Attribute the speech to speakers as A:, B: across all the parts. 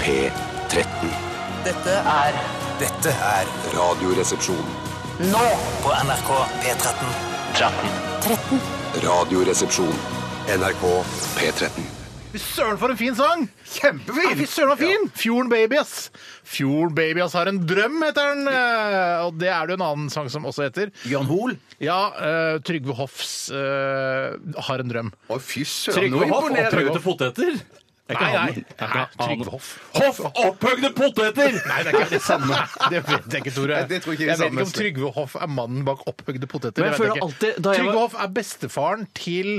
A: P13.
B: Dette er
C: Dette er
A: Radioresepsjon.
B: nå
C: på NRK P13.
B: 13.
A: Radioresepsjon. NRK P13.
D: Fy søren, for en fin sang! Kjempefin! Ja, fy søren, var fin! Fjorden Baby, ass. Fjorden Baby, ass, har en drøm, heter den. eh, Og det er det jo en annen sang som også heter.
E: Bjørn Hoel.
D: Ja, eh, Trygve Hoffs eh, Har en drøm.
E: Å, fy søren,
D: Trygve
E: nå
D: Hoff og
E: imponerer
D: Trygve
E: du.
F: Opphøyde poteter? Det er ikke
D: Nei,
F: han.
D: nei.
F: Det er ikke
D: nei,
F: han.
D: Trygve Hoff.
F: Hoff opphøgde poteter!
D: Nei, det er ikke det samme. Det vet jeg ikke, Tore.
E: Nei, det tror ikke vi
D: jeg vet
E: samme.
D: ikke om Trygve Hoff er mannen bak opphøgde poteter. det
F: Men jeg
D: vet
F: føler
D: ikke.
F: alltid- da jeg
D: Trygve
F: var-
D: Hoff er bestefaren til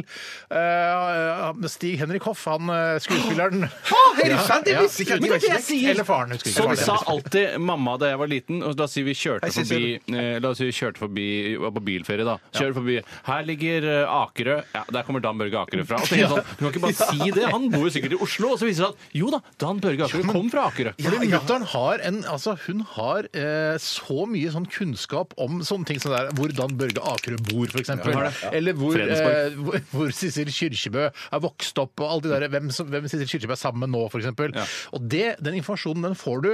D: eh, Stig Henrik Hoff, han eh, skuespilleren.
E: Er det sant? Jeg
D: Ja.
E: visste ikke at de var slekt.
D: Eller faren, husker ikke.
F: Sånn
D: hva det
F: sa
D: heter.
F: alltid mamma da jeg var liten. Og la oss si vi kjørte
E: Hei,
F: forbi
E: Sissel.
F: eh, La oss si vi kjørte forbi var på bilferie, da. Kjører forbi Her ligger eh, Akerø. Ja, der kommer Dan Børge Akerø fra. Og tenker jeg sånn, Du kan ikke bare si det! Han bor jo sikkert i Oslo. Og så viser det seg at jo da, Dan Børge Akerø kom fra Akerø.
D: Fordi mutteren har en, altså hun har eh, så mye sånn kunnskap om sånne ting som det er hvor Dan Børge Akerø bor, f.eks.
F: Ja,
D: eksempel.
F: ja.
D: Eller hvor,
F: Fredensborg.
D: eh, hvor, hvor Sissel Kyrkjebø er vokst opp, og alt det der, hvem, som- hvem Sissel Kyrkjebø er sammen med nå, f.eks. eksempel. Og det, den informasjonen den får du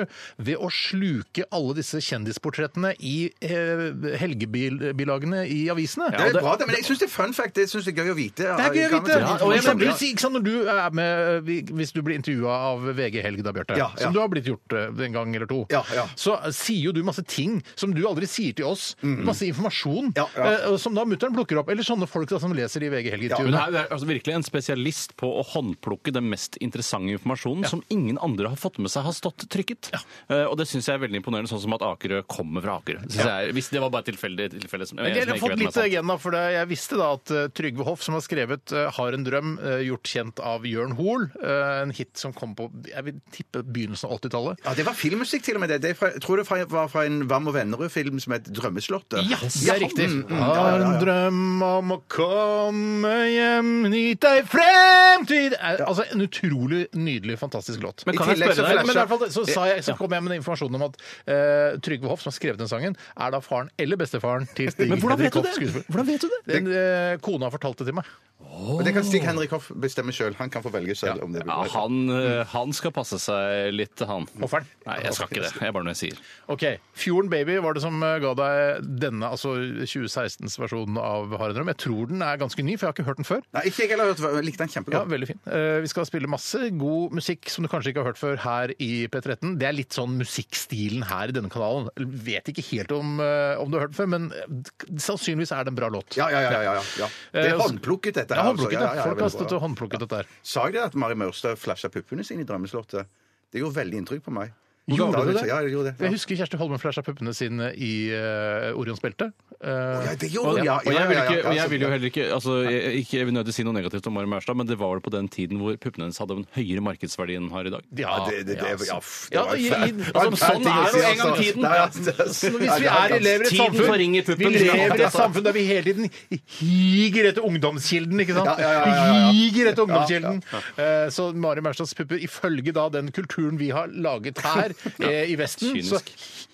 D: ved å sluke alle disse kjendisportrettene i eh, helgebilagene i avisene.
E: Det er bra, det, men jeg syns det er fun fact. Det synes jeg er gøy å vite.
D: Det er gøy å vite!
E: Ja,
D: Og jeg
E: ja,
D: mener, du, sier, ikke sant, når du er med, eh, vi- hvis du blir intervjua av VG Helg, da, Bjarte,
E: Ja, ja.
D: som du har blitt gjort eh, en gang eller to,
E: Ja, ja.
D: så eh, sier jo du masse ting som du aldri sier til oss. Masse informasjon
E: Ja, ja.
D: eh, og som da mutter'n plukker opp. Eller sånne folk da, som leser i VG
F: Hun
D: Helg-intervjuene.
F: er, er altså virkelig en spesialist på å håndplukke den mest interessante informasjonen som ingen andre har fått med seg har stått trykket. Eh, og det syns jeg er veldig imponerende, sånn som at Akerø kommer fra Akerø. Det synes jeg er- Hvis det var bare et tilfeldig tilfelle som,
D: Men
F: som
D: jeg
F: jeg
D: har
F: ikke
D: fått eh,
F: vet om er
D: litt
F: sant.
D: agenda, for det. jeg visste da at eh, Trygve Hoff, som har skrevet eh, 'Har en drøm', eh, gjort kjent av Jørn Hoel, eh, en hit som kom på jeg vil tippe begynnelsen av 80-tallet.
E: Ja, Det var filmmusikk til og med. det. det er fra, jeg tror det fra- var fra en Vam og Vennerød-film som het 'Drømmeslottet'.
D: Ja, det er riktig.
E: mm, mm, ja,
D: Har
E: ja,
D: en
E: ja.
D: drøm om å komme hjem, nyt ei fremtid Er- Altså en utrolig nydelig, fantastisk låt.
F: Men
E: I
F: kan jeg
E: tillegg så
F: spørre
D: Men
F: deg?
E: flasher-
D: i hvert fall så, sa jeg, så kom jeg med den informasjonen om at eh, Trygve Hoff, som har skrevet den sangen, er da faren eller bestefaren til Stig
F: Men hvordan
D: Henrik
F: vet du
D: Hoff,
F: det?
D: skuespiller.
F: Hvordan vet du det?
D: Den, eh, kona fortalte det til meg.
E: Og det kan Stig Henrik Hoff bestemme sjøl. Han kan få velge selv om det blir
F: Ja,
E: bra.
F: han, eh, han skal passe seg litt, han.
D: Hofferen.
F: Nei, jeg skal ikke det. Jeg er bare noe jeg sier.
D: OK. Fjorden Baby var det som eh, ga deg denne, altså 2016s versjonen av Har en drøm. Jeg tror den er ganske ny, for jeg har ikke hørt den før.
E: Nei, ikke jeg heller. hørt- Jeg likte han
D: Ja,
E: kjempegodt.
D: veldig fin. Eh, vi skal spille masse god musikk som du kanskje ikke har hørt før her i P13. Det er litt sånn musikkstilen her i denne kanalen. Vet ikke helt om, eh, om du har hørt den før, men eh, sannsynligvis er det en bra låt.
E: Ja, ja, ja. ja, ja, ja. Det er
D: Eh,
E: håndplukket, dette.
D: Det er
E: her, altså.
D: håndplukket,
E: Ja, ja,
D: da.
E: ja,
D: Folk
E: veldig
D: har
E: bra.
D: stått og håndplukket dette her.
E: Sa jeg det at Mari Maurstad flasha puppene sine i Drømmeslottet? Det gjorde veldig inntrykk på meg.
D: Gjorde
E: Ja,
D: du det?
E: Ja, jeg gjorde det.
D: Jeg husker Kjersti Holmen flasha puppene sine i eh, Orions belte. Eh,
E: Ja, det gjorde hun, ja.
F: Og
E: ja,
F: jeg vil,
E: ja, ja,
F: ikke, og jeg vil
E: ja,
F: jo
E: selvfølgelig.
F: heller ikke altså, jeg, ikke jeg vil nødig si noe negativt om Mari Maurstad, men det var vel på den tiden hvor puppene hennes hadde en høyere markedsverdi enn den har i dag.
D: Eh, ja,
E: det- det- det- ja, f- det
D: ja,
E: var en
D: i- i-
E: fæl-
D: altså,
E: det var en fæl
D: sånn
E: ting å
D: er
E: si,
D: jo en gang
E: altså.
D: tiden.
E: Nei, ja,
D: Så
E: det-
D: Hvis vi
E: Ja,
D: er
E: ja,
D: elever i et
F: Tiden forringer
D: samfunn Vi
F: puppen.
D: lever i et samfunn der vi hele tiden higer etter ungdomskilden, ikke sant?
E: Ja, ja, ja, ja, ja.
D: Vi Higer etter ungdomskilden. Eh, Så Mari Maurstads pupper, ifølge da den kulturen vi har laget her eh, i Vesten, så
F: Kynisk.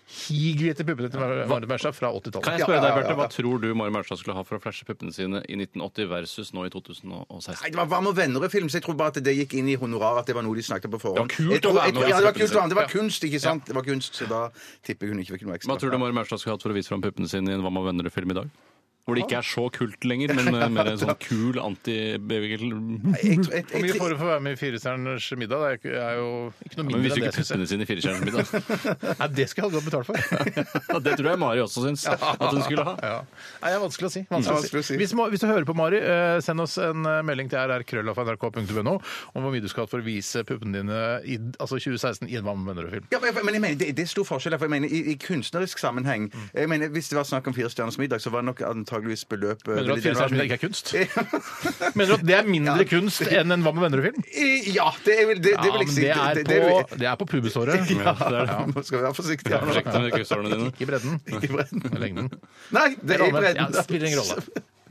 D: higer vi etter puppene til Mari Mari Maurstad fra 80-tallet.
F: Kan jeg spørre deg, Bjarte, hva tror du Mari Maurstad skulle ha for å flashe puppene sine i 1980 versus nå i 2016?
E: Nei, det var Varm og venner-film, så jeg tror bare at det gikk inn i honoraret. At det var noe de snakket på
F: Det
E: forhånd.
F: var kult
E: Jeg tror-
F: å være med
E: jeg- Ja, det var
F: i
E: kult å være med. Det var
F: filmen.
E: kunst, ikke sant? Det var kunst, så da tipper jeg hun ikke fikk noe ekstra.
F: Hva tror du Mari Maurstad skulle hatt for å vise fram puppene sine i en Hva med venner-film i dag? Hvor det ikke er så kult lenger, men eh, mer en sånn kul anti-baby-girl.
E: Jeg tror- jeg-
D: Hvor
E: jeg-
D: mye får du for å være med i Firestjerners middag? Det er ikke- er jo ikke noe
F: Men
D: mindre enn
F: viser jo
D: det,
F: ikke
D: syns jeg.
F: puppene sine i Firestjerners middag.
D: Nei, det skal jeg ha godt betalt for.
F: Ja, Det tror jeg Mari også syns at hun skulle ha.
D: Ja. Nei, det er vanskelig å si. Vanskelig
E: Vanskelig
D: å
E: å
D: si.
E: si.
D: Hvis, må, hvis du hører på Mari, eh, send oss en eh, melding til rrkrøllafnrk.no om hvor mye du skal ha for å vise puppene dine i altså 2016 i en Hva med venner-film.
E: Ja, men jeg- men jeg mener, det, det er stor forskjell. For jeg mener, i, I kunstnerisk sammenheng jeg mener, Hvis det var snakk om Fire stjerners middag, så var det nok antageligvis eh, beløpet
D: Mener du at
E: ville det vært-
D: Firestjerners middag ikke er kunst? Mener du at det er mindre
E: Ja.
D: kunst enn en Hva med venner-film?
E: Eh, Ja, det, er vel- det, det
D: Ja,
E: vil jeg
D: men
E: si.
D: det er
E: det- det- det-
D: på, det er på pubesåret.
F: Ja, det er det.
E: Ja, nå skal vi være forsiktige. her nå.
F: Prosjektet med kursårene dine.
D: Ikke i bredden.
E: Ikke i bredden.
D: Lengden.
E: Nei, det er i
D: Rammen. Ja,
E: bredden.
D: det spiller ingen rolle.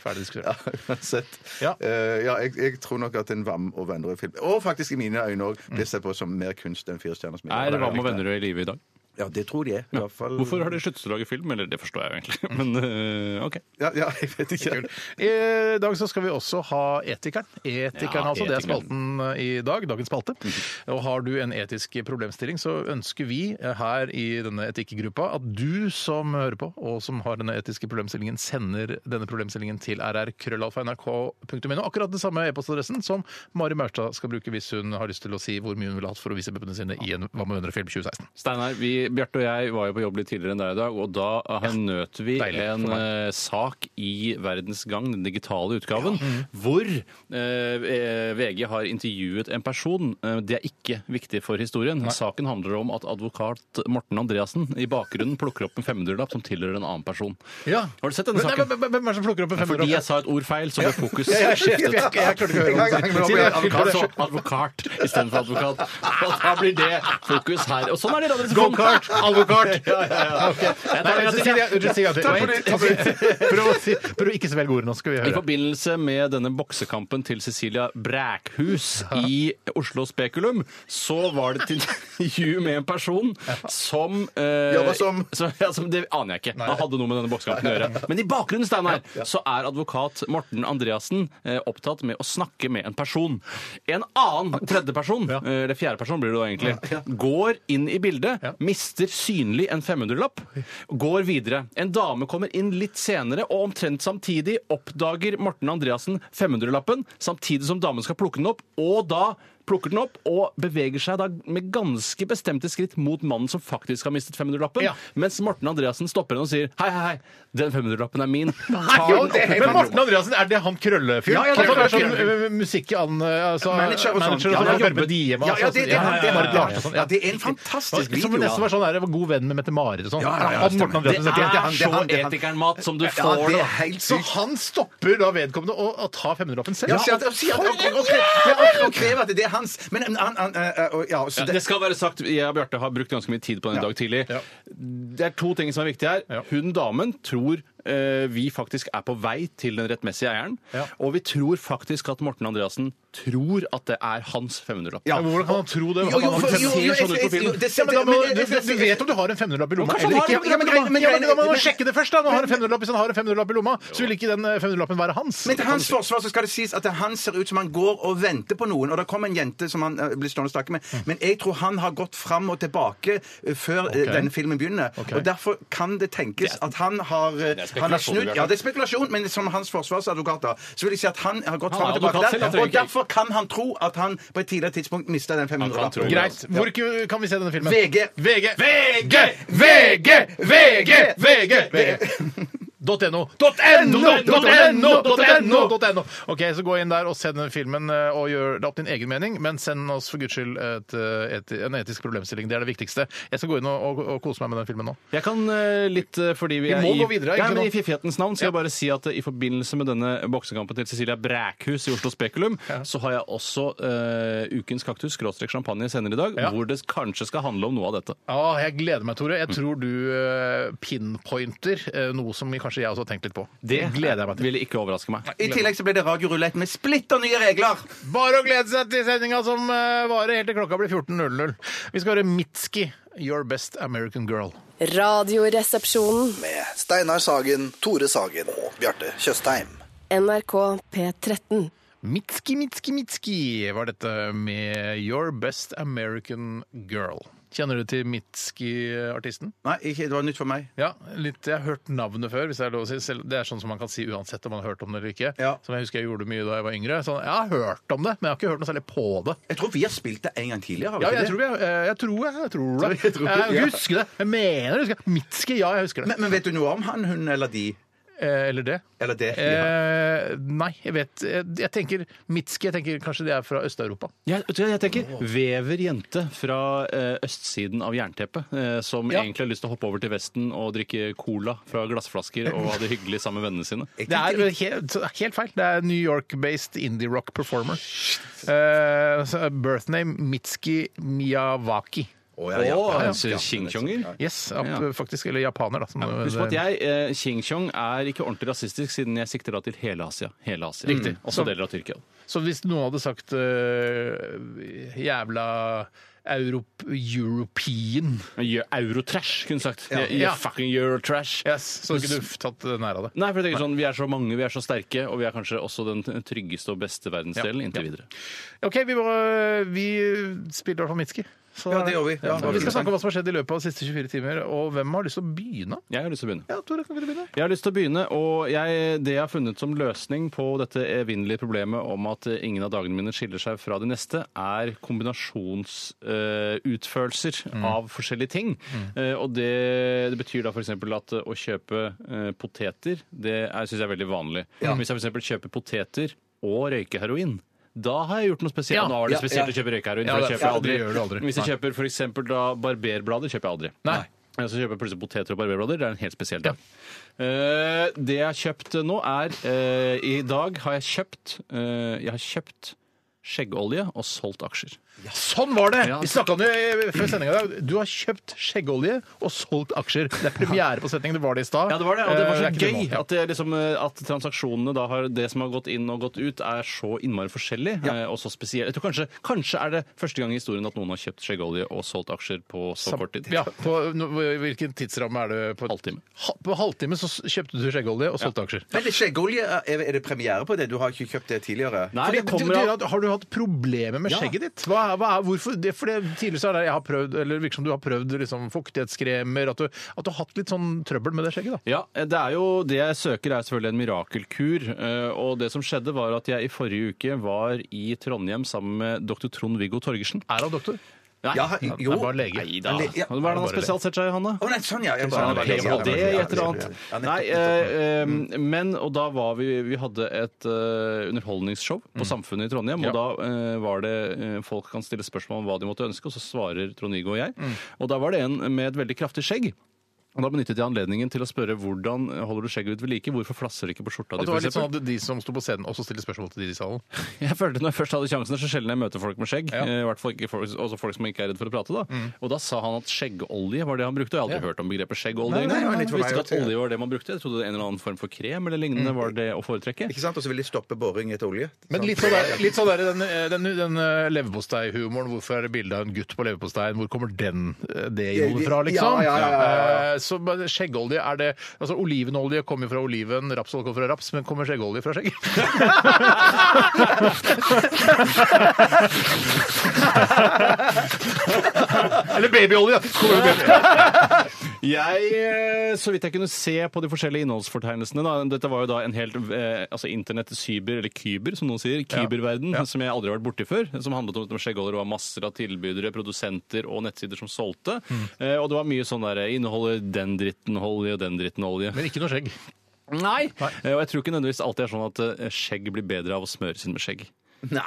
D: Ferdig
E: Ja,
D: diskutert.
E: uansett.
D: Ja.
E: Eh, ja jeg, jeg tror nok at en Vam og Vennerød-film Og faktisk i mine øyne òg blir sett på som mer kunst enn Fire stjerners middag.
F: Er Hva med venner i live i dag?
E: Ja, det tror jeg. I hvert fall.
F: Hvorfor har de sluttet å lage film? Eller det forstår jeg jo egentlig, men eh, OK.
E: Ja, ja, jeg vet ikke.
D: Kult. I dag så skal vi også ha Etikeren. Etikeren,
F: Ja,
D: altså. Det er
F: Etikeren.
D: spalten i dag. Dagens spalte. Og har du en etisk problemstilling, så ønsker vi her i denne etikkgruppa at du som hører på, og som har denne etiske problemstillingen, sender denne problemstillingen til rrkrøllalfa.nrk.no. Akkurat den samme e-postadressen som Mari Maurstad skal bruke hvis hun har lyst til å si hvor mye hun ville hatt for å vise puppene sine i en Hva med venner-film 2016.
F: Steinar, vi- Bjarte og jeg var jo på jobb litt tidligere enn deg i dag, og da eh, nøt vi
D: deilig for
F: en
D: meg.
F: eh, sak i Verdens Gang, den digitale utgaven,
D: mhm.
F: hvor eh, eh, VG har intervjuet en person. Eh, det er ikke viktig for historien. Saken handler om at advokat Morten Andreassen i bakgrunnen plukker opp en 500-lapp som tilhører en annen person.
D: Ja.
F: Har du sett denne
D: Men-
F: saken?
D: Nei, men- men- Hvem er det som plukker opp en
F: Fordi jeg
D: femmer?
F: sa et ord feil, så ble fokus
D: Jeg, jeg, jeg klarte ikke å høre om det.
F: Advokat, så advokat istedenfor advokat. Og da blir det fokus her. Og sånn er det i radioresepsjonen.
D: Go-kart! Advokat!
F: Ja, ja, ja. Jeg
D: Nei,
F: tar en gang
D: unnskyld,
F: til.
D: sier jeg- unnskyld, sier jeg til. Prøv å si- prøv å ikke svelge ordene, nå skal vi
F: I
D: høre.
F: forbindelse med denne boksekampen til Cecilia Brækhus i Oslo Spekulum, så var det et intervju med en person som eh,
E: Jobba som-
F: så- ja, som Det aner jeg ikke. Han hadde noe med denne boksekampen å gjøre. Men i bakgrunnen Steinar, så er advokat Morten Andreassen eh, opptatt med å snakke med en person. En annen tredjeperson,
D: Ja.
F: eh, eller fjerdeperson blir det da egentlig, går inn i bildet,
D: Ja.
F: mister synlig en 500-lapp, går videre. En dame kommer inn litt senere, og omtrent samtidig oppdager Morten Andreassen 500-lappen, samtidig som damen skal plukke den opp, og da plukker den opp og beveger seg da med ganske bestemte skritt mot mannen som faktisk har mistet 500-lappen,
D: Ja.
F: mens Morten Andreassen stopper henne og sier hei, hei, hei, den 500-lappen er min. Ta den
D: Jo,
F: opp med
D: det er- Men
F: 500-lappen.»
D: Morten Andreassen, er det han krøllefyren?
F: Ja,
D: han
F: ja, det er
D: som er sånn
F: krøllefyren.
D: ø, musikk... an- Altså,
E: Manager og sånn.
D: manager
E: Ja,
D: og
F: ja,
D: sånn.
F: jobber.
D: Verbe Diema,
E: Ja, ja,
D: altså,
E: det, det,
D: ja, ja, ja,
E: det, det,
D: Marit Larsen og sånn, ja.
E: ja, det er en fantastisk
D: Som
E: video. altså.
D: nesten var sånn der, var god venn med Mette-Marit og sånn.
E: Ja, ja, ja,
D: Han
E: stemmer.
D: Morten
F: Det
D: Andreassen
E: Det er
F: er
E: han, det er
F: så
E: han, det er han.
F: etikeren-mat som du
E: Ja,
F: får,
E: det
F: da.
E: er helt
D: Så
E: sykt.
D: han stopper da vedkommende å, å ta 500-lappen selv?
E: Ja, sier at, sier at, og, og, ja, og, og krever at det er hans. Men han, han, han eh, og, ja, så
F: Ja,
E: det,
F: det skal være sagt, Jeg og Bjarte har brukt ganske mye tid på den i dag tidlig.
D: Ja.
F: Det er to ting som er viktige her.
D: Ja.
F: Hun damen tror eh, vi faktisk er på vei til den rettmessige eieren.
D: Ja.
F: Og vi tror faktisk at Morten Andreassen tror at det er hans 500-lapp.
E: Ja.
D: Men Hvordan kan han tro det?
E: Jo, jo, for-
F: Det ser
E: jo, jo,
F: sånn ut på
E: jeg- jeg-
F: filmen.
E: det-
D: Ja, men da må,
E: men-
D: du, du vet om du har en 500-lapp i lomma
F: kanskje
D: eller
F: han har
D: ikke.
E: en 500-lapp, men-
D: Ja, men Da må man
E: men-
D: sjekke det først, da. Nå har en 500-lapp, Hvis han har en 500-lapp i lomma, så vil ikke den eh, 500-lappen være hans.
E: Men til hans forsvar så skal det sies at han ser ut som han går og venter på noen. Og det kommer en jente som han eh, blir stående og snakke med. Men jeg tror han har gått fram og tilbake eh, før eh,
D: Ok.
E: denne filmen begynner.
D: Ok.
E: Og derfor kan det tenkes at han har, eh,
F: er spekulasjon,
E: han har snudd
F: Bjarte.
E: Ja, det er spekulasjon, men som hans forsvarsadvokat da, så vil jeg si at han har gått
F: Han
E: fram
F: er
E: og tilbake
F: advokat selv,
E: der.
F: jeg tror
E: Og
F: ikke-
E: derfor kan han tro at han på et tidligere tidspunkt mista den 500-lappen.
F: tro det.
D: Greit. Hvor ku- kan vi se denne filmen?
E: VG.
D: VG! VG! VG! VG! VG! .no. .no! .no! .no! .no! Ok, så gå inn der og se denne filmen eh, og gjør det opp din egen mening, men send oss for guds skyld et, eh, et, en etisk problemstilling. Det er det viktigste. Jeg skal gå inn og, og, og kose meg med den filmen nå.
F: Jeg kan eh, litt eh, fordi vi,
D: Vi
F: er
D: må
F: i,
D: gå videre,
F: ja,
D: ikke
F: men
D: nå?
F: I fiffighetens navn skal jeg bare si at eh, i forbindelse med denne boksekampen til Cecilia Brækhus i Oslo Spekulum, så har jeg også eh, Ukens kaktus skråstrek champagne senere i dag,
D: Ja.
F: hvor det kanskje skal handle om noe av dette.
D: Ja, jeg gleder meg, Tore. Jeg tror du eh, pinpointer eh, noe som kanskje jeg også har tenkt litt på.
F: Det
D: gleder jeg meg til.
F: ville ikke overraske meg.
E: I tillegg så ble det radiorulett med splitter nye regler.
D: Bare å glede seg til sendinga som eh, varer helt til klokka blir 14.00. Vi skal høre Mitski, Your Best American Girl.
G: Radioresepsjonen.
H: med Steinar Sagen, Tore Sagen og Bjarte Tjøstheim.
G: NRK P13.
D: Mitski, Mitski, Mitski var dette med Your Best American Girl. Kjenner du til Mitski-artisten?
E: Nei, ikke, det var nytt for meg.
D: Ja, litt, jeg har hørt navnet før. hvis Det er lov å si. Selv- Det er sånn som man kan si uansett om man har hørt om det eller ikke.
E: Ja.
D: Som jeg husker jeg gjorde mye da jeg var yngre. Sånn, jeg har hørt om det, men jeg har ikke hørt noe særlig på det.
E: Jeg tror vi har spilt det en gang tidligere. har vi
D: Ja,
E: ikke
D: jeg
E: det?
D: tror, jeg, eh, jeg tror, jeg, jeg tror det.
E: Jeg tror-
D: Jeg
E: ja.
D: husker det. Jeg mener jeg husker det. Mitski, ja, jeg husker det.
E: men, men vet du noe om han, hun eller de?
D: Eh, Eller det.
E: Eller det? ja.
D: Eh, nei, jeg vet Jeg, jeg tenker Mitski. Jeg tenker kanskje det er fra Øst-Europa.
F: Jeg, vet du hva jeg tenker Vever jente fra eh, østsiden av jernteppet, eh, som
D: Ja.
F: egentlig har lyst til å hoppe over til Vesten og drikke cola fra glassflasker og ha det hyggelig sammen med vennene sine.
D: Det er helt, helt feil. Det er New York-based indie-rock performer. Eh, så er Birthname Mitski Miyawaki.
E: Å, ja,
F: Å,
E: ja, ja, ja.
F: altså, Tjingtjonger.
D: Yes, ap-
F: Ja.
D: faktisk. Eller japaner, da. Som,
F: Husk på at jeg, eh, Xinjiang er ikke ordentlig rasistisk, siden jeg sikter da til hele Asia. Hele Asia. Riktig.
D: Så-
F: Også deler av Tyrkia.
D: Så hvis noen hadde sagt eh, jævla Europ European.
F: Gjør Eurotrash, kunne sagt. Ja.
D: Ja.
F: Fucking Eurotrash.
D: Yes, så ikke du tatt nære av det.
F: Nei, for jeg tenker sånn, Vi er så mange, vi er så sterke, og vi er kanskje også den tryggeste og beste verdensdelen
D: Ja.
F: inntil
D: Ja.
F: videre.
D: OK, vi, må, vi spiller i hvert fall Mitski. Så-
E: Ja, det gjør vi. Ja,
D: vi skal snakke om hva som har skjedd i løpet av de siste 24 timer, og hvem har lyst til å begynne?
F: Jeg har lyst til å begynne.
D: Ja, Tore, kan ikke du begynne?
F: Jeg har lyst til å begynne, og jeg, det jeg har funnet som løsning på dette evinnelige problemet om at ingen av dagene mine skiller seg fra de neste, er kombinasjonsutførelser eh,
D: Mm.
F: av forskjellige ting. Eh, og det, det betyr da f.eks. at eh, å kjøpe eh, poteter, det syns jeg er veldig vanlig. Hvis jeg f.eks. kjøper poteter og røyker heroin, da har jeg gjort noe spesielt.
D: Ja.
F: Nå var det
E: Ja,
F: spesielt å
E: ja.
F: kjøpe røykeheroin,
D: Ja,
F: for
D: det-
F: det kjøper jeg
D: ja,
F: aldri.
D: det gjør du aldri.
F: Hvis jeg
D: Nei.
F: kjøper f.eks. barberblader, kjøper jeg aldri.
D: Nei.
F: Men Så kjøper jeg plutselig poteter og barberblader. Det er en helt spesiell dag. Eh, det jeg har kjøpt nå, er eh, I dag har jeg kjøpt eh, Jeg har kjøpt skjeggolje og solgt aksjer.
D: Sånn var det!
F: Ja.
D: Vi snakka om det eh, før sendinga i dag. Du har kjøpt skjeggolje og solgt aksjer. Det er premiere på setningen. Det var det i stad.
F: Ja, det var det. Og det var
D: Eh,
F: så
D: er ikke
F: gøy
D: det nå.
F: at, det liksom, eh, at transaksjonene da har Det som har gått inn og gått ut, er så innmari forskjellig eh, og så spesiell. Jeg tror kanskje, kanskje er det første gang i historien at noen har kjøpt skjeggolje og solgt aksjer på så kort tid.
D: Ja, på no, Hvilken tidsramme er det? På
F: Halvtime.
D: Ha, på halvtime så s- kjøpte du skjeggolje og solgte aksjer.
E: Men det skjeggolje, er er det premiere på det? Du har ikke kjøpt det tidligere?
F: Nei,
D: Fordi
F: det
D: du-
F: kommer
D: du-
F: av
D: du- har du hatt problemer med
F: Ja.
D: skjegget ditt? Hva, er- hva er, hvorfor? Det, for det, tidligere så er det jeg har prøvd, eller virker som du har prøvd liksom, fuktighetskremer, at du, at du har hatt litt sånn trøbbel med det skjegget. da.
F: Ja, det er jo det jeg søker er selvfølgelig en mirakelkur. eh, Og det som skjedde var at jeg i forrige uke var i Trondheim sammen med dr. Trond-Viggo Torgersen.
D: Er han doktor?
F: Nei,
E: Ja,
D: Han
E: jo.
D: er bare lege.
F: Neida.
E: Han er- ja.
F: Hva er det han har spesielt sett seg i, Hanna?
E: Å nei, sånn, ja. ja,
F: Så han er
E: bare-
F: lege,
E: ja,
F: og det
E: ja,
F: er et eller
E: ja,
F: annet.
E: ja, nettopp,
F: Nei,
E: nettopp.
F: eh, eh, men og da var vi Vi hadde et eh, underholdningsshow på Samfunnet i Trondheim, og da eh, var det eh, folk kan stille spørsmål om hva de måtte ønske, og så svarer Trond-Viggo og jeg. Og da var det en med et veldig kraftig skjegg. Og Da benyttet jeg anledningen til å spørre hvordan holder du skjegget ditt ved like. Hvorfor flasser det ikke på skjorta
D: At det
F: di? for
D: var litt
F: eksempel?
D: sånn at de som sto på scenen, også stiller spørsmål til de i salen?
F: Jeg følte når jeg først hadde sjansen, så sjelden jeg møter folk med skjegg.
D: Ja.
F: eh, I hvert fall ikke folk, også folk som ikke er redd for å prate. da.
E: Mm.
F: Og da sa han at skjeggolje var det han brukte. og Jeg har aldri hørt om begrepet skjeggolje.
E: nei,
F: engang.
E: nei, litt
F: Jeg
E: for meg
F: visste ikke at
E: også, ja. Mm.
F: olje var det man brukte. Jeg trodde en eller annen form for krem eller lignende var det å foretrekke.
E: Ikke sant? Og så vil de stoppe boring etter olje.
D: Men litt sånn der, litt sånn der den, den, den eh, leverposteihumoren. Hvorfor er det bilde av en gutt på leverposteien? Hvor kommer den, eh, det innholdet fra, liksom?
E: Ja, ja, ja, ja,
D: Eh, Så men skjeggolje er det Altså olivenolje kommer jo fra oliven, rapsolje kommer fra raps, men kommer skjeggolje fra skjegg? Eller babyolje! Kommer jo baby.
F: Jeg, eh, så vidt jeg kunne se på de forskjellige innholdsfortegnelsene da, Dette var jo da en helt eh, altså internett-cyber, eller kyber, som noen sier. Kyberverden, som jeg aldri har vært borti før. Som handlet om, om skjeggholder og masser av tilbydere, produsenter og nettsider som solgte. Eh, og det var mye sånn der eh, Inneholder den dritten olje og den dritten olje.
D: Men ikke noe skjegg.
F: Nei. Eh, Og jeg tror ikke nødvendigvis alltid er sånn at eh, skjegg blir bedre av å smøre sin med skjegg. Eh,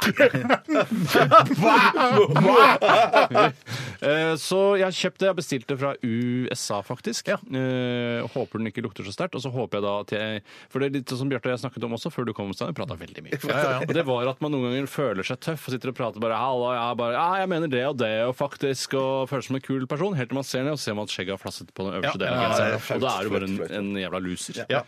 F: Så jeg har kjøpt det. Jeg bestilte fra USA, faktisk. Eh, Håper den ikke lukter så sterkt. Og så håper jeg da at jeg For det er litt sånn som Bjarte og jeg snakket om også før du kom, Stein. Vi prata veldig mye. Og det var at man noen ganger føler seg tøff og sitter og prater bare Halla, jeg bare Ja, jeg mener det og det og faktisk og føler seg som en kul person. Helt til man ser ned og ser man at skjegget har flasset på den øverste
D: Ja. Ja,
F: delen. av
D: ja,
E: ja.
F: genseren. Og da er du bare en,
E: Flaut, flaut,
F: en jævla loser.
D: Ja.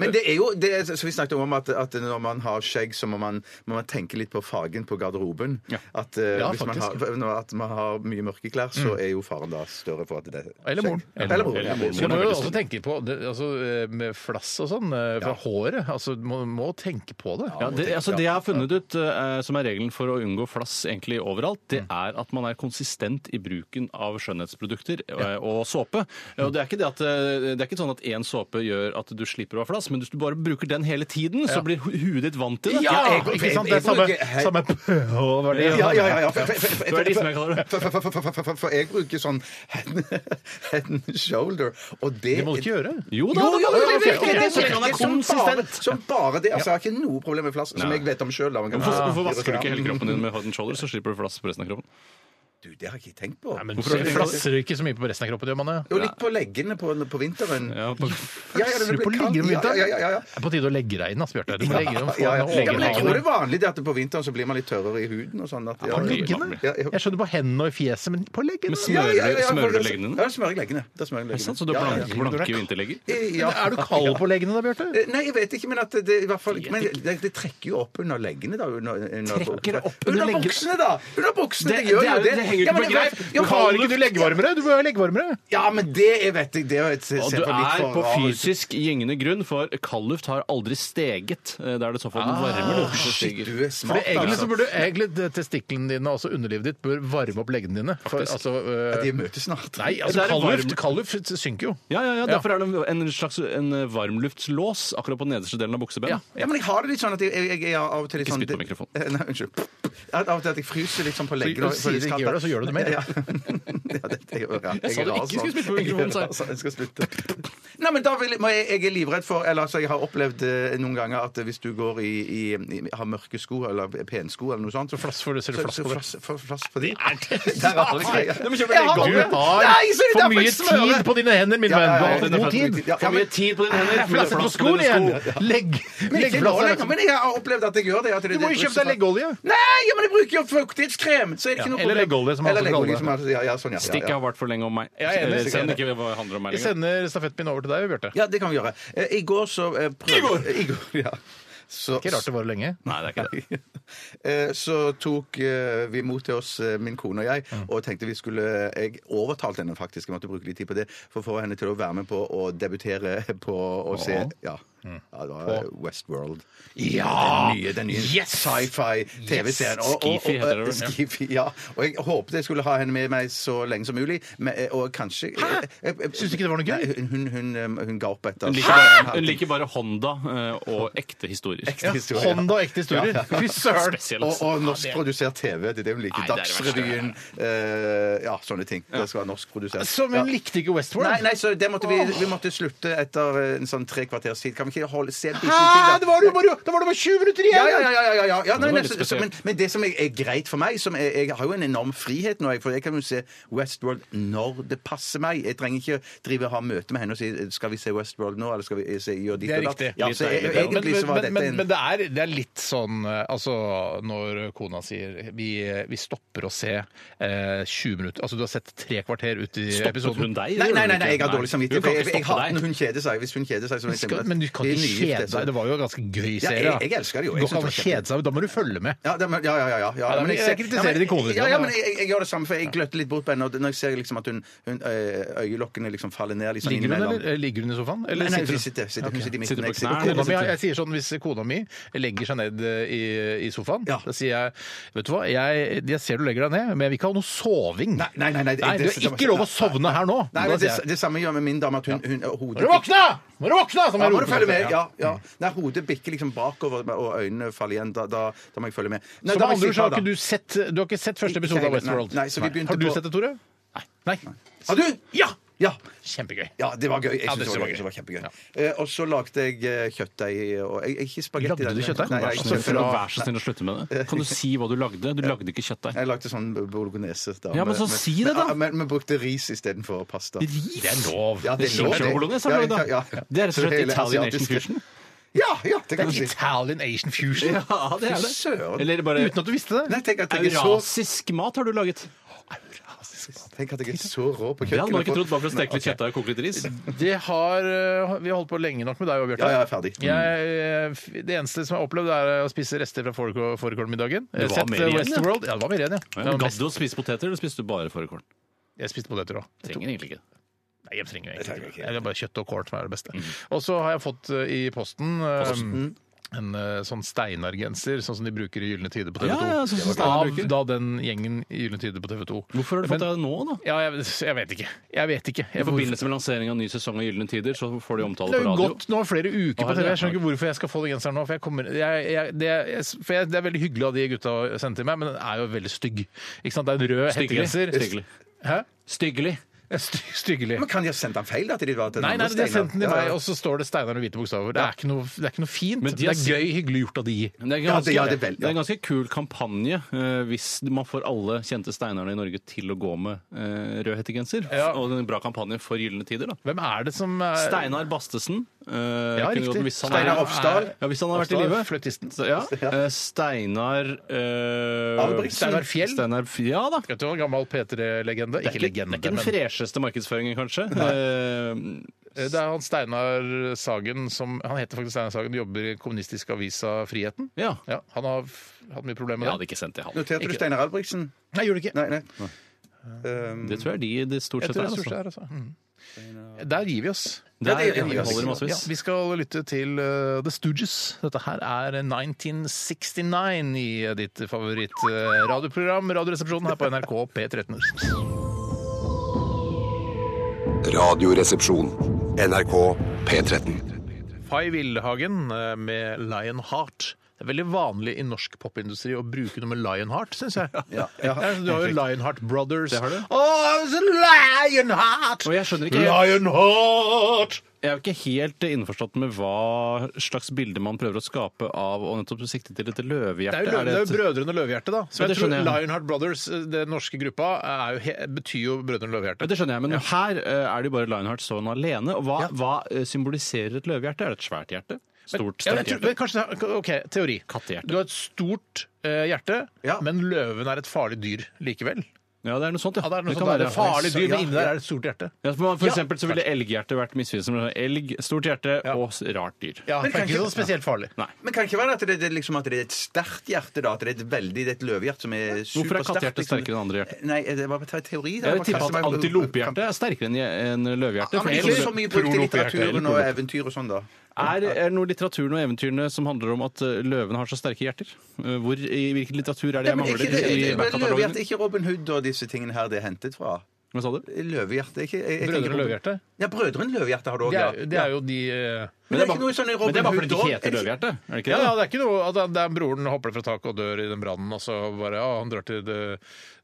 E: Men det er jo det er- som vi snakket om, at, at når man har skjegg, så må man, må man tenke litt på fargen på garderoben. At, eh,
D: Ja,
E: hvis man har,
D: faktisk.
E: når- at man har mye mørke klær, så er jo faren da større for at det er
D: Eller
E: skjegg.
D: moren.
E: Ja, Eller moren.
F: Eller
E: ja.
F: moren.
D: Så må jo også tenke på det, altså, eh, med flass og sånn, eh, fra håret. Altså, du må, må tenke på det.
F: Ja, det, altså det jeg har funnet ut, eh, som er regelen for å unngå flass egentlig overalt, det
E: Mm.
F: er at man er konsistent i bruken av skjønnhetsprodukter eh, og såpe. Eh, Og det er ikke, det at, eh, det er ikke sånn at én såpe gjør at du slipper å ha flass, men hvis du bare bruker den hele tiden, så blir hu- huet ditt vant til det.
E: jeg-
D: ikke sant? Det er samme, samme pH-verdi.
E: Ja, ja, ja. ja. For,
F: Det er de som jeg kaller det.
E: jeg bruker sånn head and shoulder, og det
D: Det må du ikke gjøre.
F: Jo da,
E: Jo, jo,
F: det kan
E: jo,
F: du
E: det
F: gjøre. Så
E: virker, det
F: lenge han
E: virker
F: er
E: som bare,
F: konsistent.
E: som bare det. Altså, jeg har ikke noe problem med flass, som jeg vet om sjøl.
F: Hvorfor, hvorfor vasker du ikke hele kroppen din med head and shoulder, så slipper du flass på resten av kroppen?
E: Du, det har jeg ikke tenkt på.
D: Men
F: Hvorfor-
D: flasser du ikke så mye på resten av kroppen, gjør man det?
E: Jo, litt på leggene på, på vinteren.
F: Ja, på,
E: Ja, ja, det
D: Flasser du på
E: blir kaldt.
D: leggene om vinteren?
E: Ja, ja, ja, ja.
D: Det er på tide å legge deg inn, ass, Bjarte. Du må legge deg inn. og få
E: Ja, ja.
D: en
E: ja, men
D: overhale.
E: jeg tror det er vanlig det at på vinteren så blir man litt tørrere i huden og sånn. At, ja,
D: På
E: ja,
D: leggene?
E: Ja, ja.
D: Jeg skjønner på hendene og i fjeset, men på leggene?
F: Men smører
E: ja, ja,
F: du- smører du
E: ja, for-
F: leggene
E: Ja,
F: dine?
E: jeg smører leggene. Da smører jeg
F: Ikke
E: leggene.
F: sant? Så du har
E: Ja, ja,
F: blanke, blanke vinterlegger?
E: ja.
D: Men Er du kald på leggene da, Bjarte?
E: Eh, Nei, jeg vet ikke, men at det, i hvert fall, men det, det trekker jo opp under leggene, da. Under, under,
D: Trekker det opp under
E: under,
D: leggene?
E: buksene, da! Under buksene! Det,
F: Det-
E: gjør
F: det er jo-
E: jo det.
F: det
E: henger
D: Ja,
E: ikke
D: men
E: på
D: det-
E: greip.
D: ja, men Har ikke du leggevarmere? Du bør ha leggevarmere.
E: Ja, men det er, vet jeg, det er et
F: Og du er på fysisk gyngende grunn, for kaldluft har aldri steget. Eh, Da er det i så fall den varme luften som
E: Ah, Shit,
F: stiger.
E: du er
D: For
E: smart,
D: det, egentlig så
F: liksom-
E: altså.
D: burde egentlig det- testiklene dine og altså underlivet ditt bør varme opp leggene dine. For, altså, øh,
E: De møtes snart.
D: nei,
F: Det
D: altså
F: er en
D: kaldluft
F: varm-
D: kaldluft synker jo.
F: Ja, ja, ja, Derfor er det en slags en eh, varmluftslås akkurat på nederste delen av buksebenet.
D: Ja.
E: Ja, men jeg har det litt sånn at jeg, jeg, jeg er av og til litt
F: Ikke
E: sånn
F: spytt på mikrofonen.
E: Eh, Nei, unnskyld. At av og til at jeg fryser litt sånn på leggene.
D: Så- sier du ikke gjør det, så gjør du det mer.
E: Ja. ja, det, det, gjør jeg. ja.
F: Jeg sa du ikke
E: er rar
F: skulle
E: sånn.
F: spytte på mikrofonen, sa jeg.
E: Jeg er rar sånn, jeg skal spytte. Nei, men da vil jeg, må jeg, jeg er livredd for Eller altså, jeg har opplevd eh, noen ganger at hvis du går i, i, i har mørke sko eller pensko eller noe sånt, så
D: Flass for det, ser du
E: så-
D: flass
E: så
D: på det.
E: flass- for- flass på de.
D: Du
E: Der har du det. Ja.
F: Du må kjøpe
E: Jeg har
F: leggvarme.
E: det.
D: har
E: Nei, så det er
D: for
E: derfor
D: mye
E: jeg smører.
D: tid på dine hender, min
E: Ja, ja,
D: venn.
E: ja,
D: Du
E: ja,
D: har
E: ja,
D: aldri
E: ja,
D: god
E: ja,
D: tid.
E: ja,
F: For mye tid på dine hender.
D: Flasse på
F: flass på
D: skoen
F: dine
D: igjen!
F: sko.
D: Legg,
E: Men
D: legg
E: ikke nå
D: flass
E: lenger, men jeg har opplevd at jeg gjør det. At det
D: Du må jo kjøpe deg leggeolje.
E: Nei, ja, men jeg bruker jo fuktighetskrem! Så er det ikke
D: Ja,
E: noe
D: eller
E: problem.
D: leggeolje, som han
E: Eller
D: også kaller
E: leggeolje,
D: det.
E: som han- ja, ja, sånn, ja, ja,
F: Stikk
E: ja.
F: har vært for lenge om meg.
D: Jeg er enig,
F: Eh,
D: stikk
F: Send
D: er
F: ikke hva det handler om meg
D: Jeg
F: lenger.
D: sender stafettpinnen over til deg, Bjarte.
E: Ja, det kan vi gjøre. Eh, I går så eh, prøvde I går! ja. Så,
D: Ikke rart det varer lenge.
F: Nei, det er ikke det.
E: Eh, så tok eh, vi mot til oss, eh, min kone og jeg, og tenkte vi skulle Jeg overtalte henne faktisk, jeg måtte bruke litt tid på det, for å få henne til å være med på å debutere på å se Ja.
F: Mm.
E: ja, det var Westworld. Den nye, den nye sci-fi-TV-serien. Og- og- og-
F: Skifi heter det vel, ja.
E: Skifi, ja. Og jeg håpet jeg skulle ha henne med meg så lenge som mulig, men, eh, og kanskje Hæ?
D: Syns du ikke det var noe gøy?
E: Nei, hun, hun, hun, eh, hun ga opp etter
F: Hun
E: altså.
F: liker bare,
E: Hæ?
F: hun liker bare Honda eh, og ekte historier.
E: Ekte historie, ja.
D: Honda og ekte historier. Fy søren!
F: Spesielt.
E: Og, og norskprodusert TV. Det er det hun
F: Nei,
E: liker.
F: det er det
E: Dagsrevyen, eh, ja, sånne ting. Det skal være norskprodusert.
D: Som hun
E: Ja.
D: likte ikke Westworld.
E: Nei, nei, så det måtte vi, vi måtte slutte etter en sånn tre kvarters tid. Kan vi ikke holde, se bitte
D: Hæ?
E: litt
D: Det
E: til? da?
D: var jo bare, da var det bare 20 minutter
E: Ja,
D: igjen!
E: ja, ja. ja, ja, ja. ja
F: var
E: nei, nei,
F: litt
E: så, så,
F: spesielt.
E: men, men det som er, er greit for meg som er, Jeg har jo en enorm frihet nå, jeg, for jeg kan jo se Westworld når det passer meg. Jeg trenger ikke drive og ha møte med henne og si Skal vi se Westworld nå, eller skal vi se, gjøre ditt
D: Det er
E: og datt?
D: riktig.
E: Ja,
D: Litt
E: så, jeg,
D: deilig.
E: egentlig så var
D: men, men,
E: dette en
D: men det, er, det er litt sånn eh, Altså, når kona sier vi, vi stopper å se eh, 20 minutter Altså, du har sett tre kvarter ut i
F: Stoppet
D: episoden.
F: hun deg?
E: Nei, nei, nei, nei, jeg har dårlig samvittighet.
F: Hun kan
E: Jeg, jeg,
F: ikke
E: jeg
F: stoppe
E: hater
F: deg.
E: når hun kjeder seg. Hvis hun kjeder seg, så må jeg
D: Skal,
E: stemme.
D: men du kan
E: Det er
D: ikke
E: nygift,
D: kjede
E: det, så-
D: deg. Det var jo en ganske gøy
E: Ja,
D: serie.
E: jeg,
D: da.
E: jeg elsker det jo.
D: Du
E: Jeg
D: kan
E: synes
D: ikke
E: det var kjempe-
D: kjede seg, da må du følge med.
E: Ja, det, men- ja, ja, ja, ja, ja.
D: men jeg kritiserer
E: men-
D: de konene,
E: Ja, ja,
D: da.
E: men jeg, jeg gjør det samme, for jeg gløtter litt bort på henne. og Når jeg ser liksom at hun, hun ø, øyelokkene liksom faller ned liksom
D: Ligger hun,
E: innimellom.
D: eller, ligger hun i sofaen?
E: Nei,
D: Eller
E: nei,
D: sitter
E: hun
D: hun?
E: sitter, sitter, hun sitter i midten.
F: Sitter på
E: jeg
F: knærne,
E: på
D: Kona mi,
F: sitter-
D: jeg, jeg sier sånn, Hvis kona mi legger seg ned eh, i, i sofaen,
E: Ja.
D: da sier jeg vet du hva, jeg, jeg ser du legger deg ned, men jeg vil ikke ha noe soving.
E: Nei, nei, nei, nei, det-
D: det,
E: det-
D: er ikke lov å sovne her nå.
E: Nei,
D: Da
E: men det,
D: sier jeg,
E: det samme gjør med min dame. at hun, hun,
D: Må
E: hodet
D: du våkne! Må du våkne! Som
E: Ja,
D: jeg
E: må du
D: roper
E: følge med?
D: etter.
E: Ja, ja.
D: Mm.
E: Nei, hodet bikker liksom bakover, og øynene faller igjen. Da, da, da må jeg følge med. Nei,
D: Så med
E: da må jeg
D: andre ord
E: si
D: så
E: fra,
D: har ikke
E: da.
D: du sett Du har ikke sett første
E: Ikke
D: episode av
E: heller,
D: Westworld?
E: nei. Nei, så vi begynte
D: Har du
E: på-
D: sett det, Tore? Nei.
E: Har du?
D: Ja!
E: Ja.
D: Kjempegøy.
E: Ja, det var gøy. Jeg
D: Ja,
E: synes
D: det
E: det, var gøy. det var kjempegøy. Eh, og så lagde jeg eh, kjøttdeig og jeg, jeg- Ikke spagetti.
D: Lagde du kjøttdeig?
E: Nei,
F: Vær
E: jeg,
F: så
E: altså,
F: snill,
E: fra,
F: Vær så snill å slutte med det. Kan du si hva du lagde? Du lagde ikke kjøttdeig.
E: jeg lagde sånn bolognese. Da,
F: Ja, men
E: med-
F: så
E: med-
F: si det, da!
E: Men, men, men brukte ris istedenfor pasta.
F: Ris?
D: Det er lov.
E: Ja, det er lov,
F: Kjøttdeig og bolognese har du lagd, da.
E: Ja, ja, ja.
F: Det er rett og slett
E: Hele
F: Italian Asian
E: asiatiske-
F: fusion.
E: Ja, ja, det kan du si.
D: Italian Asian fusion.
F: Ja, det
E: Fy søren.
F: Eller bare
D: Uten at du visste
E: Nei,
D: det.
E: tenk at jeg er så,
F: Eurasisk mat har du laget.
E: tenk at jeg er så rå på kjøkkenet.
F: Det hadde man ikke
E: for-
F: trodd bare for å steke litt kjøttdeig og koke litt ris.
D: Det har, eh, vi har holdt på lenge nok med deg og Bjarte.
E: Ja, jeg er ferdig.
D: Jeg, eh, f- det eneste som jeg har opplevd, er å spise rester fra fårikål- fårikålmiddagen.
F: Det var
D: Sett,
F: mer
D: eh,
F: igjen, ja.
D: Westworld. Ja, det var mer igjen, ja. Det var
F: Gadd
D: mest-
F: du å spise poteter, eller spiste du bare fårikål?
D: Jeg spiste poteter òg.
F: Trenger egentlig ikke Mm. det.
D: Nei, jeg trenger egentlig ikke. Det er bare kjøtt og kål som er det beste. Og så har jeg fått eh, i posten eh, En eh, sånn Steinar-genser, sånn som de bruker i Gylne tider på TV 2.
F: Ja, ja, sånn som Steinar bruker.
D: Av da den gjengen i Gylne tider på TV 2.
F: Hvorfor har du fått det nå, da?
D: Ja, jeg, jeg vet ikke. Jeg vet ikke.
F: I
D: Jeg,
F: forbindelse med lansering av ny sesong av Gylne tider, så får de omtale
D: det
F: på
D: har jo
F: radio.
D: gått nå flere uker på
F: Har det?
D: TV. Jeg skjønner ikke hvorfor jeg skal få den genseren nå. For, jeg kommer, jeg, jeg, det, jeg, for jeg, det er veldig hyggelig av de gutta å sende til meg, men den er jo veldig stygg. Ikke sant? Det er en rød
F: Styggelig.
D: hettegenser.
F: Styggelig.
D: Hæ?
F: Styggelig.
D: Sty- Styggelig.
E: Men kan de ha sendt den feil, da? Til de var til den
D: Nei, nei,
E: andre
D: de har sendt den til
E: Steinar? Ja,
D: meg,
E: ja.
D: og så står det Steinar med hvite bokstaver. Det er ikke noe, det er ikke noe fint,
F: Men
D: men
F: de har
D: det er gøy, hyggelig gjort av de.
F: Men Det er,
E: Ja,
F: ganske,
E: det- ja, det er vel- ja.
F: det er en ganske kul kampanje eh, hvis man får alle kjente steinerne i Norge til å gå med eh, rød hettegenser.
D: Ja.
F: Og det er en bra kampanje for gylne tider, da.
D: Hvem er det som er
F: Steinar Bastesen. eh,
D: Ja,
F: kunne
D: riktig.
F: gått med hvis han
E: Steinar
F: er-
E: Ofsdal.
F: Ja, hvis han har vært i
D: Ofsdal,
F: live.
D: fløytisten.
F: Så, ja. Eh, Steinar eh,
E: Albrigtsen.
D: Steinar Fjell.
F: Steinar F- ja da.
D: Vet du hva, gammel P3-legende? Ikke
F: Det er ikke, det
D: legende,
F: er ikke den
D: men
F: fresheste markedsføringen, kanskje. Eh,
D: Eh, Det er han Steinar Sagen som Han heter faktisk Steinar Sagen, jobber i kommunistisk avisa Friheten.
F: Ja.
D: han har f- hatt mye problemer
F: Jeg
D: med
F: hadde
D: det.
F: ikke sendt det han.
E: Noterte du Steinar Albrigtsen?
D: Nei, gjorde det ikke.
E: Nei, nei. Um,
F: Det tror jeg de det stort
D: Jeg
F: sett
D: tror det
F: er.
D: er
F: Altså.
D: stort der, altså. Mm. Der gir vi oss.
F: Det
E: Ja, det
F: er,
E: gjør de.
F: vi holder i
D: Ja,
F: massevis.
D: vi skal lytte til eh, The Stooges. Dette her er 1969 i ditt favoritt-radioprogram, Radioresepsjonen her på NRK P13.
A: Radioresepsjon. NRK P13.
D: Fay Wildhagen eh, med Lionheart. Det er veldig vanlig i norsk popindustri å bruke noe med Lionheart, syns jeg.
E: ja.
D: Ja, Du har jo Lionheart Brothers.
F: Det har du.
D: Åh, it's a Lionheart!
F: Og jeg skjønner ikke-
D: Lionheart!
F: Jeg er jo ikke helt innforstått med hva slags bilde man prøver å skape av å nettopp sikte til dette
D: Det
F: løvehjertet.
D: er jo, løv, det er jo
F: et-
D: Brødrene Løvehjerte, da. Så
F: Ja,
D: jeg
F: det
D: tror
F: skjønner jeg.
D: Lionheart Brothers, eh, den norske gruppa, er jo, he- betyr jo Brødrene
F: Ja,
D: Løvehjerte.
F: det skjønner jeg, men her eh, er det jo bare Lionheart sånn alene. Og hva, hva eh, symboliserer et løvehjerte? Er det et svært hjerte? Stort,
D: Ja, men jeg
F: sterkt
D: tror, men
F: hjerte?
D: kanskje, det er- OK, teori.
F: Kattehjerte.
D: Du har et stort eh, hjerte,
E: Ja.
D: men løven er et farlig dyr likevel.
F: Ja, det er noe sånt, ja.
D: Ja, det er noe sånt,
F: kan
D: da er det
F: være,
D: farlig dyr,
E: Ja,
D: men inni der er det et stort hjerte.
F: Ja, for for
D: Ja.
F: eksempel så ville elghjertet vært misvisende. med Elg, stort hjerte og s- rart dyr.
D: Ja,
E: Men
D: for det er
E: kanskje-
D: ikke noe spesielt farlig.
E: men kan det ikke være at det, det, er liksom at det er et sterkt hjerte, da? At det er et veldig det er et løvehjerte som er supersterkt?
F: Hvorfor er kattehjertet
E: liksom?
F: sterkere enn andre hjerter?
E: Nei, det var bare teori. da.
F: Jeg
E: Bare
F: vil tippe
E: kaste
F: at
E: meg-
F: antilopehjertet er sterkere enn je- enn løvehjertet.
E: Ja,
F: for
E: men
F: jeg
E: ikke
F: tror-
E: så mye brukt i
D: Prolopehjerte,
E: litteraturen og
F: prolopehjerte.
E: eventyr og sånn, da.
F: Er er det noe i litteraturen og eventyrene som handler om at eh, løvene har så sterke hjerter? Eh, Hvor, I hvilken litteratur er det jeg
E: Men
F: mangler
E: ikke,
F: i
E: det, det, men løvehjerte,
F: backkatalogene?
E: ikke Robin Hood og disse tingene her det er hentet fra?
F: Hva sa du?
E: Løvehjerte ikke jeg- jeg tenker
D: Brødrene
E: Robin-
D: Løvehjerte.
E: Ja, Brødrene Løvehjerte har du òg,
D: Det
E: ja.
D: er, det er jo de eh,
E: Men det er ikke noe
F: Men
E: sånn i
F: det er
E: Robin
F: bare fordi de
E: Hood
F: ikke
E: også.
F: heter løvehjerte? Er det ikke
D: Ja,
F: det?
D: ja, det er ikke noe at det er broren hopper fra taket og dør i den brannen, og så bare ja, han drar til det,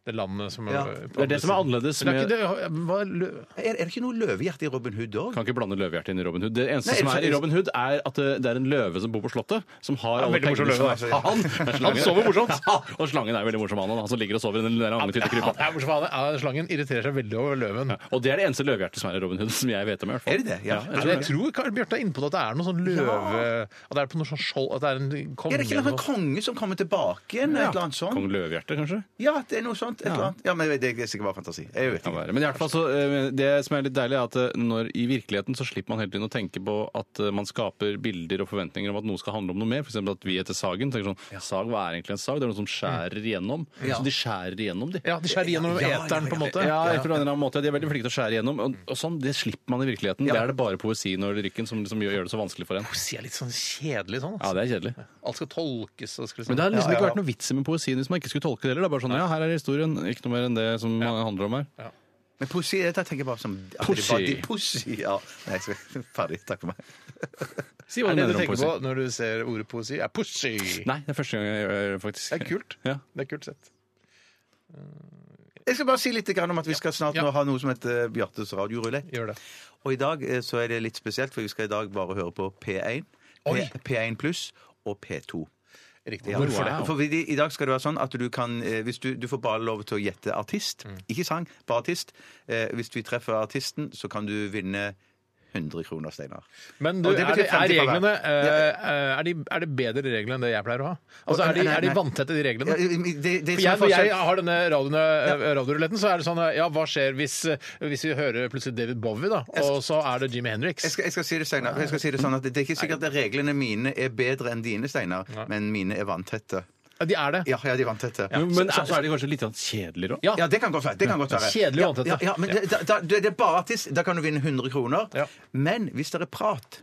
D: det landet som
E: Ja.
F: Det er det som er annerledes
D: Men det
F: med
D: er ikke det, hva, er lø-
E: Er, er det ikke noe løvehjerte i Robin Hood òg?
F: kan ikke blande løvehjertet inn i Robin Hood. Det eneste
E: Nei,
F: som er i
E: ellers-
F: Robin Hood, er at eh, det det er en løve som bor på Slottet, som har alle
D: veldig morsom
F: pengene
D: løve,
F: som-
D: da.
F: Han, det er slangen.
D: Han sover morsomt.
F: Ja, og slangen er veldig morsom, han, han som ligger og sover i den der
D: Ja,
F: angetitte krypa.
D: det er morsomt, han er- ja, Slangen irriterer seg veldig over løven.
F: Og det er det eneste løvehjertet som er i Robin Hood, som jeg vet om. i hvert fall.
E: Er det det? Ja.
F: jeg tror
D: Jeg tror Karl Bjarte er inne på det, at det er noe sånn løve At det er på noe sånn skjold At det er en konge
E: Er det ikke
D: eller
E: noen
D: noe.
E: konge som kommer tilbake igjen? Et eller annet sånt?
F: Kong Løvehjerte, kanskje?
E: Ja, det er noe sånt. Et eller annet. Ja, men det, det er sikkert bare fantasi. Jeg vet
F: Kan
E: ikke.
F: være. Men i hvert fall så, eh, det som er litt deilig, er at eh, når, i virkeligheten så slipper man hele tiden å tenke på at eh, man skaper bilder og forventninger om at noe skal handle om noe mer. F.eks. at vi heter Sagen. tenker sånn, Sag, hva er egentlig en sag? Det er noe som skjærer igjennom. Så de skjærer igjennom, de.
D: Ja, de skjærer gjennom eteren, på en måte.
F: Ja, jeg tror det er en annen måte. De er veldig flinke til å skjære igjennom. Og, og sånn, Det slipper man i virkeligheten. Der er det bare poesien og lyrikken som liksom gjør, gjør det så vanskelig for en.
D: Poesi er litt sånn kjedelig sånn.
F: Ja,
D: Altså.
F: det er kjedelig.
D: Alt skal tolkes og skal liksom-
F: Men det har liksom
D: Ja,
F: ikke
D: ja.
F: vært noe vits i med poesien hvis man ikke skulle tolke det heller. Det er bare sånn, ja, her er historien, ikke noe mer enn det som handler om her.
E: Men poesi jeg tenker bare som at det er
F: Poesi.
E: bare de- Poesi. Ja. Nei, jeg skal, ferdig. Takk for meg.
F: Si
D: Er
F: hva du
D: det det du
F: mener om
D: tenker
F: poesi.
D: på når du ser ordet poesi? Er pussy!
F: Nei, det er første gang jeg gjør det, faktisk.
D: Det er kult.
F: Ja.
D: Det er kult sett.
E: Jeg skal bare si litt grann om at vi skal snart
D: Ja.
E: nå ha noe som heter eh, Bjartes radiorulett.
D: Gjør det.
E: Og i dag eh, så er det litt spesielt, for vi skal i dag bare høre på P1, P,
D: Oi.
E: P1 pluss og P2.
D: Riktig.
E: Ja.
D: Hvorfor det?
F: Wow.
E: For vi, I dag skal det være sånn at du kan eh, hvis du, du får bare lov til å gjette artist.
D: Mm.
E: Ikke sang, bare artist. Eh, hvis vi treffer artisten, så kan du vinne 100 kroner, Steinar.
D: Men du,
E: Og det
D: er,
E: betyr
D: det, er
E: 50 per
D: reglene
E: hver.
D: eh, er, de, er det bedre regler enn det jeg pleier å ha? Altså,
E: Å,
D: Er de,
E: nei,
D: er de
E: nei.
D: vanntette, de
E: Ja,
D: reglene?
E: det, det,
D: For
E: det
D: jeg,
E: som er
D: når
E: forskjell-
D: jeg har denne radioen, eh, radioruletten, så er det sånn eh, Ja, hva skjer hvis, eh, hvis vi hører plutselig David Bowie, da? Og så er det Jimmy
E: Jeg
D: Henriks?
E: skal, jeg skal si det, Steinar. Jeg skal si det sånn at det er ikke sikkert at reglene mine er bedre enn dine, Steinar, men mine er vanntette.
D: Ja, De er det.
E: Ja, ja, de er vanntette.
F: Men, men så, så er det kanskje litt kjedeligere òg?
D: Ja.
E: Ja, det kan godt være. Det kan godt være.
D: Kjedelig
E: ja,
D: vanntett,
E: ja,
D: da.
E: ja, men det, da, da, det er bare artist. Da kan du vinne 100 kroner.
D: Ja.
E: Men hvis det er prat,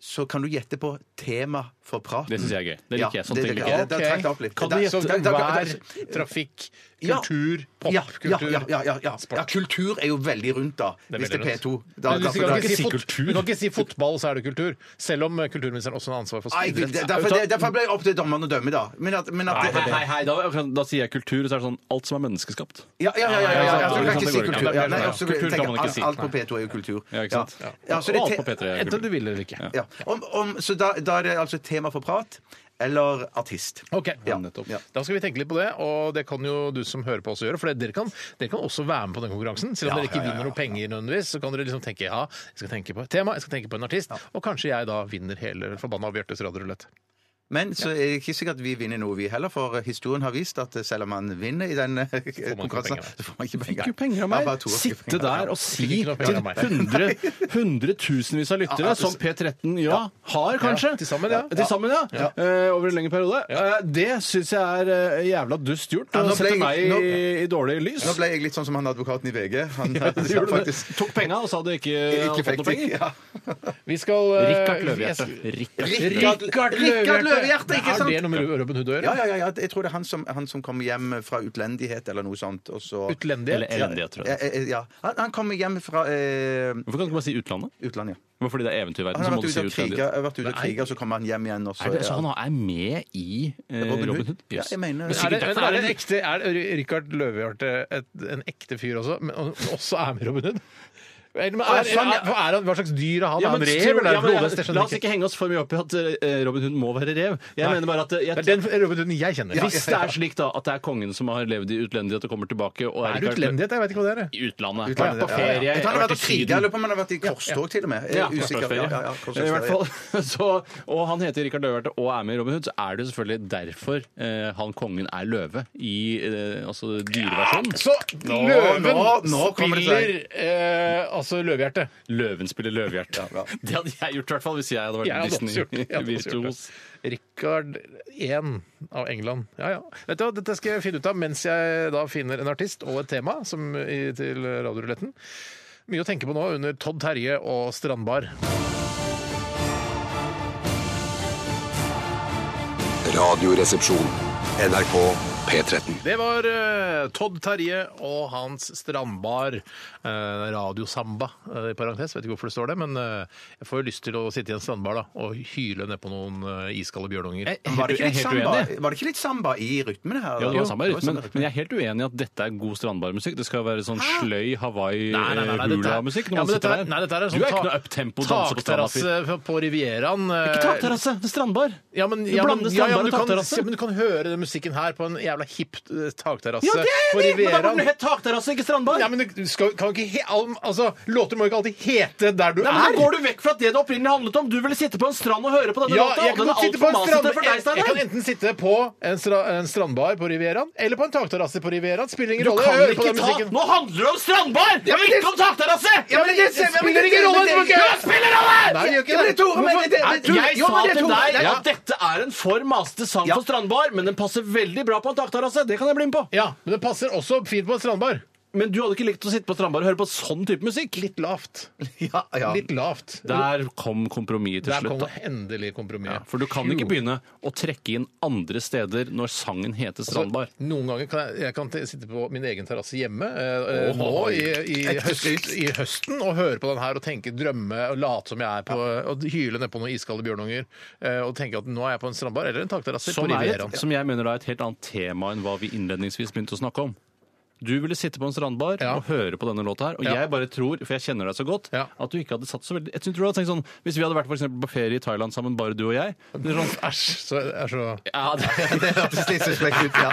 E: så kan du gjette på tema for praten.
F: Det syns jeg er gøy. Det
E: Ja,
F: liker jeg. Sånne ting liker
E: Ja,
F: jeg.
E: det- det trakk deg opp litt.
D: Kan du
E: Det-
D: gjette
E: så- da- da-
D: vær, trafikk,
E: Ja.
D: kultur,
E: Ja, ja,
D: popkultur?
E: ja, ja, ja, ja.
D: Sport.
E: ja, kultur er jo veldig rundt, da.
D: er
E: Hvis det
D: veldig
E: er P2. Da,
D: Men
E: da,
D: du
E: da,
D: kan ikke si
F: ikke
D: fot-
F: kultur.
D: du kan ikke si fotball, så er det kultur. Selv om eh, kulturministeren også har ansvar for
E: Nei, det-
D: idrett.
E: derfor, det, derfor ble det opp til dommeren å dømme, da. Men at, men at
F: Hei, hei, hei, da, da sier jeg kultur, og så er det sånn alt som er menneskeskapt.
E: Ja, ja, ja. ja, ja, ja. Du kan ikke si
F: Ja,
E: kultur. Ja, nei,
F: ja.
E: altså,
F: Kultur kan
E: tenker,
F: man ikke si.
E: alt- Alt på P2 er jo kultur.
F: Ja, ikke sant?
E: Ja. Ja, så det
F: og
E: te-
F: alt på P3. er
D: Enten
F: kultur.
D: du vil eller ikke.
E: Ja. Om, om, så da, da er det altså tema for prat eller artist.
D: Ok,
E: Ja.
D: nettopp.
E: Ja.
D: Da skal vi tenke litt på det, og det kan jo du som hører på også gjøre. For dere kan, dere kan også være med på den konkurransen. Selv om dere ikke vinner noe penger nødvendigvis, så kan dere liksom tenke ja, jeg skal tenke på et tema, jeg skal tenke på en artist, og kanskje jeg da vinner hele forbanna Bjartes radiorulett.
E: Men så er det ikke sikkert vi vinner noe, vi heller, for historien har vist at selv om man vinner i den eh, konkurransen,
D: penger.
E: så får man ikke penger.
F: Fikk jo penger av
E: Ja,
F: meg!
E: bare to år fikk
F: Sitte
E: penger.
F: der og si
D: Fikk ikke noe penger
F: til
D: av meg.
F: 100 hundretusenvis av lyttere, som P13 ja, har, kanskje
D: til sammen, ja.
F: Til sammen, ja. Eh, Over en lengre periode. Eh, Det syns jeg er eh, jævla dust gjort.
E: Ja, nå
F: Det
E: ble
F: setter
E: jeg-
F: meg i,
E: nå-
F: i dårlig lys.
E: Nå ble jeg litt sånn som han advokaten i VG. Han
F: Du gjorde det.
E: faktisk
F: Tok penga og sa du ikke, hadde fått
E: ikke fikk
F: noe
E: det.
F: penger.
E: Ja.
D: Vi skal eh,
F: Rikard Løvehjerte.
D: jeg-
F: Rikard
E: Rikard Løvehjerte, ikke
D: Er
E: sant?
D: det noe med Robin Hood å
E: Ja,
D: gjøre?
E: ja, ja, ja. Jeg tror det er han som, han som kommer hjem fra utlendighet eller noe sånt. Og så,
D: Utlendighet?
F: Eller elendighet, tror
E: ja,
F: jeg.
E: eh, ja. Han, han kommer hjem fra eh,
F: Hvorfor kan du ikke bare si utlandet?
E: utlandet. ja.
F: Bare fordi det er eventyrverden,
E: Han
F: så
E: har
F: må du
E: vært
F: si
E: ute av
F: utlandet.
E: kriger, vært ute av kriger, og så kommer han hjem igjen. Og så,
F: Er det, så
E: ja.
F: han er med i eh, Robin Hood?
E: Ja,
F: Jøss.
E: jeg mener
F: Men
D: Er det,
F: sikkert
D: men
F: derfor
D: er det
F: er
D: en
F: det
D: ekte, er det Rikard Løvehjerte et, en ekte fyr også, men og- også er med Robin Hood? Eller, men er,
F: Å, sånn, ja.
D: er, er han, hva slags dyr er han?
F: Ja,
D: er han
F: men,
D: rev?
F: tror-
D: eller er
F: ja,
D: han
F: men,
D: flodhest? Jeg skjønner
F: la oss ikke henge oss for mye opp i at eh, Robin Hood må være rev. Jeg
D: Nei.
F: mener bare at eh, jeg,
D: Det er den Robin Hooden jeg kjenner.
F: Hvis det er slik da at det er kongen som har levd i utlendighet og kommer tilbake og
D: Er
F: er
D: det utlendighet? Jeg vet ikke hva det er.
F: I utlandet.
E: Utlandet,
F: Vært på
E: ja, ja, ja.
F: ferie.
E: Jeg tror han har
F: vært i
E: vært i krig.
F: Syden.
E: Jeg lurer på om han har vært i korstog til og med. Jeg
F: Ja,
E: er usikker.
F: korsdagsferie.
E: Ja, ja,
F: I hvert
E: korsdagsferie.
F: fall, så, og han heter Rikard Løvehjerte og er med i Robin Hood, så er det jo selvfølgelig derfor eh, han kongen er løve i eh, altså dyreversjonen.
D: Så løven
E: nå- nå kommer det
D: spiller
E: seg.
D: eh, altså løvehjerte.
F: Løven spiller løvehjerte. Det hadde jeg gjort i hvert fall hvis jeg hadde vært
D: Jeg hadde også gjort det. Jeg hadde også gjort
F: Disney-virtuos.
D: det. Richard 1 av England. Ja, ja. Vet du hva, dette skal jeg finne ut av mens jeg da finner en artist og et tema som, i, til Radioruletten. Mye å tenke på nå under Todd Terje og Strandbar.
A: Radioresepsjon. NRK P13.
D: Det var eh, Todd Terje og hans strandbar eh, radiosamba, eh, i parentes. Vet ikke hvorfor det står det, men eh, jeg får jo lyst til å sitte i en strandbar da, og hyle nedpå noen eh, iskalde bjørnunger.
E: Var det
F: Jeg er
E: ikke
F: helt
E: litt samba,
F: uenig.
E: var det ikke litt samba i rytmen her?
F: E? Ja, det
E: Jo,
F: var samme
E: det var
F: rytmen,
E: samme rytmen.
F: men jeg er helt uenig i at dette er god strandbarmusikk. Det skal være sånn sløy Hawaii-hula-musikk.
D: ja, men dette, er- nei, dette er en sånn
F: du er
D: ta-
F: ikke noe uptempo danse på stranda-fyr.
D: Takterrasse på Rivieraen. eh,
F: Ikke takterrasse, det er strandbar!
D: Ja, men,
F: Du
D: ja, men,
F: blander
D: ja, ja, men,
F: strandbar og
D: du kan,
F: takterrasse.
D: ja, men du kan høre den musikken her på en jævla hipp eh, takterrasse
F: Ja, det er
D: på
F: jeg enig i! Men da
D: Rivieraen.
F: burde det hett takterrasse, ikke strandbar!
D: Ja, men du skal, kan ikke he, al- altså, Låter må jo ikke alltid hete der du
F: Nei, men
D: er.
F: Da går du vekk fra det det opprinnelig handlet om. Du ville sitte på en strand og høre på denne
D: Ja,
F: låta.
D: jeg kan,
F: og den er
D: godt sitte
F: alt
D: på en
F: for masete
D: strand,
F: for
D: jeg,
F: deg,
D: jeg kan
F: Steinar.
D: enten sitte på en, stra, en strandbar på Rivieraen eller på en takterrasse på Rivieraen. Spiller ingen
F: Du
D: rolle.
F: kan
D: Hør på
F: ikke
D: den
F: ta
D: musikken.
F: Nå handler det om strandbar!
E: Ja, men
F: ikke
E: det-
F: om takterrasse!
E: Ja, men det-
D: Det spiller ingen rolle!
E: Men det-
D: du må ikke-
E: Ja,
F: Spiller rolle!
D: Nei, det gjør ikke
E: Ja, men
D: det.
E: det er Tore, men det- det-
D: Hvorfor?
E: det-
D: Nei,
F: Jeg
E: Jo,
F: sa
E: men det er
F: til
E: to-
F: deg
E: Ja.
F: at dette er en for masete sang
E: Ja.
F: for strandbar, men den passer veldig bra på en takterrasse. Det kan jeg bli med på.
D: Ja, men det passer også fint på en strandbar.
F: Men du hadde ikke likt å sitte på strandbar og høre på sånn type musikk.
D: Litt lavt.
E: Ja, ja.
D: Litt lavt.
F: Der kom kompromisset
D: Der
F: til
D: kom
F: slutt. da.
D: endelig kompromiss.
F: Ja, for du kan ikke begynne å trekke inn andre steder når sangen heter Strandbar.
D: Så Noen ganger kan jeg, jeg kan t- sitte på min egen terrasse hjemme eh, eh,
F: Åh,
D: nå i, i,
E: ekte
D: høst,
E: skryt.
D: i høsten og høre på den her og tenke, drømme og late som jeg er på og hyle nedpå noen iskalde bjørnunger eh, og tenke at nå er jeg på en strandbar eller en takterrasse på
F: Som, er
D: Rivieraen.
F: et, som jeg mener da er et helt annet tema enn hva vi innledningsvis begynte å snakke om. Du ville sitte på en strandbar
D: Ja.
F: og høre på denne låta her. Og
D: Ja.
F: jeg bare tror, for jeg kjenner deg så godt,
D: Ja.
F: at du ikke hadde satt så veldig Jeg tror du hadde tenkt sånn Hvis vi hadde vært for eksempel på ferie i Thailand sammen, bare du og jeg det er sånn,
D: Æsj, så det er så
F: ja, det,
E: Det hørtes litt suspekt ut, ja.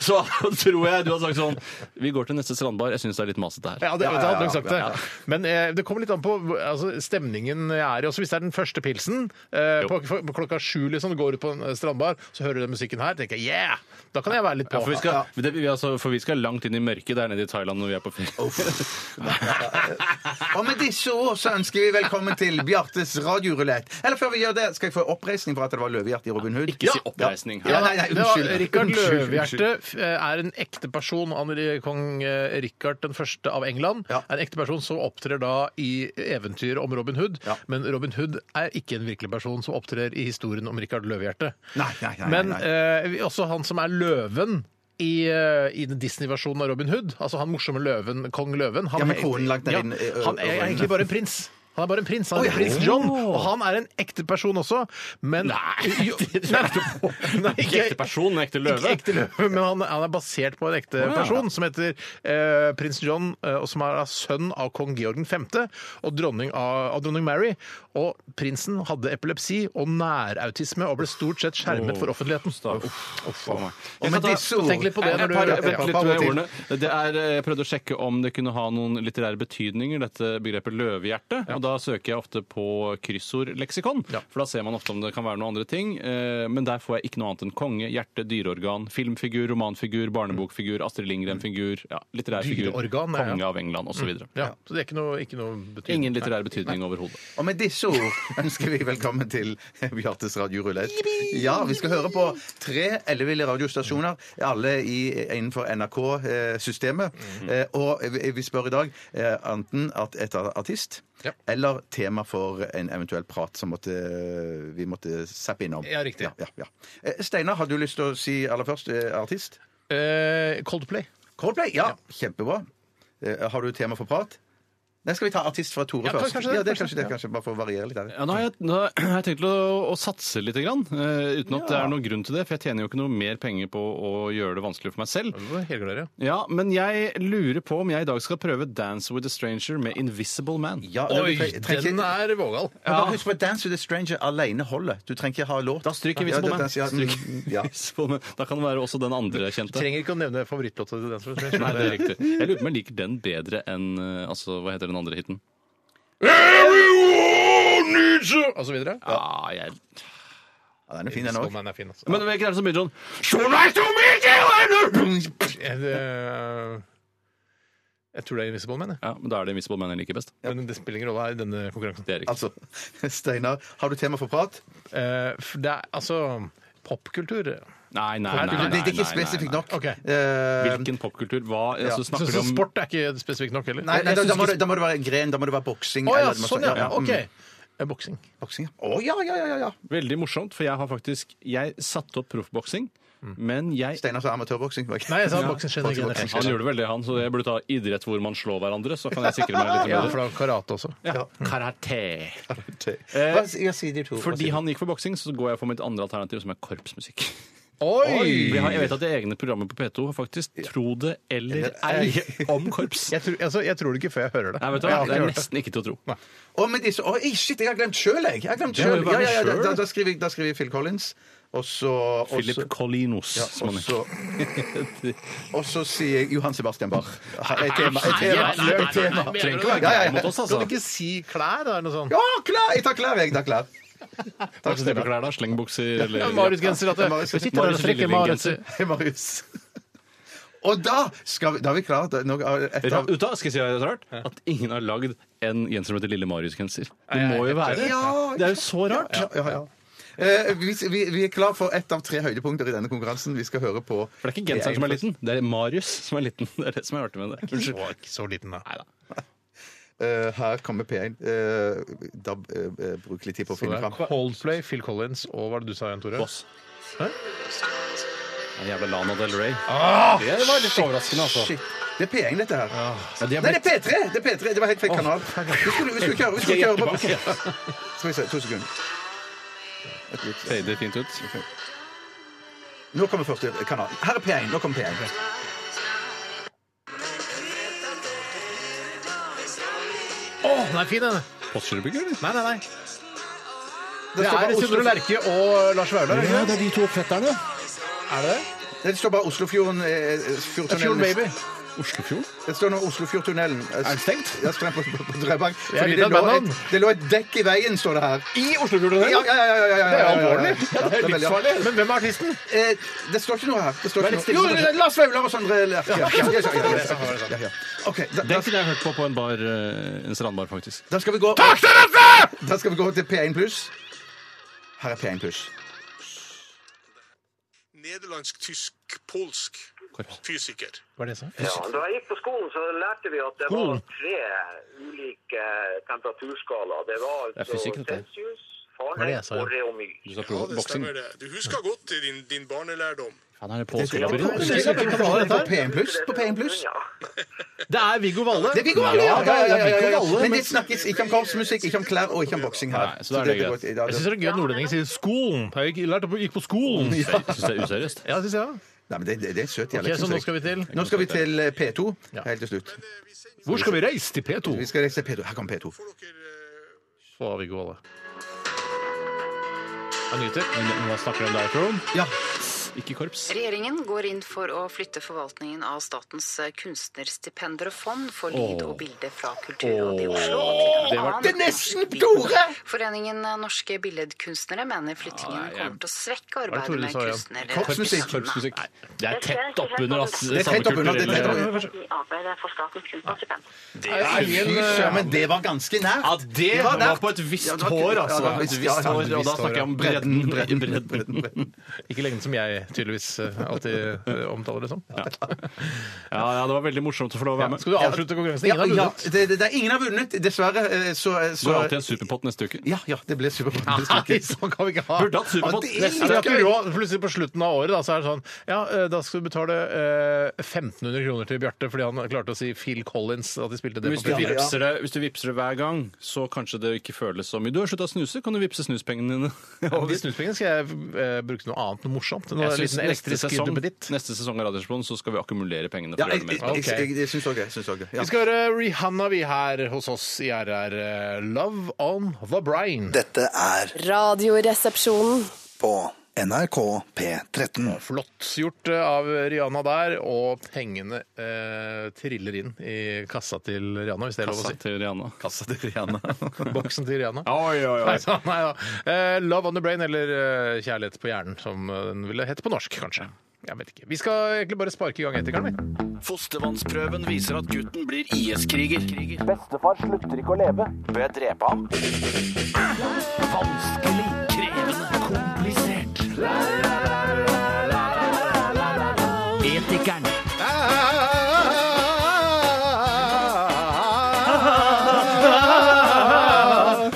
F: Så tror jeg du hadde sagt sånn Vi går til neste strandbar. Jeg syns det er litt masete her.
D: ja, det,
E: Ja, ja,
D: det hadde nok
E: ja,
D: sagt det. Men eh, det kommer litt an på hvor- altså, stemningen jeg er i. Også hvis det er den første pilsen eh,
F: Jo.
D: på, på klokka sju liksom, du går ut på en eh, strandbar, så hører du den musikken her, tenker jeg yeah! Da kan jeg være litt på.
F: Ja, for, vi skal, det, vi, altså, for vi skal langt inn i mørket der nede i Thailand når vi er på ferie.
E: Og med disse ord så ønsker vi velkommen til Bjartes radiorulett. Eller før vi gjør det, skal jeg få oppreisning for at det var løvehjerte i Robin Hood?
F: Ikke si oppreisning her.
E: Ja, nei, nei,
D: Det var-
E: unnskyld.
D: Rikard
E: Unnskyld,
D: Løvehjerte f- eh, er en ekte person. Han er kong eh, Rikard den første av England.
E: Ja.
D: Er en ekte person som opptrer da i eventyret om Robin Hood.
E: Ja.
D: Men Robin Hood er ikke en virkelig person som opptrer i historien om Rikard Løvehjerte.
E: Nei, nei, nei,
D: Men
E: nei,
D: eh, vi- også han som er løven. I, eh, i den Disney-versjonen av Robin Hood. Altså Han morsomme løven, kong Løven. Han
E: Ja, med
D: er-
E: kronen langt der eh,
D: Ja,
E: inn i- ø-
D: Han er
E: ø-
D: egentlig bare en prins. Han er bare en prins. Han er prins John. Og han er en ekte person også, men Nei! Jo, nei, nei
F: Ikke ekte person, men ekte løve.
D: ikke ekte løve, men han, han er basert på en ekte
F: ja.
D: person som heter eh, prins John, eh, og som er da sønn av kong Georg 5. og dronning av, av dronning Mary. Og prinsen hadde epilepsi og nærautisme og ble stort sett skjermet for offentligheten. Uff, uff,
E: Og med disse ord
D: Tenk litt på det
F: Jeg- jeg
D: når du
F: prøver-
D: hører
F: vent
D: på.
F: litt med ordene. Det er, eh, jeg prøvde å sjekke om det kunne ha noen litterære betydninger, dette begrepet løvehjerte. Og da søker jeg ofte på kryssordleksikon.
D: Ja.
F: For da ser man ofte om det kan være noen andre ting. Eh, Men der får jeg ikke noe annet enn konge, hjerte, dyreorgan, filmfigur, romanfigur, barnebokfigur, Astrid Lindgren-figur, ja, litterær figur,
D: Dyreorgan, ja, ja.
F: konge av England osv.
D: Ja, så det er ikke noe, ikke noe betydning.
F: Ingen litterær betydning overhodet.
E: Og med disse ord ønsker vi velkommen til Bjartes radiorulett. Ja, vi skal høre på tre elleville radiostasjoner, alle i, innenfor NRK-systemet.
D: Mhm.
E: Eh, Og vi- vi spør i dag eh, enten at etter artist
D: Ja.
E: eller tema for en eventuell prat som måtte, vi måtte zappe innom.
D: Ja, riktig.
E: Ja, ja, ja. Eh, Steinar, har du lyst til å si aller først eh, artist?
D: Eh, Coldplay.
E: Coldplay, ja. Kjempebra. Eh, Har du tema for prat? Nei, skal vi ta artist fra Tore
D: Ja,
E: først?
D: kanskje det,
E: ja, det er
D: kanskje
E: kanskje det, kanskje bare for å variere litt her.
F: Ja, nå har jeg, nå har jeg tenkt å, å satse litt, grann, eh, uten at det er noen grunn til det. For jeg tjener jo ikke noe mer penger på å gjøre det vanskelig for meg selv.
D: Det var Helglare.
F: Ja, Men jeg lurer på om jeg i dag skal prøve Dance with a Stranger med Invisible Man.
E: Ja,
D: Oi,
E: du tre- trenger
D: den
E: ikke-
D: er vågal.
E: Men bare husk på at Dance with a Stranger alene holder. Du trenger ikke ha låt.
F: Da stryker
E: Ja,
F: Invisible
E: det-
F: Man.
E: det- ja,
F: Stryk
E: mm, ja.
F: Invisible Man. Da kan det være også den andre kjente.
D: Trenger ikke å nevne favorittlåta til den som er
F: Nei, det er riktig. Jeg lurer på om jeg liker den bedre enn eh, altså, Hva heter den andre hiten?
D: Og så videre.
F: Ja, Ah, jeg...
E: Ja, den er fin, den òg.
D: Stålmann er fin, altså.
F: Men hvem er det som begynner sånn?
D: Jeg, det- jeg tror det er Invisible Man, jeg.
F: Ja, men Da er det Invisible Man jeg liker best.
D: Men det spiller ingen rolle her i denne konkurransen.
F: Det er riktig.
E: Altså, Steinar, har du tema for prat?
D: Eh, for det er altså popkultur. eh.
F: Nei, nei,
D: Nei,
F: nei. nei,
E: det er
F: nei,
E: ikke
F: nei,
E: spesifikt
F: nei.
E: nok.
D: Ok.
E: Eh,
F: Hvilken popkultur? Hva altså,
D: Så,
F: snakker
D: så
F: du om?
D: sport er ikke spesifikt nok heller?
E: Nei, nei da,
D: Jeg
E: da,
D: synes
E: må
D: ikke-
E: det, da må det være en gren, da må det være boksing.
D: Å ja,
E: eller det må
D: sånn
E: stå-
D: ja. ja
E: mm.
D: OK. Eh, Boksing.
E: Boksing, ja. Å ja, ja, ja, ja, ja.
F: Veldig morsomt, for jeg har faktisk Jeg satte opp proffboksing, men jeg
E: Steinar sa amatørboksing. var ikke-
D: Nei, jeg sa
E: Ja.
D: boksing generelt.
E: Boksing,
F: Han gjorde vel det, han, så jeg burde ta idrett hvor man slår hverandre. Så kan jeg sikre meg litt
D: Ja, for
F: bedre.
D: det er karate også.
F: Ja. Karate.
E: boksing.
D: Eh.
E: Hva ja, sier de to? Hva
F: Fordi
E: sier de?
F: han gikk for boksing, så går jeg for mitt andre alternativ, som er korpsmusikk.
D: Oi!
F: Vi har, jeg vet at det er egne programmer på P2 faktisk tro det eller ei om korps.
D: Jeg tror, altså, jeg tror det ikke før jeg hører det.
F: Nei, vet du
D: Jeg
F: hva?
D: har ikke
F: Det er
D: hørt
F: nesten ikke til å tro.
E: Å, men disse, å, shit, jeg har glemt sjøl, jeg! jeg har glemt
F: Ja, men
E: selv.
F: hva
E: Ja,
F: med
E: ja, ja,
F: selv?
E: da, da, skriver, jeg- da skriver jeg Phil Collins, og så og
F: Philip
E: så-
F: Colinos.
E: Ja,
F: som han
E: og
F: heter.
E: så Og så sier jeg Johan Sebastian Bach. Et tema. Et
F: Nei,
E: tema.
F: nei, nei, nei,
E: Et tema.
F: nei, trenger ikke å
E: Ja,
F: være
E: ja,
F: grei
E: ja.
F: mot oss,
D: Kan du
F: altså.
D: ikke si klær, da? Eller noe sånt?
E: Ja, klær! Jeg tar klær, jeg. tar klær.
F: Takk skal du ha. Klær, da. Slengbukser eller
D: Marius-genser. at det-
E: Marius-
D: Jeg sitter der og
F: Marius
D: strekker
F: Lilling-genser.
D: Marius.
E: Marius. Og da, skal vi, da er vi klare til nå- et
F: Ra-
E: av-
F: Vet du hva, Skal jeg si hva jeg har rart? At ingen har lagd en genser som heter Lille Marius-genser. Det
D: Nei,
F: må jo
D: jeg-
F: være.
E: Ja.
F: Det er jo så rart.
E: Ja, ja, ja. Eh, vi, vi, vi er klar for ett av tre høydepunkter i denne konkurransen. Vi skal høre på
F: For det er ikke genseren som er liten, det er Marius som er liten. Det er det som er artig med det.
D: Det var ikke så liten, da.
E: Eh, her kommer P1. Eh, da uh, bruker litt tid på å
D: Så
E: finne
D: det er
E: fram.
D: Coldplay, Phil Collins og hva var det du sa igjen, Tore?
F: Boss.
D: Hæ?
F: Ja, Jævla Lana Del Rey.
D: Det var litt overraskende,
E: Shit. Det er P1, dette her.
F: altså. Ja, de har
E: Nei,
F: blitt-
E: det er P3! Det er P3, det var helt feil kanal. Vi skulle, vi skulle kjøre, vi skulle kjøre på Skal vi se, to sekunder. Et lite-
F: Fader fint ut.
E: Nå kommer første kanal. Her er P1. Nå kommer P1.
D: Å, den er fin, den!
F: Postgirobygger, eller?
D: Nei, nei, nei.
E: Det
D: Det
E: står
D: er
E: bare
D: Sindre
E: Oslo-
D: Lerche og Lars Vaular. er det ikke det?
F: er de to fetterne.
D: Er det det?
E: Det står bare Oslofjorden eh, Fjordtunnelen.
D: Fjord Baby.
F: Oslofjord.
E: Det står nå Oslofjordtunnelen. Er
F: det stengt?
E: Ja, stengt på, på, på Drøbak.
D: er
E: Fordi
D: litt
E: det
D: av
E: lå,
D: et
E: et,
D: bandnavn.
E: det lå et dekk i veien, står det her.
D: I Oslofjordtunnelen?
E: Ja, ja, ja, ja, ja,
D: Det er
E: ja, ja, ja, ja.
D: alvorlig.
E: Ja,
D: Det er
E: veldig
D: livsfarlig. Men hvem er artisten?
E: Eh, det står ikke noe her. Det står
D: Vær litt
E: ikke
D: stille.
E: noe. Jo, det er Lars Vaular og Sondre Lerche. Ja, ja, ja, ja, ja, ja, ja, ja, ja. OK, da, da,
F: Den kunne jeg hørt på på en bar, eh, en strandbar, faktisk.
E: da skal vi gå Da skal vi gå til P1 pluss. Her er P1 pluss.
I: Nederlandsk, tysk, polsk fysiker.
D: Hva er det jeg sa?
J: Ja, da jeg gikk på skolen, så lærte vi at det
D: Skolen?
J: var tre ulike temperaturskalaer. Det var
F: er
J: altså
F: fysikk, dette.
J: celsius,
D: Var det jeg
J: Fahrenheit
D: sa, ja?
J: og Reomyr.
F: Du sa
I: Ja,
F: pro-
I: det
F: boksing.
I: stemmer det. Du husker godt til din, din barnelærdom.
F: Faen, er det
E: Det er
F: påskelabyrint?
E: P1 pluss. På P1 pluss. På P1 pluss.
J: Ja.
D: Det er Viggo Valle.
E: Det er Viggo Valle, ja!
D: Ja, det er Viggo Valle,
E: Men det snakkes ikke om korpsmusikk, ikke om klær og ikke om boksing her.
F: Nei, så da er det greit.
E: går- da-
D: Jeg syns det er gøy at nordlendinger sier 'skolen'. Jeg gikk- lærte på, gikk på skolen. Ja,
F: Jeg synes det er useriøst.
D: synes jeg da.
E: Nei, men det, det, det er søt
D: Ok,
E: dialekt.
D: Så
E: synes
D: nå
E: jeg.
D: skal vi til
E: Nå skal vi til eh, P2 helt til slutt.
D: Hvor skal vi reise? Til P2.
E: Vi skal reise til P2. Her kommer P2.
I: Får dere eh,
D: Få av Viggo Valle. Jeg nyter. Men Hva snakker du om der, Trond?
E: Ja.
F: Ikke korps.
K: Regjeringen går inn for å flytte forvaltningen av statens kunstnerstipender og fond for lyd og bilde fra Kulturrådet i Oslo og til
F: Det
K: en
F: var-
K: annen.
F: Det er
K: nesten Tore! Foreningen Norske Billedkunstnere mener flyttingen kommer til å svekke
F: Hva er det
K: arbeidet
F: Tore
K: med
F: sa igjen?
K: kunstnerrettighetene.
F: Korpsmusikk. Det er tett oppunder ass,
E: Det er tett oppunder, det er tett oppunder.
F: samekulturelle-
J: I arbeidet for statens kunstnerstipend.
E: Nei, fy søren, men det var ganske nært.
F: Ja, det
E: Det var
F: var
E: nært.
F: på et visst
E: Ja, det var-
F: hår, altså.
E: ja, det var
F: Et
E: visst-
F: visst
E: ja,
F: hår,
E: et
F: og da
E: visst
F: snakker jeg om
E: hår, ja.
F: bredden.
E: Bredden,
F: bredden,
E: bredden, bredden.
D: Ikke lengden som jeg tydeligvis eh, alltid eh, omtaler det som.
F: Ja, ja, det var veldig morsomt å få lov å være med.
D: Skal du avslutte konkurransen? Ingen har
E: Ja,
D: vunnet.
E: ja, det, det, det, ingen har vunnet, dessverre. eh, Så, så,
F: Går det alltid en superpott neste uke?
E: ja, ja, det ble superpott.
D: Nei, sånn kan vi ikke ha.
F: Burde hatt Superpott
D: Ja, det er
F: neste
D: litt
F: uke.
D: gøy. Ikke råd. Plutselig på slutten av året da, så er det sånn Ja, eh, da skal du betale eh, 1500 kroner til Bjarte fordi han klarte å si Phil Collins, at de spilte det
F: Men hvis,
D: på
F: du
D: P4.
F: vipser det, hvis du vipser det hver gang, så kanskje det ikke føles så mye. Du har slutta å snuse, kan du vippse snuspengene dine?
D: Og de snuspengene skal jeg eh, bruke til noe annet, noe morsomt. Noe
F: Jeg synes
D: liten
F: neste
D: elektrisk
F: sesong,
D: duppeditt.
F: neste sesong av Radiosplan så skal vi akkumulere pengene.
E: Ja,
F: For å
E: jeg,
F: gjøre det
E: jeg,
F: mer.
E: jeg, jeg, jeg syns òg det. Syns også det, ja.
D: Vi skal høre Rihanna vi her hos oss i RR. eh, Love on the brain.
H: Dette er
G: Radioresepsjonen.
H: på NRK P13.
D: Flott gjort eh, av Rihanna der, og pengene eh, triller inn i kassa til Rihanna, hvis det er lov å
F: Kassa
D: si.
F: til Rihanna.
E: Kassa til Rihanna.
D: Boksen til Rihanna.
F: Oi, oi,
D: Nei, sånn, nei da. Eh, Love on the brain eller eh, Kjærlighet på hjernen, som eh, den ville hett på norsk, kanskje. Jeg vet ikke. Vi skal egentlig bare sparke i gang etikeren, vi.
C: Fostervannsprøven viser at gutten blir IS-kriger.
B: Bestefar slutter ikke å leve. Bør jeg drepe ham? Vanskelig, krevende, komplisert. Etikeren.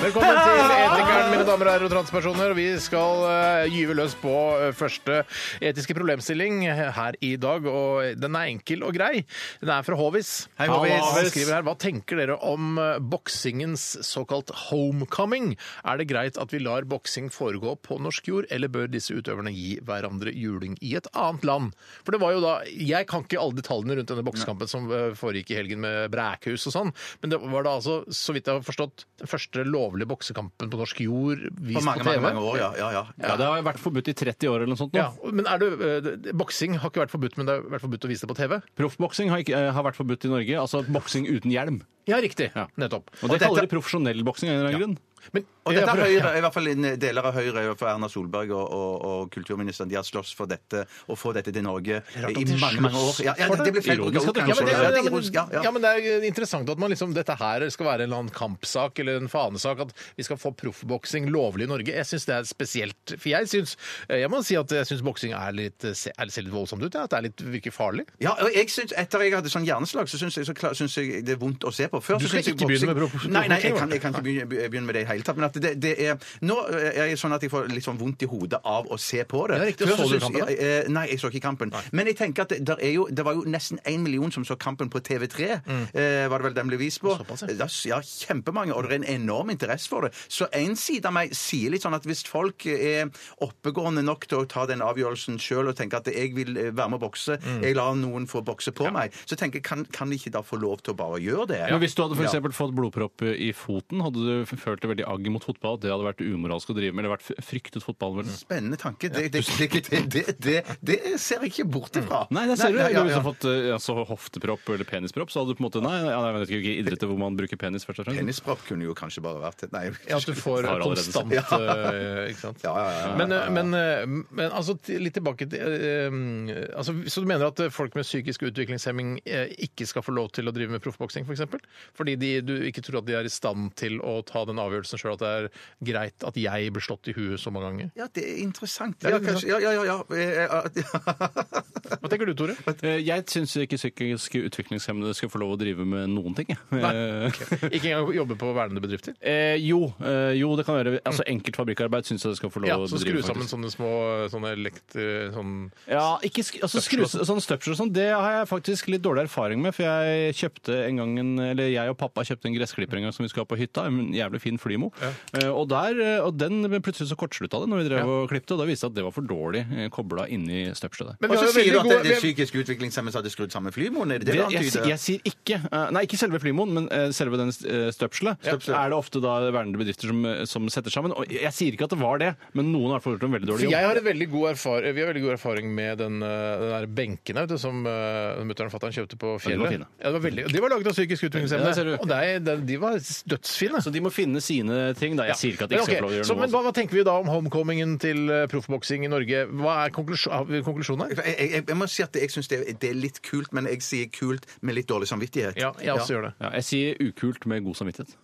D: Velkommen til Etikeren, mine damer og herrer og transpersoner. Vi skal eh, gyve løs på eh, første etiske problemstilling her i dag. Og den er enkel og grei. Den er fra Håvis.
E: Hei, Håvis.
D: Han skriver her, Hva tenker dere om eh, boksingens såkalt homecoming? Er det greit at vi lar boksing foregå på norsk jord, eller bør disse utøverne gi hverandre juling i et annet land? For det var jo da Jeg kan ikke alle detaljene rundt denne boksekampen som eh, foregikk i helgen med Brækhus og sånn, men det var da altså, så vidt jeg har forstått, den første lovlige boksekampen på norsk jord
E: På
D: vist
E: mange,
D: på TV.
E: mange, mange år, ja. ja, ja.
F: Ja, det har vært forbudt i 30 år eller noe sånt nå.
D: Ja, men er det, eh, det- Boksing har ikke vært forbudt, men det har vært forbudt å vise det på TV?
F: Proffboksing har, ikke- eh, har vært forbudt i Norge. Altså boksing uten hjelm.
D: Ja, riktig.
F: Ja.
D: Nettopp.
F: Og det kaller de profesjonell boksing av en eller annen grunn.
D: Men,
E: Og dette
D: Ja,
E: har
D: for-
E: Høyre, i hvert fall en deler av Høyre, for Erna Solberg og, og, og kulturministeren, de har slåss for dette, og få dette til Norge
D: rart at
E: i
D: de
E: mange, mange år. Ja, ja,
D: slåss for
E: det
D: det.
E: ble feil
F: Ironisk at de
D: Ja, men det,
F: slåss
D: ja,
F: for
E: Ja, det er
D: men,
E: ironisk, ja, ja.
D: ja, men det er interessant at man liksom, dette her skal være en eller annen kampsak eller en fanesak. At vi skal få proffboksing lovlig i Norge. Jeg syns det er spesielt. For jeg syns jeg må si at jeg syns boksing er litt, er, ser litt voldsomt ut. Ja, at det er litt, virker farlig.
E: Ja, og jeg synes, Etter jeg hadde sånn hjerneslag, så syns jeg, så klar- syns jeg det er vondt å se på. Før,
D: Du
E: så
D: skal
E: syns jeg
D: ikke begynne med
E: boksing-
D: proff-
E: Nei, nei, jeg
D: proffboksing,
E: kan,
D: da.
E: jeg kan ikke begynne, begynne med det i det hele tatt. Men at det, det er, nå er jeg sånn at jeg får litt sånn vondt i hodet av å se på det.
D: Ja, riktig.
E: Før
D: Så du
E: syns-
D: kampen, da?
E: ja, eh, Nei, jeg så ikke kampen. Men jeg tenker at det, der er jo, det var jo nesten én million som så kampen på TV3, eh, var det vel den ble vist på.
D: Mm. Såpass, ja.
E: Da s- ja, kjempemange, og det er en enorm interesse for det. Så en side av meg sier litt sånn at hvis folk er oppegående nok til å ta den avgjørelsen sjøl og tenker at jeg vil eh, være med å bokse, jeg lar noen få bokse på meg, så tenker jeg kan, kan de ikke da få lov til å bare gjøre det?
F: Men hvis du hadde for
E: Ja.
F: eksempel fått blodpropp i foten, hadde du følt deg veldig agg mot fotball? Det hadde vært umoralsk å drive med, eller vært f- fryktet fotball? Vel?
E: Spennende tanke. Det, det, det, det, det, det, det ser jeg ikke bort ifra.
F: Nei, det ser du.
E: Nei, ja,
F: Hvis du
E: ja.
F: hadde fått eh, altså, hoftepropp eller penispropp, så hadde du på en måte Nei, nei, jeg vet ikke hvilke idretter hvor man bruker penis, først og fremst.
E: Penispropp kunne jo kanskje bare vært et Nei.
D: Ja, at du får
F: Har allerede
D: konstant
E: sett.
D: eh, Ikke sant.
E: Ja, ja, ja, ja,
D: Men,
E: ja,
D: eh,
E: ja.
D: men, eh, men altså, til- litt tilbake til eh, eh, altså, Så du mener at eh, folk med psykisk utviklingshemming eh, ikke skal få lov til å drive med proffboksing, f.eks.? For eksempel? Fordi de, du ikke tror at de er i stand til å ta den avgjørelsen sjøl, at det er greit at jeg blir slått i huet så mange ganger?
E: Ja, det er interessant.
D: Det er
E: Ja,
D: litt
E: kanskje, ja, ja, ja, ja. Eh, eh, ja.
D: Hva tenker du, Tore?
F: Eh, Jeg syns ikke psykisk utviklingshemmede skal få lov å drive med noen ting. jeg. Eh,
D: Ikke engang jobbe på vernede bedrifter?
F: eh, jo, eh, jo, det kan være altså, Enkelt fabrikkarbeid syns jeg det skal få lov
D: Ja,
F: å
D: så skru
F: drive.
D: sammen
F: faktisk.
D: sånne små sånne elekt... Sånn
F: Ja, ikke sk altså,
D: Støpsel og
F: skru, sånn støpsel og sånn, det har jeg faktisk litt dårlig erfaring med. For jeg kjøpte en gang en, eller eller jeg og pappa kjøpte en gressklipper en gang som vi skulle ha på hytta. En jævlig fin Flymo. Eh, Og, der, eh, og den men plutselig så kortslutta det når vi drev og klippte, og da viste det at det var for dårlig eh, kobla inni støpselet.
D: Men
E: Og
D: vi har
E: så
D: jo
E: sier
D: veldig
E: du at
D: gode
E: det, det er psykisk utviklingshemmede som hadde skrudd sammen flymoen? Er det det du
F: Det- jeg,
E: antyder?
F: jeg sier ikke eh, Nei, ikke selve flymoen, men eh, selve den eh, støpselet.
E: Støpselet.
F: Er det ofte da vernede bedrifter som, eh, som setter sammen? Og jeg sier ikke at det var det, men noen har fått gjort en veldig
D: For
F: dårlig
D: jeg
F: jobb.
D: har et veldig god erfaring, vi har veldig god erfaring med den, eh, den der benken her, vet du, som eh, mutter'n og fatter'n kjøpte på
F: Ja, de var
D: fjellet.
F: fine.
D: Ja, de, var veldig, de var laget av psykisk
F: Ja, ser du.
D: utviklingshemmede. Og nei, de, de var dødsfine.
F: Så de må finne sine ting. da. Jeg sier ikke at de
D: Men ok,
F: ikke skal få lov til å
D: så, men
F: gjøre noe. altså.
D: hva, hva tenker vi da om homecomingen til eh, proffboksing i Norge? Hva er konklusjon, har vi konklusjonen her?
E: Jeg, jeg, jeg må si at jeg syns det, det er litt kult, men jeg sier kult med litt dårlig samvittighet.
D: Ja, jeg også gjør det.
F: Ja, jeg sier ukult med god samvittighet.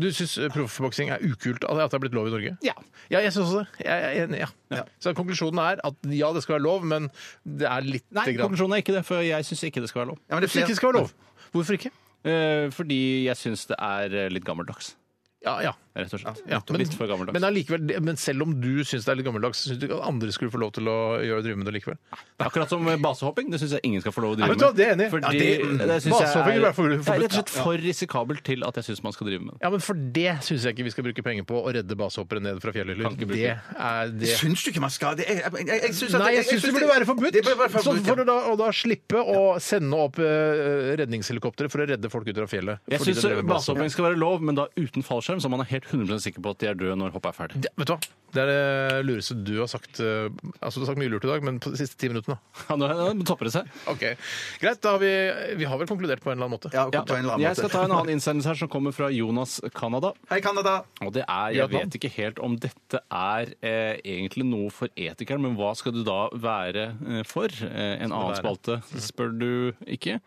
D: Du syns proffboksing er ukult av det at det er blitt lov i Norge?
F: Ja.
D: Ja, jeg syns også det. Jeg er enig. Ja. Så konklusjonen er at ja, det skal være lov, men det er litt
F: Nei,
D: grann.
F: konklusjonen er ikke det, for jeg syns ikke det skal være lov.
E: Ja, men det er
D: Hvis det
E: flere-
D: ikke skal være lov, hvorfor ikke?
F: Eh, Fordi jeg syns det er eh, litt gammeldags,
D: Ja, ja.
F: rett og slett.
D: ja. Men,
F: litt for gammeldags.
D: men, allikevel, det- men selv om du syns det er litt gammeldags, syns du ikke at andre skulle få lov til å gjøre drive med det likevel?
F: Akkurat som basehopping. Det syns jeg ingen skal få lov å drive
D: Vet du hva,
F: med.
D: det er jeg enig i.
F: Fordi
D: Ja, det-
F: det synes jeg
D: Basehopping
F: er,
D: vil være for-
F: det er rett og slett
D: forbudt.
F: for risikabelt til at jeg syns man skal drive med det.
D: Ja, men For det syns jeg ikke vi skal bruke penger på å redde basehoppere ned fra fjellhyller.
F: Kan ikke bruke
D: Det er det.
E: Syns du ikke man skal det? Jeg, jeg, jeg, jeg syns at-
D: Nei,
E: jeg-
D: jeg syns
E: syns
D: det burde være forbudt.
E: Det burde være
D: så
E: forbudt,
D: får
E: ja.
D: du da, og da slippe å sende opp eh, redningshelikoptre for å redde folk ut av fjellet.
F: Jeg
D: fordi
F: syns
D: de drev med basehopping.
F: basehopping skal være lov, men da uten fallskjerm, så man er helt 100 sikker på at de er døde når hoppet er ferdig.
D: Det, vet du hva? Det er det lureste du har sagt. eh, Altså, du har sagt mye lurt i dag, men på de siste ti minuttene.
F: Ja, nå nå topper det seg.
D: Ok, Greit, da har vi, vi har vel konkludert på en eller annen måte.
E: Ja,
F: Ja.
E: på en eller annen
F: Jeg skal
E: måte.
F: ta en annen innsendelse her som kommer fra Jonas Canada.
E: Hei, Canada.
F: Og det er, Jeg
D: Vietnam.
F: vet ikke helt om dette er eh, egentlig noe for etikeren, men hva skal du da være eh, for? Eh, en annen spalte spør du ikke.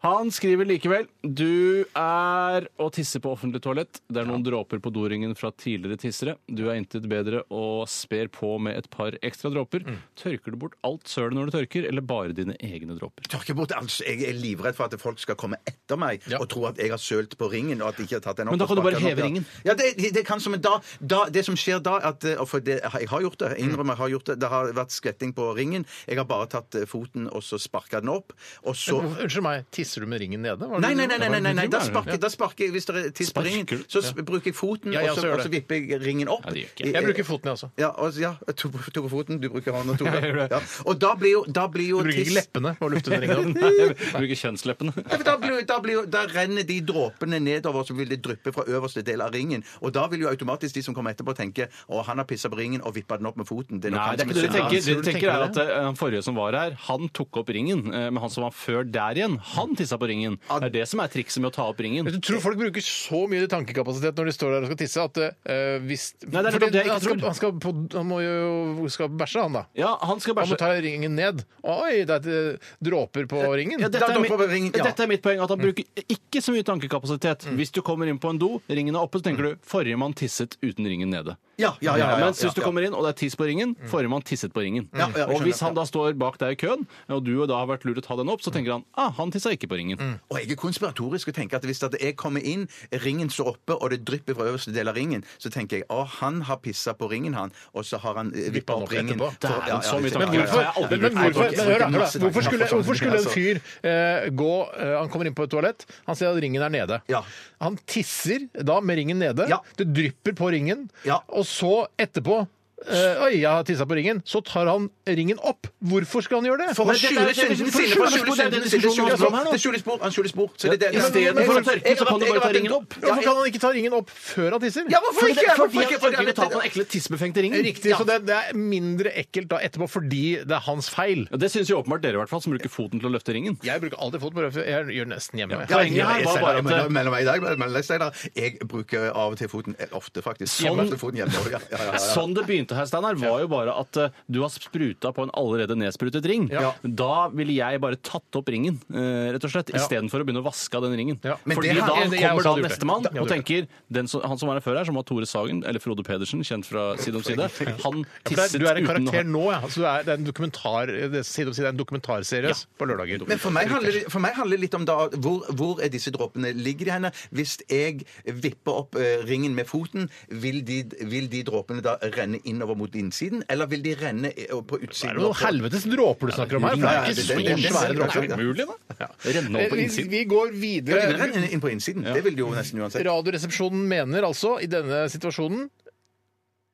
F: Han skriver likevel du er å tisse på offentlig toalett. Det er noen dråper på doringen fra tidligere tissere. Du er intet bedre og sper på med et par ekstra dråper. Tørker du bort alt sølet når du tørker, eller bare dine egne dråper?
E: Tørke bort alt. Jeg er livredd for at folk skal komme etter meg og tro at jeg har sølt på ringen. og at jeg ikke har tatt den opp.
F: Men da
E: og
F: kan du bare
E: sparket den
F: heve
E: opp, ja.
F: ringen.
E: Ja, det, det kan som en da, da Det som skjer da, at eh, For det, jeg har gjort det. Jeg innrømmer jeg har gjort det. Det har vært skvetting på ringen. Jeg har bare tatt eh, foten og så sparka den opp. Og så
D: Hvorfor- Unnskyld meg, tisser du med ringen nede? Var det-
E: Nei, nei, nei, nei, nei, nei, nei. Da, sparker,
D: Ja.
E: da sparker jeg Hvis det er tiss på
F: Sparker
E: ringen,
F: du?
E: så s- bruker jeg foten,
D: Ja, jeg
E: og,
D: også
E: så,
D: gjør
E: og så
D: det.
E: vipper jeg ringen opp.
F: Ja, det gjør ikke jeg.
D: Jeg bruker foten, jeg også.
E: Ja, og, ja, jeg tok tok foten, du bruker hånda, Tore. Ja. Og da blir jo, da blir jo
D: Du bruker
E: tiss-
D: ikke leppene på å lufte den ringen?
F: Nei, jeg bruker kjønnsleppene.
E: Ja, for da, blir, da, blir, jo- da renner de dråpene nedover, så vil det dryppe fra øverste del av ringen. Og da vil jo automatisk de som kommer etterpå, tenke å, han har pissa på ringen og vippa den opp med foten. Det er nok
F: Nei,
E: han
F: det er
E: som
F: ikke det
E: er
F: de
D: Tror
F: tenker. Det de
E: synderen.
D: du
F: tenker er
D: tenker
F: at eh, Han forrige som var her, han tok opp ringen, eh, men han som var før der igjen, han tissa på ringen. Det er det som er trikset med å ta opp ringen.
D: Men Du tror folk bruker så mye tankekapasitet når de står der og skal tisse, at eh, hvis
F: Nei, det er nettopp det jeg ikke
D: han, skal,
F: tror.
D: han, skal på, han må jo skal bæsje, han da.
F: Ja, han skal
D: Han må
F: bæsje.
D: ta ringen ned. Oi, det er eh, dråper på ringen.
F: Altså- Ja, dette, er
E: Da dropper vi
F: mitt,
E: ringen, ja.
F: dette er mitt poeng, at han bruker ikke så mye tankekapasitet. Hvis du kommer inn på en do, ringen er oppe, så tenker du 'forrige mann tisset uten ringen nede'.
E: Ja, ja, ja, ja, ja,
F: Mens hvis du
E: ja.
F: kommer inn, og det er tiss på ringen, forrige mann tisset på ringen.
E: Ja, ja, jeg
F: Og hvis han
E: skjønner,
F: da står bak deg i køen, og du da har vært lur til å ta den opp, så tenker han 'ah, han tissa ikke på ringen'.
E: Og jeg er konspiratorisk og tenker at hvis at jeg kommer inn, ringen står oppe, og det drypper fra øverste del av ringen, så tenker jeg å, han har pissa på ringen, han, og så har han
D: Vippa
E: vippa
D: den
E: opp
D: opp
E: ringen.
D: etterpå.
E: For- ja, liksom. ja,
F: så mye
E: det-
F: tanker.
D: Men hvorfor,
F: Jeg har aldri
D: men,
F: brukt
D: men hvorfor,
F: tanker.
D: men hør, da, hør, da.
E: Masse tanker.
D: hvorfor skulle,
E: Masse tanker,
D: hvorfor skulle en
E: altså.
D: fyr eh, gå eh, Han kommer inn på et toalett, han ser at ringen er nede.
E: Ja.
D: Han tisser da med ringen nede,
E: Ja.
D: det drypper på ringen,
E: Ja.
D: og så etterpå eh, Oi, jeg har tissa på ringen. Så tar han ringen opp. Hvorfor skal han gjøre det?
E: For å
D: Nei, dette er-
E: skjule syndene
D: for å
E: sine!
D: skjule
E: for å skjule
D: syndene sine.
E: syndene
D: Det er
E: sine, skjule
D: diskusjonen
E: spor,
D: her nå.
E: Han skjuler spor! han skjuler spor. Så det er det-
F: Ja, i stedet
E: Jeg-
F: for å
E: jeg-
F: tørke,
E: jeg-
F: så kan du
E: jeg-
F: bare ta
E: jeg-
F: ringen opp.
E: Ja,
D: Hvorfor kan han ikke ta ringen opp før han tisser?
E: Ja, hvorfor
F: Fordi,
E: ikke?
F: fordi
E: Hvorfor
F: at han
E: ikke?
F: ikke
E: Fordi at-
F: betalte den ekle tissebefengte ringen.
D: Riktig, så det, det er mindre ekkelt da etterpå fordi det er hans feil.
F: Ja, Det syns jo åpenbart dere, i hvert fall, som bruker foten til å løfte ringen.
D: Jeg bruker alltid fot på røven. Jeg gjør nesten hjemme.
F: Ja, Poenget her var bare at
E: Mellom- mellom meg i dag, mellom meg, Steinar. Jeg bruker av og til foten eh, ofte, faktisk.
F: Sånn-
E: Ofte foten hjemme. Ja, ja, ja, ja.
F: Sånn det begynte her, Steinar, var jo bare at eh, du har spruta på en allerede nedsprutet ring.
D: Ja.
F: Da ville jeg bare tatt opp ringen, eh, rett og slett,
D: Ja.
F: istedenfor å begynne å vaske av den ringen.
D: Ja, men
F: Fordi
D: det her-
F: da
D: jeg- jeg også
F: kommer da
D: hadde gjort det.
F: nestemann
D: Jeg hadde
F: og tenker den som, Han som var her før her, som var Tore Sagen, eller Frode Pedersen, kjent fra Side om side, han
D: For det er-
F: tisset
D: Du er en
F: uten å
D: karakter
F: ha
D: nå, ja. Altså, du er, det er en dokumentar, det, er side om side, det er en dokumentarserie ass, på lørdager.
E: Men for meg handler det, for meg handler det litt om da, hvor, hvor er disse dråpene ligger de henne. Hvis jeg vipper opp eh, ringen med foten, vil de, vil de dråpene da renne inn innover mot innsiden, eller vil de renne i- på utsiden?
D: Det er noen
E: opp-
D: helvetes dråper du snakker om her. For det er
E: Ja, ja,
D: ikke
E: det-
D: så svære
E: det- det-
D: dråper.
E: det-
F: Mulig, da? Renne opp på
D: Vi,
F: innsiden.
D: vi går
E: Ja, de
D: videre.
E: renner inn på innsiden. Det vil de jo nesten uansett.
D: Radioresepsjonen mener altså, i denne situasjonen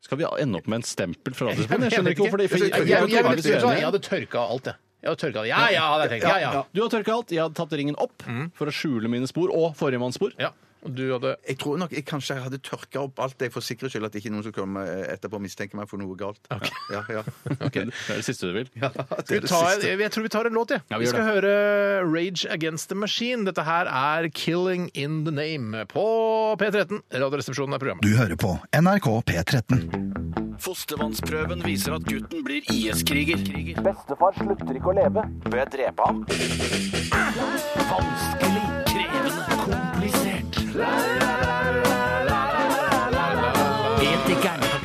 F: Skal vi ende opp med en stempel fra
D: Jeg
F: Radiosporten?
D: mener
F: Jeg skjønner ikke hvorfor det
D: ikke. Jeg- jeg-
F: for-
D: jeg-
F: for-
D: jeg-
F: for-
D: vet du hva, Jeg hadde tørka alt, jeg. Jeg hadde tørka det. Ja, ja, hadde jeg tenkt. Ja, ja. Mm.
F: Du har tørka alt. Jeg har tatt ringen opp for å skjule mine spor og forrige manns spor.
D: ja. Og du hadde
E: Jeg tror nok jeg kanskje hadde tørka opp alt jeg for sikkerhets skyld, at ikke noen som kommer eh, etterpå mistenker meg for noe galt. Ja, ja.
F: Det er det siste du vil.
E: Det
D: vi
E: er det
D: tar,
E: siste.
D: jeg, jeg tror vi tar en låt, jeg.
F: Ja, vi
D: vi,
F: gjør
D: skal høre Rage Against the Machine. Dette her er 'Killing In The Name' på P13. Radioresepsjonen er programmet.
L: Du hører på NRK P13.
C: Fostervannsprøven viser at gutten blir IS-kriger. Bestefar slutter ikke å leve. Bør jeg drepe ham? Vanskelig, krevende, komplisert.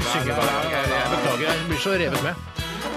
D: Beklager, jeg blir så revet med.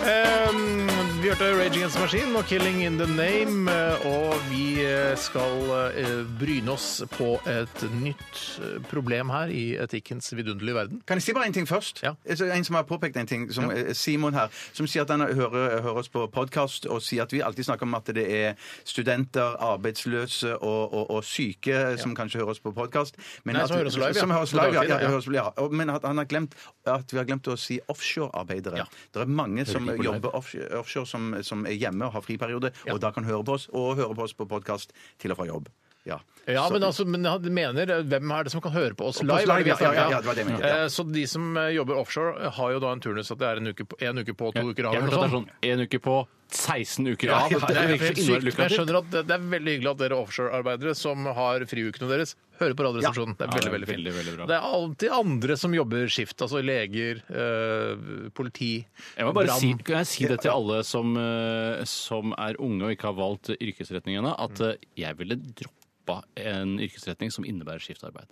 D: Ehm, vi hørte Rage Against the Machine og 'Killing In The Name', eh, og vi eh, skal eh, bryne oss på et nytt eh, problem her i etikkens vidunderlige verden.
E: Kan jeg si bare en ting først?
D: Ja.
E: Altså, En som har påpekt en ting, som eh, Simon her, som sier at han hører, hører oss på podkast og sier at vi alltid snakker om at det er studenter, arbeidsløse og, og, og syke som kanskje hører oss på podkast.
D: Nei, som hører oss live, ja.
E: Som hører oss
D: På
E: live, ja,
D: dagtid,
E: ja,
D: ja.
E: hører oss- ja. Og- Men at han har glemt at vi har glemt å si offshorearbeidere.
D: Ja.
E: Det er mange som
D: de på live?
E: jobber offshore, offshore som, som er hjemme og har friperiode,
D: Ja.
E: og da kan høre på oss, og høre på oss på podkast til og fra jobb. Ja,
D: Ja,
E: Så-
D: men, altså, men han mener eh, hvem er det som kan høre på oss
E: På
D: live?
E: oss live,
D: er det vi har
E: ja, ja,
D: snakket om?
E: ja, det var det jeg mente, ja.
D: Eh, Så de som eh, jobber offshore, eh, har jo da en turnus at det er en uke på, en uke på to uker av. eller
F: Jeg hørte
D: noe
F: at det er
D: sånt.
F: sånn én uke på 16 uker
D: Ja,
F: av.
D: det er
F: virker så
D: helt
F: innmari
D: sykt, men jeg
F: lukrativt.
D: skjønner at det, det er veldig hyggelig at dere offshore-arbeidere som har friukene deres, hører på Radioresepsjonen. Det er
F: Ja,
D: veldig,
F: det er
D: veldig fint.
F: veldig, veldig bra.
D: Det er alltid andre som jobber skift, altså leger, eh, politi,
F: Jeg må bare
D: brann.
F: si, kan jeg si det til alle som, eh, som er unge og ikke har valgt yrkesretning ennå, at
D: Mm.
F: eh, jeg ville droppa en yrkesretning som innebærer skiftarbeid.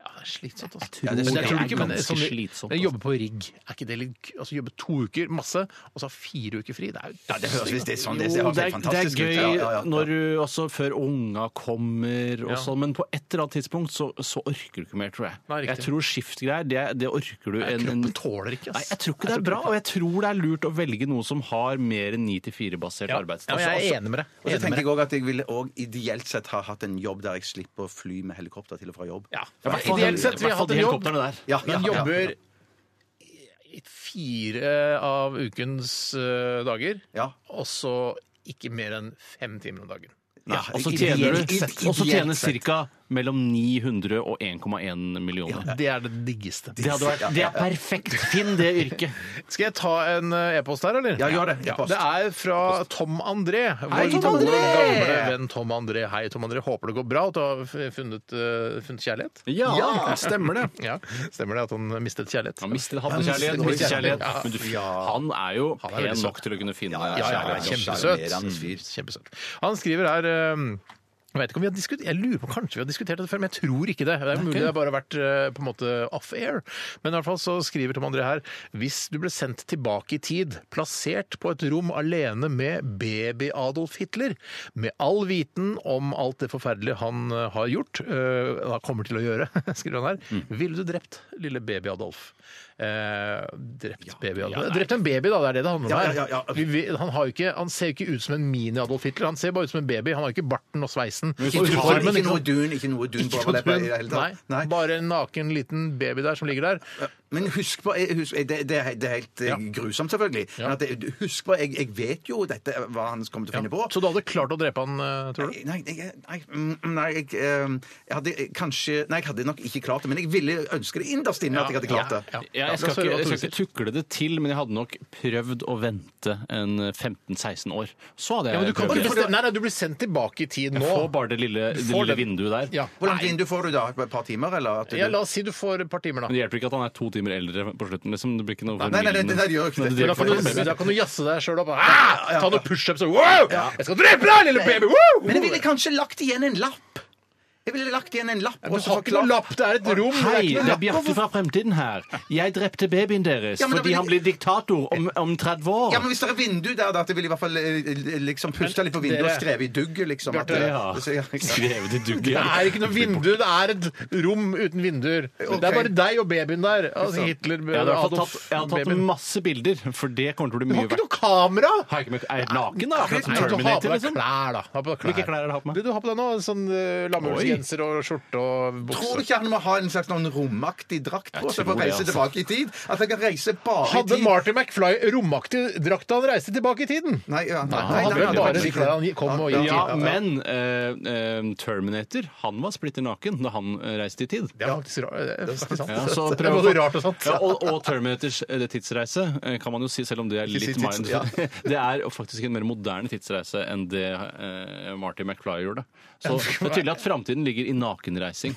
D: Ja, det er slitsomt, altså.
F: tror
D: Men jeg tror
F: det er
D: ikke, men
F: ganske
D: sånn-
F: slitsomt, altså.
D: men Jobbe på rigg, er ikke det litt k- Altså jobbe to uker, masse, og så ha fire uker fri. Det er jo
E: Ja, det høres hvis det er sånn. Det ser
F: Jo,
E: helt
F: det er, det er
E: fantastisk ut.
F: gøy
E: Ja, ja, ja.
F: når du også før unga kommer og
D: Ja.
F: sånn, men på et eller annet tidspunkt så, så orker du ikke mer, tror jeg.
D: Nei, riktig.
F: jeg tror skiftgreier, det, det orker du
D: Nei,
F: en, en
D: kroppen tåler ikke, ass.
F: Nei, jeg tror ikke det er bra, og jeg tror det er lurt å velge noe som har mer enn 9-4-basert arbeidstid. altså.
D: Ja, men jeg er enig med deg.
E: Og så
D: Enig med deg.
E: tenker jeg også at jeg ville også ideelt sett ha hatt en jobb der jeg slipper å fly med helikopter til og fra jobb.
D: Ja.
F: I hvert fall-
D: Ideelt sett,
F: i
D: vi har
F: hvert fall
D: hatt
F: de
D: en jobb.
F: helikopterne der.
E: Ja, ja,
D: Men
E: ja.
D: jobber i fire av ukens eh, dager,
E: Ja.
D: og så ikke mer enn fem timer om dagen.
F: Ja, og så
E: Ideelt
F: tjener du
E: sett.
F: og så
E: Ideelt
F: tjener
E: sett.
F: ca. mellom 900 og 1,1 millioner.
D: Det er det diggeste.
F: Det, hadde vært, det er perfekt! Finn det yrket.
D: Skal jeg ta en eh, e-post her, eller?
E: Ja, gjør det.
D: Ja,
E: E-post.
D: det er fra Tom André. Vår
F: Hei, Tom
D: gode,
F: André!
D: gamle venn Tom André. Hei, Tom André. Håper det går bra, at du har f- funnet, eh, funnet kjærlighet.
F: Ja, stemmer det.
D: Ja, Stemmer det at han mistet kjærlighet?
F: Han mistet hadde kjærlighet, mistet kjærlighet.
D: Ja.
F: Men du, han er jo
D: Han er veldig
F: pen
D: søt.
F: nok til å kunne finne
D: Ja, ja,
F: kjærlighet.
D: kjempesøt.
E: Sjarmerende fyr.
D: Kjempesøt. Han skriver her ehm, jeg vet ikke om vi har diskutert, jeg lurer på kanskje vi har diskutert det før, men jeg tror ikke det. Det er mulig det har bare vært eh, på en måte off-air. Men i hvert fall så skriver Tom André her hvis du ble sendt tilbake i tid, plassert på et rom alene med baby-Adolf Hitler, med all viten om alt det forferdelige han eh, har gjort, eh, han kommer til å gjøre, skriver han her,
E: Mm.
D: ville du drept lille baby-Adolf? Eh, drept baby-Adolf? drept en baby, da. Det er det det handler om
E: Ja,
D: her.
E: ja, ja, ja.
D: Vi vi- han, har jo ikke, han ser jo ikke ut som en mini-Adolf Hitler, han ser bare ut som en baby. Han har jo ikke barten og sveisen.
E: Ikke,
D: Og
E: noe-
D: uniformen,
E: ikke
D: ikke
E: noe
D: noe-
E: dun, ikke noe dun på overleppa i det hele
D: Nei,
E: tatt. Nei.
D: bare en naken liten baby der som ligger der.
E: Men husk på jeg- husk, det, det, er helt- det er helt eh,
D: Ja.
E: grusomt, selvfølgelig. Men at jeg, husk på jeg, jeg vet jo dette, hva han kommer til å
D: Ja.
E: finne på.
D: Så du hadde klart å drepe han, eh, tror du?
E: Nei, nei, jeg- nei, mm, nei jeg, eh, jeg hadde eh, kanskje Nei, jeg hadde nok ikke klart det, men jeg ville ønske det innerst inne at jeg hadde klart det.
D: Ja.
F: Ja, jeg, skal
D: La oss høre hva
F: ikke, jeg
D: Tore
F: skal ikke tukle det til, men jeg hadde nok prøvd å vente en 15-16 år. Så hadde
D: Ja,
F: jeg
D: men du kan
F: prøvd
D: ikke
F: det.
D: bestemme Nei, nei, du blir sendt tilbake i tid
F: Jeg får
D: nå.
F: bare det lille, det
D: får
F: lille
D: den.
F: vinduet der.
D: Ja.
E: Hvor langt vindu får du da? Et par timer? Eller at du,
D: Ja, la oss si du får et par timer, da.
F: Men det hjelper ikke at han er to timer eldre på slutten. Liksom. Det blir ikke noe
E: nei, nei, nei, nei, det gjør ikke det.
F: det
D: Da kan,
F: gjør ikke
D: du,
F: det.
D: da kan du jazze deg sjøl opp. Ah, ta noen pushups og wow! Jeg skal drepe deg, lille baby! Wow!
E: Men jeg ville kanskje lagt igjen en lapp. Jeg Jeg ville lagt igjen en lapp.
D: men du har ikke noen lapp, det er et rom, det er
F: Hei,
D: ikke noen
F: det er
D: lapp.
F: Bjarte fra fremtiden her. Jeg drepte babyen deres
E: Ja, men da
F: fordi
E: vil-
F: han blir diktator om, om 30 år.
E: Ja, men Hvis det er vindu der, da, at jeg ville i hvert fall eh, liksom pusta litt på vinduet og
D: dere-
E: skrevet i dugg. liksom. at-
D: Bjarte,
F: ja.
E: Så- ja, ikke sant.
F: Skrevet i dugg.
D: Det er ikke noe vindu, det er et rom uten vinduer. Det er bare deg og babyen der. Altså Hitler,
F: Jeg har, i hvert fall
D: Adolf,
F: tatt, jeg har tatt
D: babyen.
F: masse bilder, for det kommer til å bli
D: Du har
F: mye
D: ikke
F: verdt.
D: noe kamera!
F: Har jeg ikke med- Er jeg naken, da? Akkurat som
D: Nei, du har på
F: Terminator,
D: deg
F: liksom.
D: klær, da. Ha på deg klær.
F: Hvilke klær er det du har på meg?
D: Det du har på deg nå, sånn uh, lammehullsgenser og skjorte og
E: Tror du
D: bukse.
E: ikke han må ha en slags noen romaktig drakt på
F: Jeg
E: seg
F: tror
E: for å
F: det,
E: reise
F: altså.
E: tilbake i tid? At han kan reise bare i
D: Hadde
E: tid?
D: Marty McFly romaktig drakt da han reiste tilbake i tiden?
E: Nei, ja,
D: Han
E: nei, nei,
D: hadde
E: nei,
D: vel
E: nei,
D: bare
E: nei,
D: de klærne han kom og gikk i.
F: Ja, men eh, eh, Terminator, han var splitter naken da han eh, reiste i tid.
D: Det er faktisk ra- det er faktisk sant.
F: Ja, så
D: Det er
F: prøv å-
D: både rart og sant.
F: Ja, og, og Terminators eh, det tidsreise eh, kan man jo si, selv om det er
E: Ikke si
F: litt
E: tids-
F: mind.
E: ja.
F: Det er jo faktisk en mer moderne tidsreise enn det eh, Marty McFly gjorde. Så det er tydelig at framtiden ligger i nakenreising.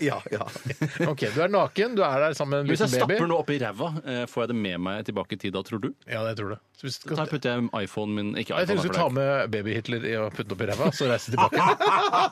E: Ja, ja.
D: Ok, Du er naken, du er der sammen med en
F: Hvis
D: liten
F: jeg stapper
D: baby.
F: noe oppi ræva, eh, får jeg det med meg tilbake i tid da, tror du?
D: Ja, det tror du. Så hvis du
F: Da
D: skal...
F: putter jeg iPhonen min Ikke
D: Jeg tenkte du
F: iPhone,
D: skulle
F: da,
D: ta
F: for det
D: med baby-Hitler i og putte den opp i ræva, så reise tilbake.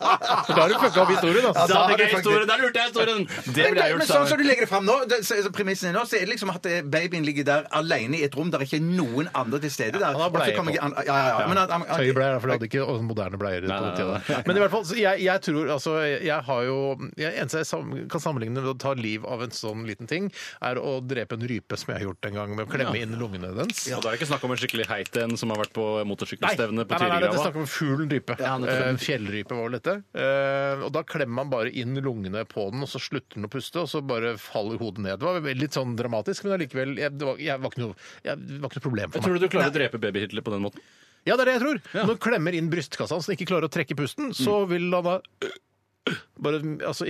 D: For da har du fucka opp historien,
F: er-
D: altså.
F: Da hadde
E: har
F: ikke
E: du
F: jeg historien! Der lurte jeg historien! Det
E: Men,
F: ville jeg
E: men
F: gjort.
E: sånn som
F: Steinar.
E: du legger det fram nå, det, så, så premissen er nå, så er det liksom at eh, babyen ligger der alene i et rom der ikke er noen andre til stede. der.
D: han har
E: Og så
D: bleie
E: kommer
D: på.
E: ikke an- Ja, ja, ja. Men, at- at-
D: Tøybleier, da, for de hadde ikke og moderne bleier. på
F: nei,
D: den tiden.
F: nei,
D: Men i hvert fall, så jeg, jeg tror altså, jeg har jo jeg, Eneste jeg sam, kan sammenligne med å ta liv av en sånn liten ting, er å drepe en rype, som jeg har gjort en gang, med å klemme inn lungene dens.
F: Og da er det ikke snakk om en skikkelig heit en som har vært på motorsykkelstevne på
D: nei, nei, nei, det er
F: Tyrigrava.
D: snakk om fuglen rype.
F: Ja, nettopp.
D: Eh, fjellrype var vel dette. Eh, og da klemmer man bare inn lungene på den, og så slutter den å puste, og så bare faller hodet ned. Det var vel litt sånn dramatisk, men allikevel jeg, det, var, jeg var ikke noe, jeg, det var ikke noe problem for meg.
F: Tror du du klarer å drepe baby-Hitler på den måten?
D: Ja, det er det jeg tror. Når han klemmer inn brystkassa hans og ikke klarer å trekke pusten,
F: Mm.
D: så vil han da bare altså,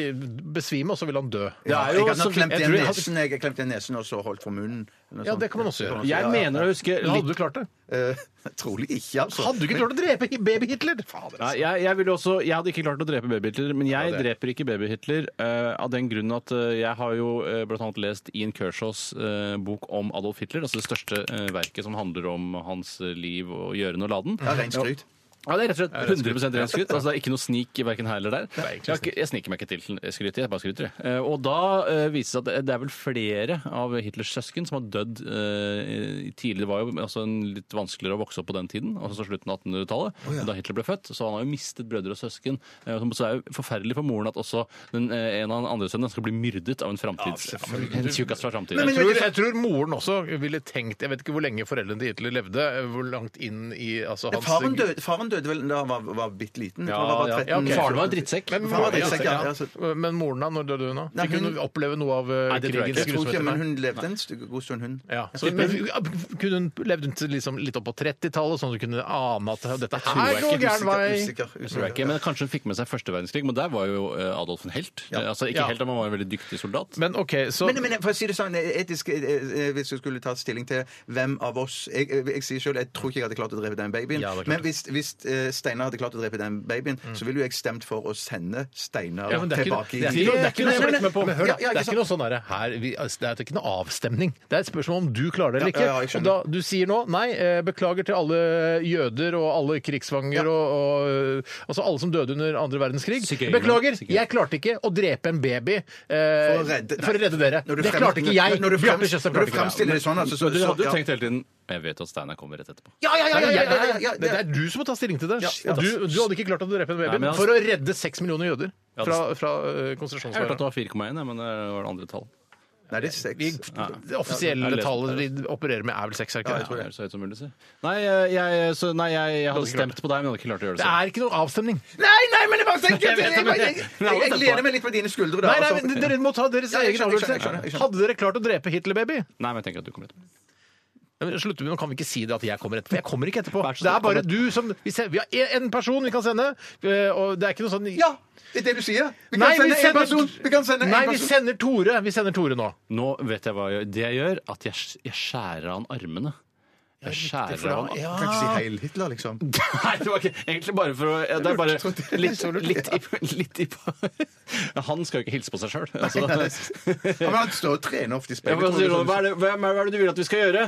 D: besvime, og så vil han dø.
E: Ja,
F: er jo
E: jeg kan ha
F: så-
E: klemt
F: jeg
E: igjen
F: tror jeg hadde-
E: nesen, jeg har klemt igjen nesen og så holdt for munnen. eller noe
D: Ja, det
E: sånt.
D: kan man også gjøre.
E: Ja,
F: Jeg
E: ja.
F: mener å huske
D: Men
F: litt
D: hadde du klart det?
E: Eh, Trolig ikke, altså.
D: Hadde du ikke klart å drepe baby-Hitler? Fader,
F: Ja,
D: altså.
F: jeg, jeg, ville også, jeg hadde ikke klart å drepe baby-Hitler, men
D: Ja,
F: jeg
D: det.
F: dreper ikke baby-Hitler eh, av den grunn at eh, jeg har jo eh, blant annet lest Ian Kershaws eh, bok om Adolf Hitler, altså det største eh, verket som handler om hans eh, liv og gjøren og laden.
E: Ja, Rent skryt.
F: Ja, det er rett og slett 100 renskryt. Altså, det er ikke noe snik verken her eller der. Jeg,
D: egentlig
F: har ikke- jeg sniker meg ikke til skryt, jeg bare skryter. jeg. Eh, Og da eh, viser det seg at det- det er vel flere av Hitlers søsken som har dødd eh, i- tidlig. Det var jo altså, en litt vanskeligere å vokse opp på den tiden, altså så slutten av 1800-tallet, da Hitler ble født. Så han har jo mistet brødre og søsken. Eh, Så det er jo forferdelig for moren at også den, eh, en av den andre sønnen skal bli myrdet av en framtids... en tjukkas fra framtiden.
D: Jeg tror, jeg tror moren også ville tenkt Jeg vet ikke hvor lenge foreldrene til Hitler levde. eh, Hvor langt inn i altså,
E: Ja,
D: hans
E: Faren døde, faren døde vel da han var, var bitte liten? Jeg tror han var
F: ja,
E: bare
F: ja,
E: 13.
F: Faren var en drittsekk.
D: Men,
E: Faren var drittsekk, ja,
D: ja,
E: ja, så-
D: men moren da, når døde hun da?
E: Nei,
D: Fikk hun
E: hun-
D: oppleve noe av eh,
F: Nei, det tror jeg
D: krigens
E: Jeg tror ikke,
D: grusomheter?
E: men hun levde en stykke- god stund, hun.
D: Ja, så, men, ja, kunne hun levd hun til liksom litt opp på 30-tallet, sånn at du kunne ane at dette
F: tror
D: her
F: jeg
D: går
F: ikke.
D: gæren vei?
F: Jeg
E: Usikker,
F: tror jeg ikke,
E: usikker.
F: men Kanskje hun fikk med seg første verdenskrig, men der var jo eh, Adolf en helt. Eh, Altså ikke
D: Ja.
F: helt, men han var en veldig dyktig soldat.
D: Men OK, så
E: Men, men for å si det sånn, etisk, eh, eh, hvis du skulle ta stilling til hvem av oss Jeg, jeg, jeg sier selv, jeg tror ikke jeg hadde klart å drepe den babyen.
D: Ja, det er klart. Mm.
E: men hvis, hvis eh, Steinar hadde klart å drepe den babyen, så ville jo jeg stemt for å sende Steinar
D: Ja, men det er ikke
E: tilbake
D: det er ikke noe- det er ikke noe jeg har blitt med på. Men hør, da,
E: Ja, ja,
D: det er ikke noe sånn derre her vi, altså, Det er ikke noe avstemning. Det er et spørsmål om du klarer det eller
E: Ja, ja, ja, jeg
D: ikke. Og da
E: skjønner.
D: du sier nå nei, eh, beklager til alle jøder og alle krigsfanger og, og eh, altså alle som døde under andre verdenskrig.
F: Sikkerhet.
D: Beklager,
F: Sikkerhet.
D: jeg klarte ikke å drepe en baby eh, for,
E: å redde-
D: å redde dere.
E: Når du
D: Det
E: frem-
D: klarte ikke jeg.
E: Når du frem-
D: Bjarte Tjøstheim
E: når
D: klarte ikke
E: du
D: det.
E: fremstiller det sånn, altså, så,
F: Men du
E: så-
F: hadde jo
E: ja.
F: tenkt hele tiden Jeg vet at Steinar kommer rett etterpå.
E: Ja, ja, ja! ja,
D: Nei,
E: ja,
D: jeg-
E: ja, ja, ja,
D: det, det er du som må ta stilling til det.
E: Ja.
D: Og du, du hadde ikke klart å drepe en
F: Nei,
D: baby
F: men altså-
D: for å redde seks millioner jøder
F: Ja, det-
D: fra, fra eh,
F: Jeg hørte at
D: konsentrasjonsleirene.
F: det var 4,1, ja, men det var det andre tall.
E: Nei, det er
D: Vi-
E: sex.
D: Det offisielle
F: Ja, det er-
D: tallet de opererer med, er vel seks? er ikke
F: Ja,
D: det?
F: det er så høyt som mulig, si. Nei, eh, jeg, så, nei, jeg, jeg hadde
D: ikke klart
F: stemt på deg, men jeg hadde ikke klart å gjøre det
D: Det
F: selv.
D: er ikke noen avstemning.
E: Nei, nei, men jeg bare tenker
F: Jeg
E: Jeg,
F: vet det,
E: jeg,
F: men- men
E: jeg,
F: alle stemte
E: jeg, jeg
F: på
E: lener
F: deg.
E: meg litt på dine skuldre.
D: Nei,
E: da,
D: nei,
E: altså.
D: men Dere må ta deres
E: Ja, jeg
D: egen
E: skjønner, jeg skjønner, jeg
D: avgjørelse.
E: skjønner, jeg skjønner.
D: Hadde dere klart å drepe Hitler-baby?
F: Nei, men jeg tenker at du kommer etterpå.
D: Slutter vi, Nå kan vi ikke si det at jeg kommer etterpå. Jeg kommer ikke etterpå.
F: Vær så snill,
D: Det er bare
F: kom
D: du som Vi, ser, vi har én person vi kan sende, eh, og det er ikke noe sånn
E: Ja, det er det du sier. Vi kan
D: Nei, vi
E: sende en
D: sender-
E: person. Vi kan sende
D: Nei,
E: en
D: vi
E: person.
D: sender Tore. Vi sender Tore nå.
F: Nå vet jeg hva jeg, det jeg gjør, at jeg, jeg skjærer av han armene.
D: Ja, riktig,
F: skjærer
D: for da-
F: av han.
D: ja.
E: Kan ikke si heil Hitler, liksom.
F: Nei, det var ikke egentlig bare for å ja, Det er bare
E: Jeg lurte på det.
F: litt,
E: Så lurte
F: litt, i, litt i ja, Han skal jo ikke hilse på seg sjøl. Altså.
E: Nei, nei, det- Ja, men han står og trener ofte
F: Ja,
E: i speilet.
F: men han sier sånn,
E: tror
F: hva,
E: du,
F: er det, hva, hva er det du vil at vi skal gjøre?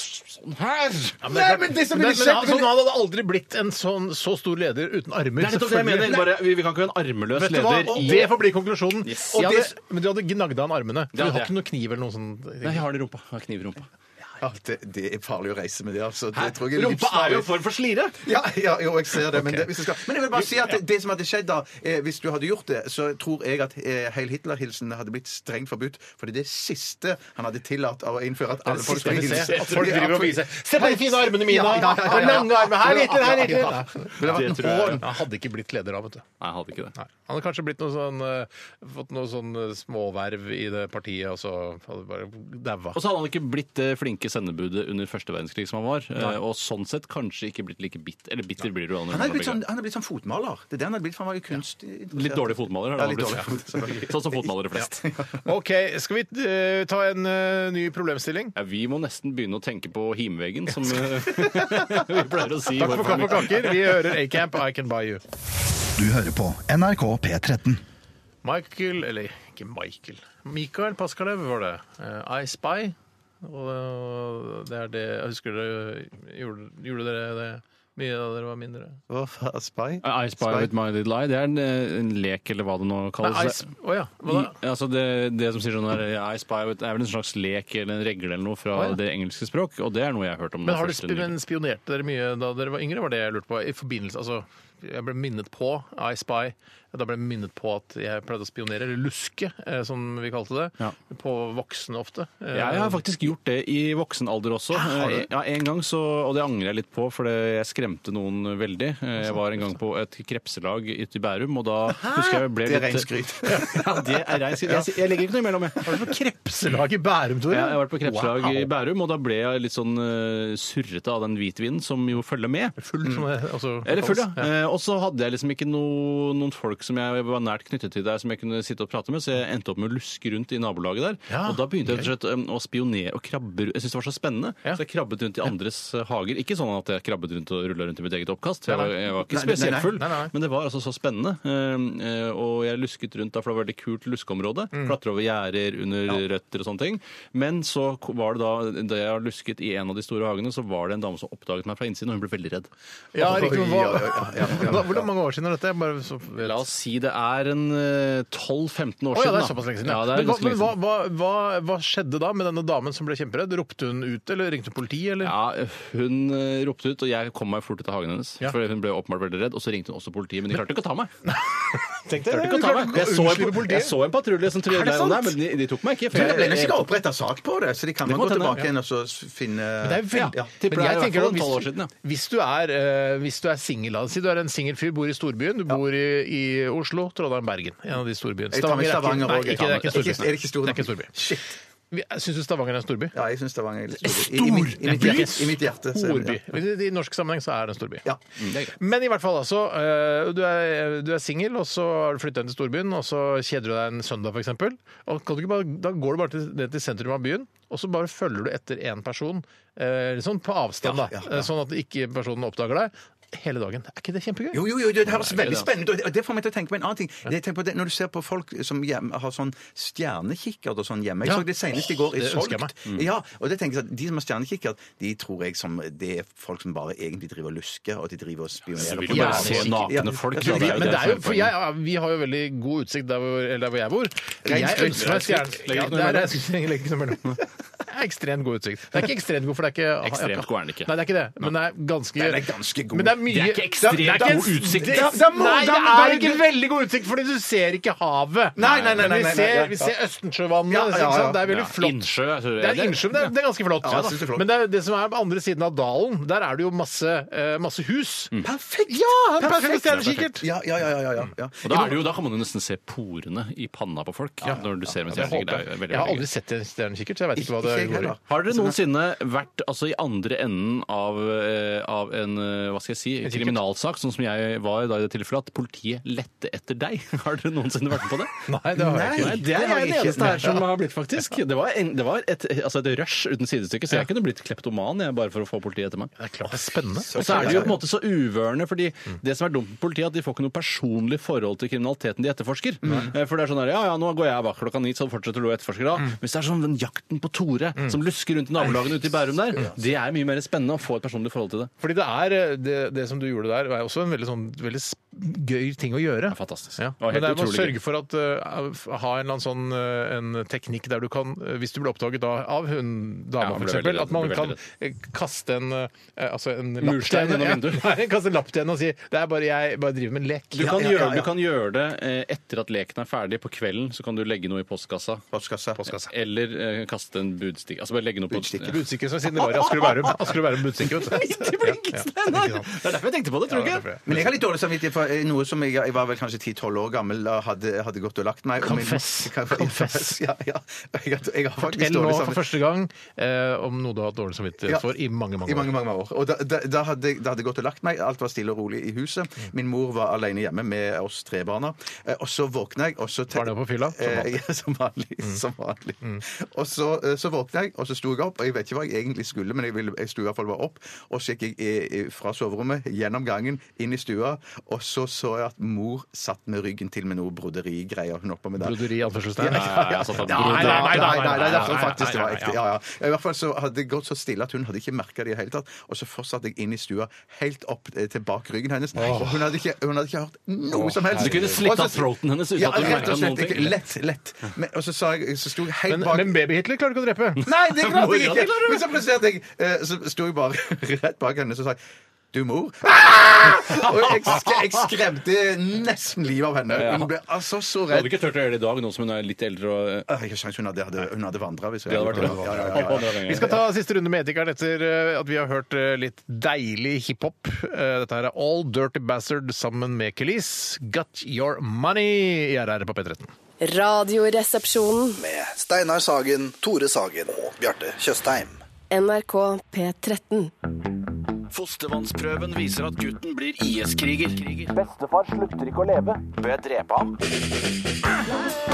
F: Sånn her!
D: Ja,
E: Nei, men det som er
D: men,
E: litt
D: men,
E: kjekt-
D: altså, nå hadde det aldri blitt en sånn, så stor leder uten armer.
F: Det er nettopp det jeg
D: selvfølgelig.
F: mener. Bare, vi, vi kan ikke ha en armeløs
D: Vet du hva?
F: leder
D: Og
F: i
D: det får bli konklusjonen.
F: Yes.
D: Og
F: Ja,
D: det,
F: det-
D: men du hadde gnagd av han armene. Du
F: Ja,
D: har
F: det-
D: ikke noe kniv eller noe sånt?
F: Nei, jeg har det i rumpa. Jeg har kniv i rumpa.
E: sånn- Ja, det, det er farlig å reise med det, altså. Det tror jeg er
F: Rumpa er jo en form for slire!
E: Ja, ja, jo, jeg ser det. Men, det, hvis jeg skal. men jeg vil bare si at det, det som hadde skjedd da, eh, hvis du hadde gjort det, så tror jeg at eh, Heil Hitler-hilsen hadde blitt strengt forbudt. For det er det siste han hadde tillatt av å innføre at alle folk
D: Skal vi
E: skulle
D: se.
E: hilse.
D: At folk driver og viser Se på de fine armene mine!
E: Ja, ja, ja, ja, ja.
D: Og lange armer! Her liten, her
E: Ja, ja,
D: liten!
E: ja. Ville vært
F: Det
E: en
F: tror jeg,
E: hån.
D: Han hadde ikke blitt leder da, vet du.
F: Nei, jeg hadde ikke det.
D: Nei. Han hadde kanskje blitt noe sånn, eh, fått noe sånn eh, småverv i det partiet, og så hadde det bare daua.
F: Og så hadde han ikke blitt det flinke sendebudet under første verdenskrig som han var. eh, Og sånn sett kanskje ikke blitt like bitter. Eller bitter blir du da. når
E: Han
F: du
E: hadde blitt
F: blir
E: sånn,
F: gammel.
E: han hadde blitt sånn fotmaler. Det er det han hadde blitt, for han var jo kunstinteressert.
F: Litt dårlig fotmaler.
E: Ja,
F: har han
E: litt
F: blitt.
E: dårlig fotmaler.
F: Sånn som fotmalere flest.
D: OK, skal vi eh, ta en eh, ny problemstilling?
F: Ja, vi må nesten begynne å tenke på himveggen, som eh, vi pleier å si. i
D: Takk
F: vår
D: for kaffe og
F: familie.
D: kaker. Vi hører A-Camp, I Can Buy You.
L: Du hører på NRK P13.
D: Michael, eller ikke Michael Michael Paskalev var det. Eh, I Spy. Og eh, det er det Jeg husker dere gjorde, gjorde dere det mye da dere var mindre?
E: Hva faen, spy?
F: I Spy With My Little Eye, det er en, eh, en lek, eller hva det nå
D: Nei, I
F: kalles.
D: Sp- Å ja. Hva da?
F: I, altså det, det som sier sånn her, I Spy With, er vel en slags lek eller en regle eller noe fra
D: Å, ja.
F: det engelske språk, og det er noe jeg har hørt om.
D: Men, har du,
F: det første
D: sp-
F: nylig.
D: men spionerte dere mye da dere var yngre? Var det jeg lurte på? I forbindelse, altså Jeg ble minnet på I Spy. Da ble jeg minnet på at jeg pleide å spionere, eller luske, eh, som vi kalte det.
F: Ja.
D: På voksne ofte. Eh,
F: Jeg har faktisk gjort det i voksen alder også. Eh, Ja, en gang så, Og det angrer jeg litt på, for det- jeg skremte noen veldig. Eh, Jeg var en gang på et krepselag ute i Bærum, og da husker jeg jeg ble
E: Det er
F: litt
E: rent skryt.
F: Ja, det er rein skryt. Jeg, jeg legger ikke noe imellom, jeg.
D: Har du vært på krepselag i Bærum, Tore?
F: Ja, jeg har vært på krepslag
D: Wow.
F: i Bærum, og da ble jeg litt sånn eh, surrete av den hvitvinen som jo følger med. Mm.
D: Full, som det altså,
F: Eller full, ja.
D: kalles.
F: Eh, Og så hadde jeg liksom ikke no, noen folk som jeg var nært knyttet til der, som jeg kunne sitte og prate med, så jeg endte opp med å luske rundt i nabolaget der.
D: Ja,
F: og da begynte jeg rett og slett eh, å spionere og krabbe ru- Jeg syntes det var så spennende,
D: Ja.
F: så jeg krabbet rundt i andres eh, hager. Ikke sånn at jeg krabbet rundt og rulla rundt i mitt eget oppkast, jeg
D: Nei,
F: var,
D: nei.
F: jeg var
E: Nei,
F: ikke
E: nei, nei,
F: spesielt full,
D: nei, nei, nei.
F: men det var altså så spennende. Eh, eh, Og jeg lusket rundt da, for det var et veldig kult luskeområde.
D: Mm.
F: Klatre over gjerder, under røtter og sånne ting. Men så ko- var det da, da jeg lusket i en av de store hagene, så var det en dame som oppdaget meg fra innsiden, og hun ble veldig redd.
D: Ja, riktig. men
E: Oi, oi, oi, ja, ja, ja.
D: Hva, hvordan mange år siden er dette? Jeg Bare så,
F: La oss si det er en eh, 12-15 år
D: Å ja,
F: siden.
D: det er
F: da.
D: såpass lenge siden.
F: Ja,
D: Ja.
F: det er
D: men hva,
F: ganske lenge
D: men hva,
F: siden.
D: hva, hva, hva skjedde da med denne damen som ble kjemperedd? Ropte hun ut, eller ringte hun politiet, eller?
F: Ja, hun eh, ropte ut, og jeg kom meg fort ut av hagen hennes.
D: Ja.
F: For hun ble åpenbart veldig redd, og så ringte hun også politiet, men de klarte ikke å ta meg. De
D: Tenk
F: klarte ikke å ta meg. Jeg så en, jeg så en patrulje som trodde
D: Er det sant?
F: Nei, men de, de tok meg ikke.
E: Men
F: jeg-
E: det ble nesten
F: jeg-
E: ikke oppretta sak på det, så de kan
F: Det
E: man
F: kan godt
E: gå
F: hende,
E: tilbake igjen og så s- finne
D: Det er veldig,
F: Ja,
D: Men jeg
F: tipper det er i hvert
D: tenker
F: fall
D: at
F: tolv år
D: hvis,
F: siden, ja.
D: hvis du er, eh, hvis du er singel, la oss si du er en singel fyr, bor i storbyen, du bor i, i Oslo, Trondheim, Bergen. En av de storbyene.
E: Jeg tar med Stavanger
D: er
E: også, jeg
D: ikke,
E: tar
D: nei,
E: med-
D: ikke, det er ikke storby.
E: Ikke- er det ikke storby?
D: Det er ikke storby.
E: Shit.
D: Vi- Syns du Stavanger er en storby?
E: Ja, jeg syns Stavanger er litt stor. I, i,
D: Stor
E: mitt- i, mitt, hjerte, I mitt hjerte. så er det-
D: Storby. I, I norsk sammenheng så er det en storby.
E: Ja.
D: Men i hvert fall, altså. eh, Du er, du er singel, og så har du flytta inn til storbyen, og så kjeder du deg en søndag, f.eks. Da går du bare til, ned til sentrum av byen, og så bare følger du etter én person. eh, Litt sånn på avstand, da.
E: Ja, ja,
D: eh, Sånn at ikke personen oppdager deg. Hele dagen. Er ikke det kjempegøy?
E: Jo, jo, jo, det høres veldig spennende ut. Og det får meg til å tenke på en annen ting. Jeg tenker på det, når du ser på folk som hjem, har sånn stjernekikkert og sånn hjemme Jeg
D: Ja.
E: så det senest i går i
D: Det ønsker jeg Mm.
E: Solgt. Ja, og det tenker jeg at De som har stjernekikkert, de tror jeg som det er folk som bare egentlig driver og lusker, og de driver og spionerer.
F: vil
E: på
F: jo bare
E: folk.
F: se nakne
E: Ja,
F: folk,
E: jeg
F: da. Det er
E: tror de-
F: jo
D: men det er jo,
F: som er
D: for jeg, ja, vi har jo veldig god utsikt der hvor, eller der hvor jeg bor. Jeg
E: skryt,
D: ønsker meg
E: rent
D: stjernen.
F: skryt.
D: Ja, det
F: Legger ikke noe
D: er
F: imellom.
D: rent skryt, jeg legger ikke noe mellom. Det er ekstremt god utsikt. Det er ikke ekstremt god, for det er ikke
F: Ekstremt god er den ikke.
D: Nei, det er ikke det. Men det er ganske
E: Nei, det er ganske god.
D: Men det er mye
F: Det er ikke ekstremt
D: Det er ikke-
F: god utsikt.
D: Det,
E: Da- da må-
D: nei, det
E: da- da-
D: er ikke veldig god utsikt, fordi du ser ikke havet.
E: Nei, nei, nei,
D: Men
E: nei, nei,
D: Vi ser,
E: nei,
D: vi
E: ja.
D: ser Østensjøvannet.
E: Ja, ja, ja.
D: ikke sant? Det er veldig
F: Ja,
D: flott.
F: Innsjø. jeg tror
D: Det er en innsjø, men det er, det er ganske flott.
E: Ja, jeg synes det er flott.
D: Men det, er, det som er på andre siden av dalen, der er det jo masse, eh, masse hus.
E: Mm. Perfekt!
D: Ja! Perfekt stjernekikkert!
E: Ja, ja, ja, ja, ja, ja,
D: Mm.
E: ja.
F: Og da, er det jo, da kan man jo nesten se porene i panna på folk når du ser med
D: Jeg,
F: stjernekikkert. Det er jo
D: håper. jeg
F: veldig,
D: har
F: veldig gøy.
D: aldri sett en stjernekikkert, så jeg vet ikke hva det
E: Ikke
D: går
E: jeg
D: i.
E: heller.
F: Har dere noensinne vært altså, i andre enden av, eh, av en eh, hva skal jeg si, kriminalsak, sånn som jeg var da i det tilfellet, at politiet lette etter deg? Har dere noensinne vært med på det?
D: Nei, det har jeg ikke.
F: Nei, det er jeg den eneste her som har blitt, faktisk. Det var, en, det var et, altså et rush uten sidestykke, så jeg kunne blitt kleptoman jeg, bare for å få politiet etter meg.
D: Det er klart det er spennende.
F: Og så er de jo på en måte så uvørende, fordi det som er dumt med politiet, er at de får ikke noe personlig forhold til kriminaliteten de etterforsker. Eh, For det er sånn her, ja ja, nå går jeg bak klokka ni, så fortsetter du å etterforske da.
D: Mm.
F: Hvis det er sånn den jakten på Tore, som lusker rundt i nabolagene ute i Bærum der, det er mye mer spennende å få et personlig forhold til det.
D: Fordi det er eh, det, det som du gjorde der, er også en veldig, sånn, veldig s- gøy ting å gjøre.
F: Det er fantastisk.
D: Ja.
F: Det var
D: Men
F: helt
D: det er med å
F: utrolig gøy.
D: sørge for at eh, f- ha en eller annen sånn eh, en teknikk der du kan, eh, hvis du blir oppdaget da, av hun
F: Ja,
D: dama
F: han
D: for
F: ble
D: f.eks.,
F: veldig redd,
D: at man
F: ble
D: kan
F: veldig
D: eh, kaste en, eh, altså en lapp
F: Murstein
D: til henne.
F: gjennom vinduet.
D: Ja, nei, kaste en lapp til henne og si det er bare jeg bare driver med en lek.
F: Du kan,
D: Ja, ja,
F: gjøre,
D: ja,
F: du kan gjøre det eh, etter at leken er ferdig på kvelden, så kan du legge noe i postkassa.
E: Postkassa.
F: Eller eh, kaste en budstikke. Altså bare legge noe på
E: Budstikke.
D: Budstikke, som siden det var i Asker og Bærum. Asker og Bærum budstikke, vet du.
F: Midt i blinken, Steinar!
D: Ja, ja.
F: Det er derfor jeg tenkte på det, tror du
D: Ja, det er
F: ikke?
D: derfor jeg-
E: Men jeg har litt dårlig samvittighet for eh, noe som jeg, jeg var vel kanskje 10-12 år gammel da hadde, hadde gått og lagt meg. og min-
D: Confess.
E: Kan-
D: Confess.
E: Ja, ja. Jeg, har- jeg har faktisk
D: Fortell nå
E: dårlig
D: for
E: samvittighet.
D: første gang eh, om noe du har hatt dårlig samvittighet for i mange, mange
E: I mange,
D: år.
E: mange år. Og da, da, da, hadde, jeg- da hadde jeg gått og lagt meg, alt var stille og rolig i huset.
D: Mm.
E: Min mor var alene hjemme med oss tre barna. Eh, Og så våkna jeg, og så
D: Var det på fylla? Som Mm.
E: Eh, ja, som vanlig. Som vanlig. Og så, eh, så våkna jeg, og så sto jeg opp. Og jeg vet ikke hva jeg egentlig skulle, men jeg, ville, jeg sto i hvert fall bare opp. Og så gikk jeg eh, eh, fra soverommet, gjennom gangen, inn i stua, og så så jeg at mor satt med ryggen til med noe broderigreier hun holdt på med der.
D: Broderi, anførselstegn.
E: Ja, ja, ja.
F: altså, for-
E: Nei,
F: Nei, nei,
E: nei,
D: nei,
E: nei,
D: nei,
E: nei,
D: nei,
E: jeg tror
D: nei,
E: faktisk det var
D: nei,
E: ekte. Ja, ja. I hvert fall så hadde det gått så stille at hun hadde ikke merka det i det hele tatt. Og så fortsatte jeg inn i stua helt opp eh, til bak ryggen hennes. Og hun hadde ikke, hun hadde ikke hørt noe som helst.
F: Du kunne slitt av
E: Og så-
F: throaten hennes uten
E: ja,
F: at hun
E: rett og
F: merket
E: slett
F: noen ting.
E: ikke. Lett, lett. Men, og så sa jeg, så sto jeg helt
D: Men,
E: bak
D: men baby-Hitler klarer du ikke å drepe.
E: Nei, det klarte
F: Ja,
E: jeg
F: det
E: ikke! Men så plasserte jeg eh, Så sto jeg bare rett bak henne og sa jeg, du, mor? Og jeg, sk jeg skremte nesten livet av henne. Hun ble altså så
F: Jeg
E: redd.
F: hadde ikke turt å gjøre det i dag, nå som hun er litt eldre og eh,
E: Ah, Ikke sjans, hun hadde, hadde, hun hadde vandra hvis jeg
F: Det hadde vært
E: ja, ja, ja, ja, ja.
D: Vi skal ta siste runde med etikeren etter eh, at vi har hørt eh, litt deilig hiphop. Eh, Dette her er All Dirty Bastard sammen med Kelis. Got Your Money i RR på P13.
G: Radioresepsjonen.
H: Med Steinar Sagen, Tore Sagen og Bjarte Tjøstheim.
G: NRK P13.
C: Fostervannsprøven viser at gutten blir IS-kriger.
B: Bestefar slutter ikke å leve. Bør jeg drepe ham?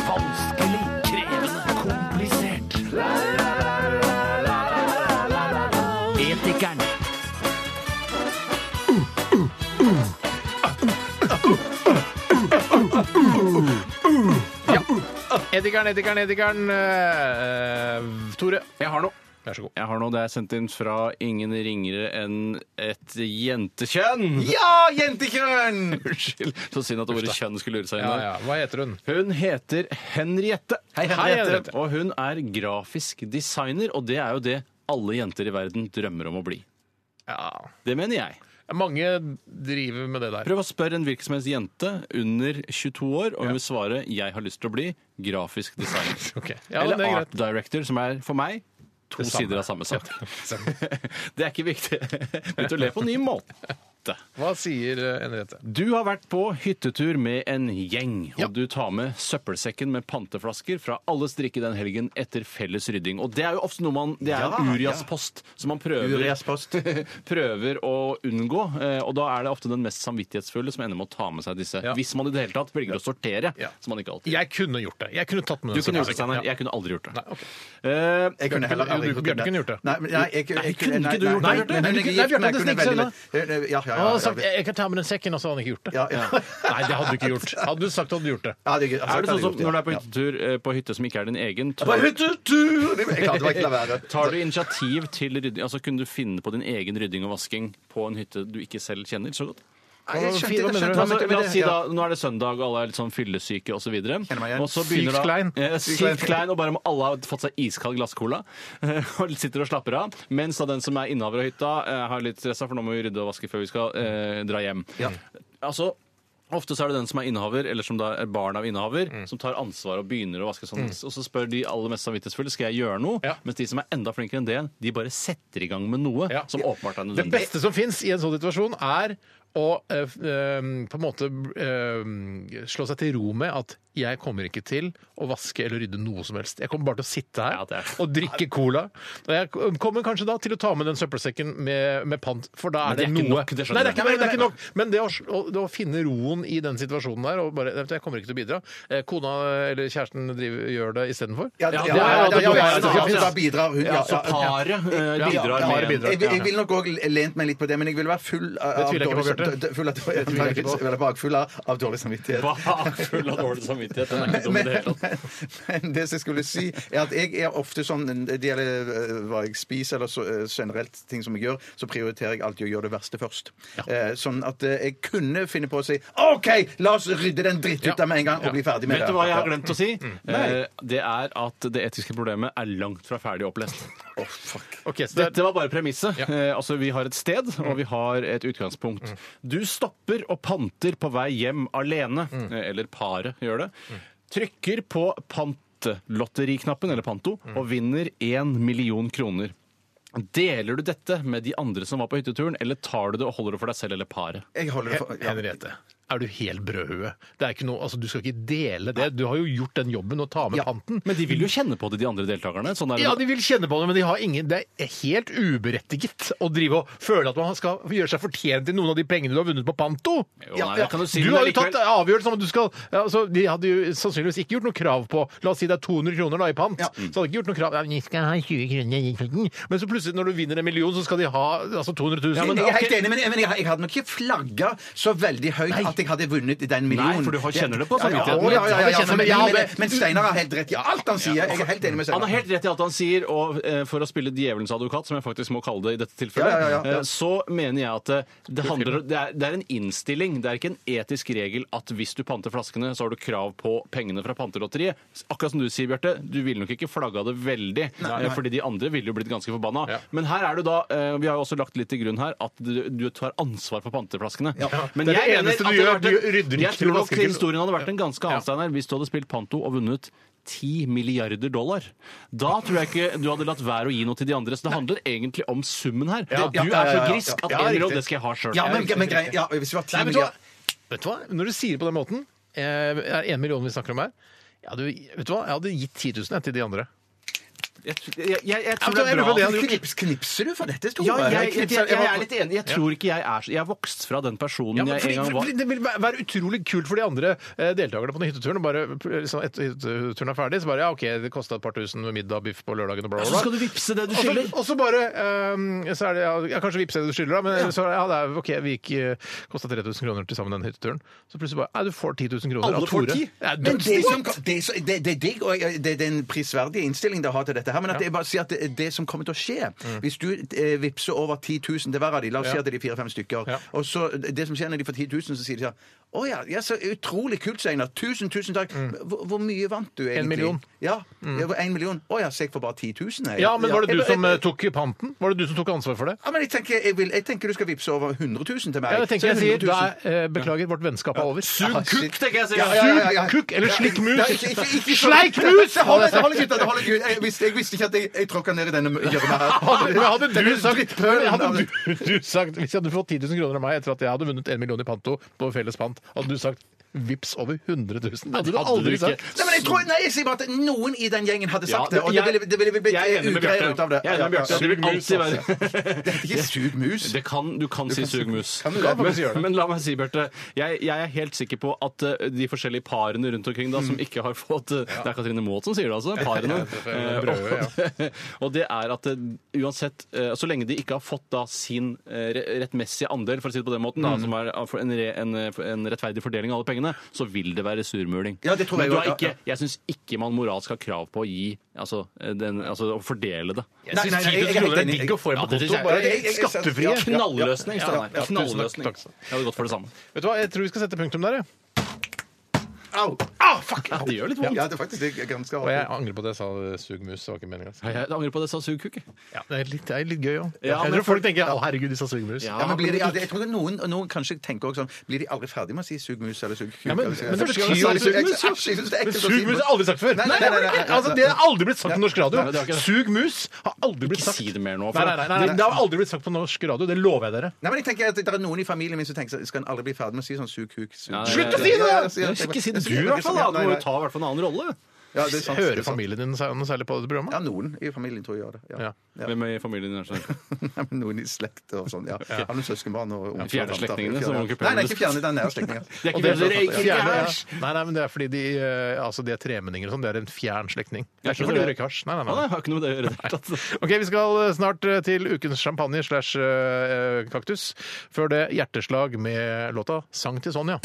B: Vanskelig, krevende, komplisert. Etikeren.
D: Etikeren, etikeren, etikeren. Eh, Tore,
F: Jeg har noe.
D: vær så god.
F: Jeg har noe det er sendt inn fra ingen ringere enn et jentekjønn.
E: Ja, jentekjønn!
F: Unnskyld. Så synd at ordet kjønn skulle lure seg inn
D: Ja,
F: der.
D: ja. Hva heter hun?
F: Hun heter Henriette.
D: Hei, Henriette.
F: Og hun er grafisk designer, og det er jo det alle jenter i verden drømmer om å bli.
D: Ja.
F: Det mener jeg.
D: Mange driver med det der.
F: Prøv å spørre en hvilken som helst jente under 22 år, og hun vil svare 'jeg har lyst til å bli grafisk designer'.
D: Ok. Ja,
F: Eller
D: det er
F: art director, som er for meg to
D: Det samme.
F: sider av samme sak. det er ikke viktig. Begynte å le på en ny måte.
D: Hva sier eh, Henriette?
F: Du har vært på hyttetur med en gjeng, og
D: Ja.
F: du tar med søppelsekken med panteflasker fra alles drikke den helgen etter felles rydding. Og det er jo ofte noe man Det er
E: Ja,
F: en Urias-post som man prøver,
E: Uriaspost.
F: prøver å unngå. eh, Og da er det ofte den mest samvittighetsfulle som ender med å ta med seg disse.
D: Ja.
F: Hvis man i det hele tatt velger å sortere,
D: Ja.
F: som man ikke alltid
D: Jeg kunne gjort det. Jeg kunne tatt med den
F: Du kunne gjort det,
D: søppelsekken.
F: Steinar.
D: Ja.
F: Jeg kunne aldri gjort det.
D: Nei, ok.
F: Eh,
E: Jeg kunne heller aldri
D: Bjarte kunne gjort det.
E: Nei, men- nei, jeg, jeg,
F: Nei,
E: jeg,
F: kunne ikke du gjort
E: nei,
F: det, Bjarte?
E: nei, men
D: Nei,
E: jeg er
D: Bjarte
E: gift, men jeg
D: hadde
E: kunne
D: sneket
E: veldig- Ja, ja, ja,
D: Han hadde
E: ja,
D: sagt 'jeg kan ta med den sekken', og så hadde han ikke gjort det.
E: ja, ja.
D: Nei, det hadde du ikke gjort. Hadde du sagt at du hadde gjort det.
E: Ja, det- Altså, jeg hadde
F: er det sånn som
E: gjort det,
F: når du er på
E: ja.
F: hyttetur eh, på hytte som ikke er din egen?
E: På hyttetur! Det- Jeg klarte ikke å la være.
F: Tar du initiativ til rydding? Altså, kunne du finne på din egen rydding og vasking på en hytte du ikke selv kjenner så godt?
E: Nei, jeg skjønte- jeg
D: Hva mener du?
E: skjønte-
F: Men altså,
E: men
F: la
E: det-
F: oss si
E: ja.
F: da, Nå er det søndag, og alle er litt sånn fyllesyke osv.
E: meg igjen.
D: Sykt klein.
F: Sykt klein, og bare må alle ha fått seg iskald glasscola. Og sitter og slapper av. Mens da den som er innehaver av hytta, eh, har litt stressa, for nå må vi rydde og vaske før vi skal eh, dra hjem. Altså, Ofte så er det den som er innehaver, eller som da er barn av innehaver, som tar ansvar og begynner å vaske sånn. Og så spør de aller mest samvittighetsfulle skal jeg gjøre noe,
D: Ja.
F: mens de som er enda flinkere enn det, de bare setter i gang med noe
D: Ja.
F: som åpenbart er
D: Det
F: nødvendig.
D: beste som fins i en sånn situasjon, er å eh, f- eh, på en måte eh, slå seg til ro med at Jeg kommer ikke til å vaske eller rydde noe som helst. Jeg kommer bare til å sitte her og drikke cola. Og jeg kommer kanskje da til å ta med den søppelsekken med, med pant, for da er
F: Men det
D: det,
F: er ikke
D: noe
F: nok, det skjønner
D: Nei, det er
F: jeg.
D: ikke, det er ikke nok. Men det å, å, det å finne roen i den situasjonen der og bare vet du, Jeg kommer ikke til å bidra. Eh, Kona eller kjæresten driver, gjør det istedenfor.
E: Ja, ja,
D: Det er jo
E: ja, ja,
D: det
E: ja,
D: dummeste
E: ja, ja,
D: som
E: ja,
D: finnes.
E: ja, da bidrar hun, ja,
F: Ja, så
E: ja, ja.
F: paret, eh,
E: Ja,
F: bidrar
E: ja,
F: med-
E: paret bidrar.
F: Ja.
E: Jeg, vil- jeg vil nok òg lent meg litt på det, men jeg ville vært full av
D: Det tviler jeg ikke på,
E: dårlig
D: Bjarte.
E: sam- full av-
D: Det
E: jeg
D: tviler jeg
E: tviler
D: ikke
E: ikke-
D: på.
E: jeg vil være bakfull av av dårlig samvittighet.
F: Full av dårlig samvittighet. Den er ikke dum i det hele tatt.
E: Men det som jeg skulle si, er at jeg er ofte sånn Det gjelder eh, hva jeg spiser, eller så, eh, generelt ting som jeg gjør, så prioriterer jeg alltid å gjøre det verste først. Eh, Sånn at eh, jeg kunne finne på å si OK, la oss rydde den dritt ut av med en gang og bli ferdig med
F: Vet
E: det.
F: du hva jeg har glemt å si?
E: Nei.
F: Eh, Det er at det etiske problemet er langt fra ferdig opplest.
D: Ok, så det er-
F: Dette var bare premisset. Eh, Altså, vi har et sted, og vi har et utgangspunkt. Du stopper og panter på vei hjem alene, eh, eller paret gjør det. Trykker på pantelotteriknappen, eller panto, og vinner én million kroner. Deler du dette med de andre som var på hytteturen, eller tar du det og holder det for deg selv eller paret?
E: Jeg holder det for
D: Hen- Henriette, er du helt brødhue? Det er ikke noe, altså, du skal ikke dele det. Du har jo gjort den jobben å ta med panten.
F: Men de vil jo kjenne på det, de andre deltakerne. Sånn er det.
D: Ja, de vil kjenne på det, men de har ingen, det er helt uberettiget å drive og føle at man skal gjøre seg fortjent til noen av de pengene du har vunnet på panto.
F: Jo, nei, det kan du si,
D: du
F: men
D: har jo
F: likevel-
D: tatt avgjørelsen om at du skal ja, altså, De hadde jo sannsynligvis ikke gjort noe krav på La oss si det er 200 kroner da, i pant. Så hadde de ikke gjort noe krav. Ja, men jeg skal ha 20 kroner. i panten. Men så plutselig, når du vinner en million, så skal de ha altså 200 000.
E: Jeg jeg er helt enig, men, men jeg, jeg hadde nok ikke flagga så veldig høyt at jeg hadde vunnet den millionen.
F: Nei, for du har- kjenner det på
E: Ja, ja,
F: samvittigheten.
E: Ja, ja, ja, ja,
D: Jeg kjenner
E: men,
D: det, ja,
E: men, men,
D: det-
E: men Steinar har helt rett i alt han sier. Jeg er helt enig med
F: Han har
E: Steinar.
F: helt rett i alt han sier, og eh, for å spille djevelens advokat, som jeg faktisk må kalle det i dette tilfellet,
E: Ja, ja, ja, ja.
F: eh, så mener jeg at eh, det, handler, det, er, det er en innstilling. Det er ikke en etisk regel at hvis du panter flaskene, så har du krav på pengene fra pantelotteriet. Akkurat som du sier, Bjarte, du ville nok ikke flagga det veldig, eh, fordi de andre ville jo blitt ganske forbanna. Men her er du da eh, Vi har jo også lagt litt til grunn her at du, du tar ansvar for panteflaskene. Men
D: Det er det
F: jeg mener
D: eneste du
F: at
D: gjør,
F: hadde vært en-
D: du rydder
F: Jeg
D: ikke
F: tror
D: og
F: nok
D: vasker ikke.
F: historien hadde vært en ganske annen Steinar, hvis du hadde spilt panto og vunnet 10 milliarder dollar. Da tror jeg ikke du hadde latt være å gi noe til de andre. Så det handler egentlig om summen her.
D: Ja,
F: Du
E: ja, ja,
F: er så
E: ja, ja.
F: grisk at
E: Ja,
F: en million,
E: riktig.
F: det skal jeg ha sjøl.
E: Ja, men, men grei, ja, hvis vi var ti
D: Nei, vet du hva?
E: milliarder
D: Vet du hva? Når du sier det på den måten, eh, er én million vi snakker om her ja, du, vet du hva? Jeg hadde gitt 10 000 jeg, til de andre.
F: Jeg, jeg, jeg, jeg
D: Ja, men
F: tror det
D: jeg
F: er
D: lurer på
F: bra.
D: det han
E: Knips, knipser du for dette, Tore?
F: Ja, jeg, jeg,
E: knipser-
F: jeg, jeg er litt enig. Jeg tror ikke jeg er så Jeg er vokst fra den personen
D: Ja, men
F: jeg
D: fordi,
F: en gang var.
D: fordi Det vil væ- være utrolig kult for de andre eh, deltakerne på den hytteturen. og Bare, eh, liksom, etter hytteturen er ferdig, så bare ja, OK, det kosta et par tusen med middag, biff på lørdagen og bla, bla,
F: Så
D: bla.
F: skal du vippse det du
D: Og så-
F: skylder.
D: Og så bare ehm, så er det, ja, ja, Kanskje vippse det du skylder, da, men så er det, ja, det er, OK, vi gikk eh, kosta 3000 kroner til sammen den hytteturen. Så plutselig bare Nei, du får 10 000 kroner
F: Alle
D: av
F: får
D: Tore.
F: 10?
D: Ja,
E: Men det,
D: dødsnitt.
E: som, det, som- det, det er digg, og jeg- det, det er en prisverdig innstilling det har til dette her, men at jeg bare sier at det, det som kommer til å skje
D: Mm.
E: Hvis du eh, vippser over 10 000 til hver av de, la oss si at det er fire-fem stykker,
D: Ja.
E: og så det som skjer når de får 10 000, så sier de sånn Å ja, ja, så utrolig kult, Steinar. Tusen, tusen takk. Hvor, hvor mye vant du egentlig?
D: Mm. million. Mm.
E: Ja, ja, en million. Å ja, så jeg får bare 10 000? jeg.
D: Ja, men var det du
E: Jeg-
D: som eh,
E: jeg-
D: tok panten? Var det du som tok ansvar for det?
E: ja, men jeg tenker, jeg, vil, jeg tenker du skal vippse over 100 000 til meg.
D: Ja, det tenker
E: Så
D: jeg sier.
E: 100 000.
D: Da er, eh, beklager, vårt vennskap er over. Sug
E: kukk,
F: tenker jeg å si.
E: Ja, ja, ja, ja, ja.
D: Sug kukk eller slikk mus.
E: Ja, ikke- ikke- ikke- sånn. ikke-
D: Sleik mus!
E: Det holder, det holder, gutter, det holder, gutt. Jeg visste, jeg visste ikke at jeg, jeg tråkka ned i denne gjørma her.
D: Men hadde
E: Denne
D: du sagt,
E: drittpølen
D: hadde
E: av det.
D: du, du sagt Hvis jeg hadde fått 10 000 kroner av meg etter at jeg hadde vunnet 1 million i panto på felles pant, hadde du sagt vips over 100 000? Det hadde du
F: Hadde du
D: aldri
F: ikke.
D: sagt.
E: Nei, men jeg tror, nei, jeg sier bare at noen i den gjengen hadde sagt det, og det
F: jeg-
E: ville, det ville blitt
F: jeg er enig med
E: ugreier ut av
F: Bjarte.
E: det.
F: Jeg er enig med Bjarte. Det vil alltid være
E: Det er ikke sug mus.
F: Det kan, du kan si
E: kan si-
F: sug mus.
E: Kan du det?
F: Men,
E: Faktisk gjør det.
F: men la meg si, Bjarte, jeg, jeg er helt sikker på at eh, de forskjellige parene rundt omkring da,
E: Mm.
F: som ikke har fått eh, Det er Katrine Moholt som sier det, altså. Parene.
D: er brødet,
F: Eh, og- og det er at eh, uansett, eh, så lenge de ikke har fått da sin eh, re- rettmessige andel, for å si det på den måten,
E: Mm.
F: da, som er av- for en, re, en, eh, en rettferdig fordeling av alle pengene, så vil det være surmuling.
E: Ja, det tror
F: men
E: jeg
F: du
E: jo,
F: har
E: ja,
F: ikke,
E: ja.
F: jeg syns ikke man moralsk har krav på å gi altså, eh, den, altså å fordele det.
E: Nei, nei, nei, jeg er
D: 10 000
E: helt
D: kroner er
E: enig.
D: digg å få inn
F: Ja,
D: på
F: det synes
D: konto.
F: jeg-
D: Bare
E: jeg- jeg- jeg-
D: skattefrie.
E: ja, ja.
F: Knallløsning,
D: Ja,
F: Steinar.
D: ja, tusen takk,
F: Knallløsning.
D: takk.
F: Jeg hadde gått for det samme.
D: Vet du hva, jeg tror vi skal sette punktum der, jeg.
E: Au!
D: Ah, fuck!
F: Det gjør litt vondt.
E: Ja, det er faktisk det er ganske
D: Og jeg
E: hardt.
D: angrer på at jeg sa sug mus. Det var ikke meninga.
F: Jeg angrer på det jeg sa sugkuk.
D: Ja, det, er litt- det er litt gøy òg.
F: Ja,
D: jeg
F: men
D: tror folk tenker 'Å, herregud, de sa sug mus'.
E: Ja, men blir de, ja, det- jeg tror noen, og noen kanskje tenker også sånn Blir de aldri ferdig med å si sug mus eller sug kuk?
D: Ja, men,
E: eller-
D: men det
E: Første
D: betyr
E: gang jeg
D: jo
E: sa
D: at
E: det,
D: sug
E: jeg-
D: mus
E: jeg- jeg synes det er
D: Men
E: ekkelt å
D: sug
E: si.
D: mus har aldri sagt før.
E: Nei, nei, nei, nei, nei, nei, nei.
D: Altså, det har aldri blitt sagt på norsk radio.
F: Nei, det har ikke det.
D: Sug mus har aldri blitt
F: Ikke
D: sagt.
F: si det mer nå.
D: Nei, nei, nei, nei, Det har aldri blitt sagt på norsk radio. Det lover jeg dere.
E: Nei, men jeg tenker at Det er noen i familien min som tenker sånn, skal han aldri bli ferdig med å si sånn sug kuk sug.
F: Ja,
E: kuk?»
F: Slutt
D: å si det!
E: Ja, ja, ja, ja.
F: Ikke si det,
E: Jeg synes
F: du i hvert fall. da!
E: Ja,
F: Du
E: nei,
F: må
E: nei.
F: jo ta i hvert fall en annen rolle.
E: Ja, det er sant, det
D: Hører
E: er sant.
D: familien din seg- noe særlig på det programmet?
E: Ja, noen i familien tror jeg gjør det. Ja.
F: Hvem i familien din er sånn?
E: Nei, men noen i slekt og sånn. Ja. Har noen søskenbarn og
F: Ja, fjerne
E: og tanter.
F: slektningene, som onkel Per
E: Nei, nei, ikke fjerne den nære slektningen.
F: Det er ikke
E: Og
F: fjerne, det er ikke
E: Ja.
F: fjerne,
E: Ja.
D: Nei, nei, men det er fordi de, eh, altså de er tremenninger og sånn. Det er en fjern slektning. Det er
F: Jeg
D: ikke
F: skjønner
D: fordi de
F: det.
D: røyker hasj. Nei, nei,
F: Ja,
D: nei.
F: det har ikke noe med det å gjøre. i det hele tatt.
D: Ok, Vi skal eh, snart eh, til ukens champagne slash eh, kaktus. Før det hjerteslag med låta 'Sang til Sonja'.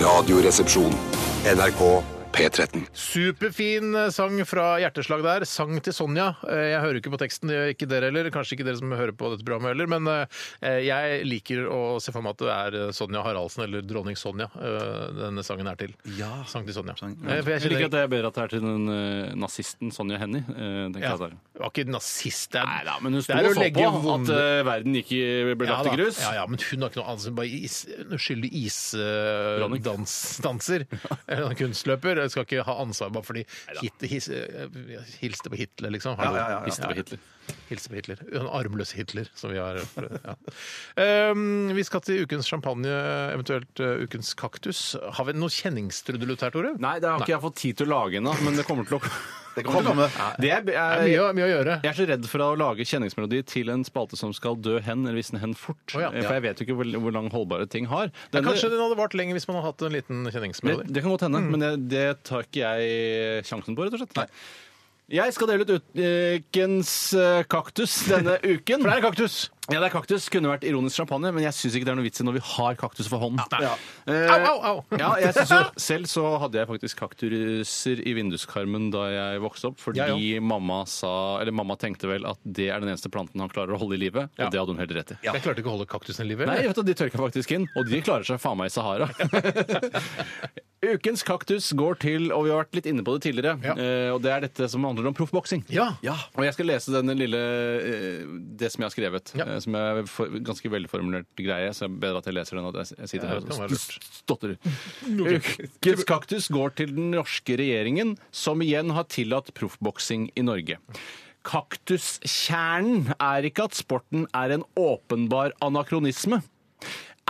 A: Radioresepsjon. NRK P13.
D: Superfin eh, sang fra hjerteslag der. 'Sang til Sonja'. Eh, Jeg hører ikke på teksten, det gjør ikke dere heller. Kanskje ikke dere som hører på dette programmet heller, men eh, jeg liker å se for meg at det er eh, Sonja Haraldsen eller dronning Sonja eh, denne sangen er til.
E: Ja.
D: 'Sang til Sonja'. Eh,
F: Jeg
D: for jeg
F: liker
D: kjenner
F: at det er bedre at det er til den eh, nazisten Sonja Hennie. eh, tenker
D: ja,
F: jeg at det er.
D: det var ikke nazist. Det er,
F: Nei da, men hun sto
D: det er
F: og
D: å
F: så
D: legge
F: på at
D: vonde-
F: eh, verden ikke ble lagt
D: da.
F: i grus.
D: Ja, ja, men hun har ikke noe annet som bare is, en uskyldig
F: Dronning.
D: isdanser. Eller en kunstløper. Jeg skal ikke ha ansvar bare fordi hit, his, eh, hilste på Hitler, liksom. Hallo.
F: Ja, ja, ja, ja. Hilste på Hitler.
D: Hilste på Hitler. En armløs Hitler, som vi har. eh, Ja. Um, vi skal til ukens champagne, eventuelt uh, ukens kaktus. Har vi noe kjenningstrudelutt her, Tore?
F: Nei, det har ikke jeg fått tid til å lage ennå, men det kommer til å
E: Det kommer til å komme.
F: Det er,
D: Det er mye, å- mye å gjøre.
F: Jeg er så redd for å lage kjenningsmelodi til en spalte som skal dø hen, eller visne hen fort.
D: Å, ja.
F: Eh, For jeg vet jo ikke hvor, hvor lang holdbare ting har.
D: Ja,
F: Denne-
D: kanskje Mm. den hadde vart lenger hvis man hadde hatt en liten kjenningsmelodi.
F: det, det kan godt hende, men det, det tar ikke jeg sjansen på, rett og slett. Jeg skal dele ut ut- ukens eh, kaktus denne uken. For det er kaktus! Ja, det er kaktus. Kunne vært ironisk champagne, men jeg syns ikke det er noe vits i når vi har kaktus for hånden.
D: Ja.
F: Eh,
D: Au, au, au!
F: ja, jeg synes jo, selv så hadde jeg faktisk kaktuser i vinduskarmen da jeg vokste opp, fordi
D: Jeg
F: mamma sa, eller mamma tenkte vel at det er den eneste planten han klarer å holde i live, og
D: Ja.
F: det hadde hun helt rett i.
D: Jeg klarte ikke å holde kaktusen i live.
F: Nei,
D: eller?
F: vet du, de tørka faktisk inn, og de klarer seg faen meg i Sahara. Ukens kaktus går til, og vi har vært litt inne på det tidligere,
D: Ja.
F: eh, og det er dette som handler om proffboksing.
D: Ja.
F: Og jeg skal lese denne lille eh, det som jeg har skrevet,
D: Ja.
F: eh, som er for, ganske velformulert greie, så det er bedre at jeg leser den enn at jeg, jeg sitter
D: Ja,
F: her
D: det kan
F: og
D: være
F: st- stotterer. Ukens kaktus går til den norske regjeringen, som igjen har tillatt proffboksing i Norge. Kaktuskjernen er ikke at sporten er en åpenbar anakronisme.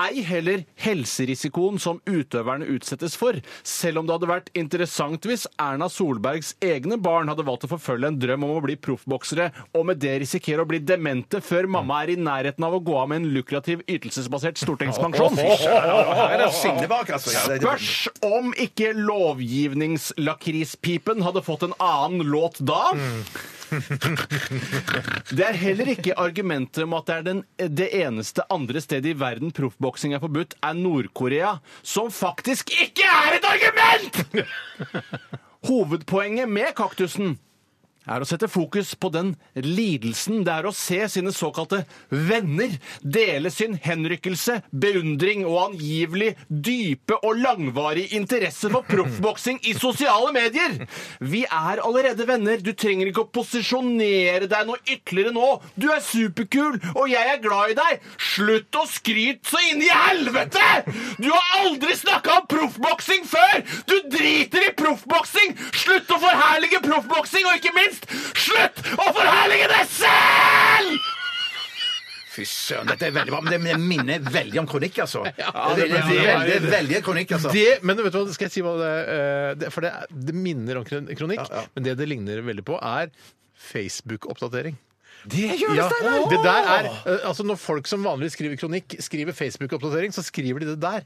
F: Ei heller helserisikoen som utøverne utsettes for, selv om det hadde vært interessant hvis Erna Solbergs egne barn hadde valgt å forfølge en drøm om å bli proffboksere, og med det risikere å bli demente før mamma er i nærheten av å gå av med en lukrativ ytelsesbasert stortingspensjon.
E: Her er skinnet bak, altså. Ja, det-
F: Spørs om ikke lovgivningslakrispipen hadde fått en annen låt da. Det er heller ikke argumentet om at det er den, det eneste andre stedet i verden proffboksing er forbudt, er Nord-Korea, som faktisk ikke er et argument! Hovedpoenget med kaktusen er å sette fokus på den lidelsen det er å se sine såkalte venner dele sin henrykkelse, beundring og angivelig dype og langvarig interesse for proffboksing i sosiale medier. Vi er allerede venner. Du trenger ikke å posisjonere deg noe ytterligere nå. Du er superkul, og jeg er glad i deg. Slutt å skryte så inn i helvete! Du har aldri snakka om proffboksing før! Du driter i proffboksing! Slutt å forherlige proffboksing, og ikke minst, slutt å forherlige deg selv!
E: Fy søren, dette er veldig bra. Men det minner veldig om kronikk, altså. Det
D: Ja,
E: det
D: det-
E: er veldig, det er veldig kronikk, altså.
D: Det, men vet du hva, skal jeg si hva det er? Eh, det- For det, er- det minner om kron- kronikk,
E: Ja, ja.
D: men det det ligner veldig på, er Facebook-oppdatering.
F: Det gjør
D: Ja, det der er, eh, altså Når folk som vanligvis skriver kronikk, skriver Facebook-oppdatering, så skriver de det der.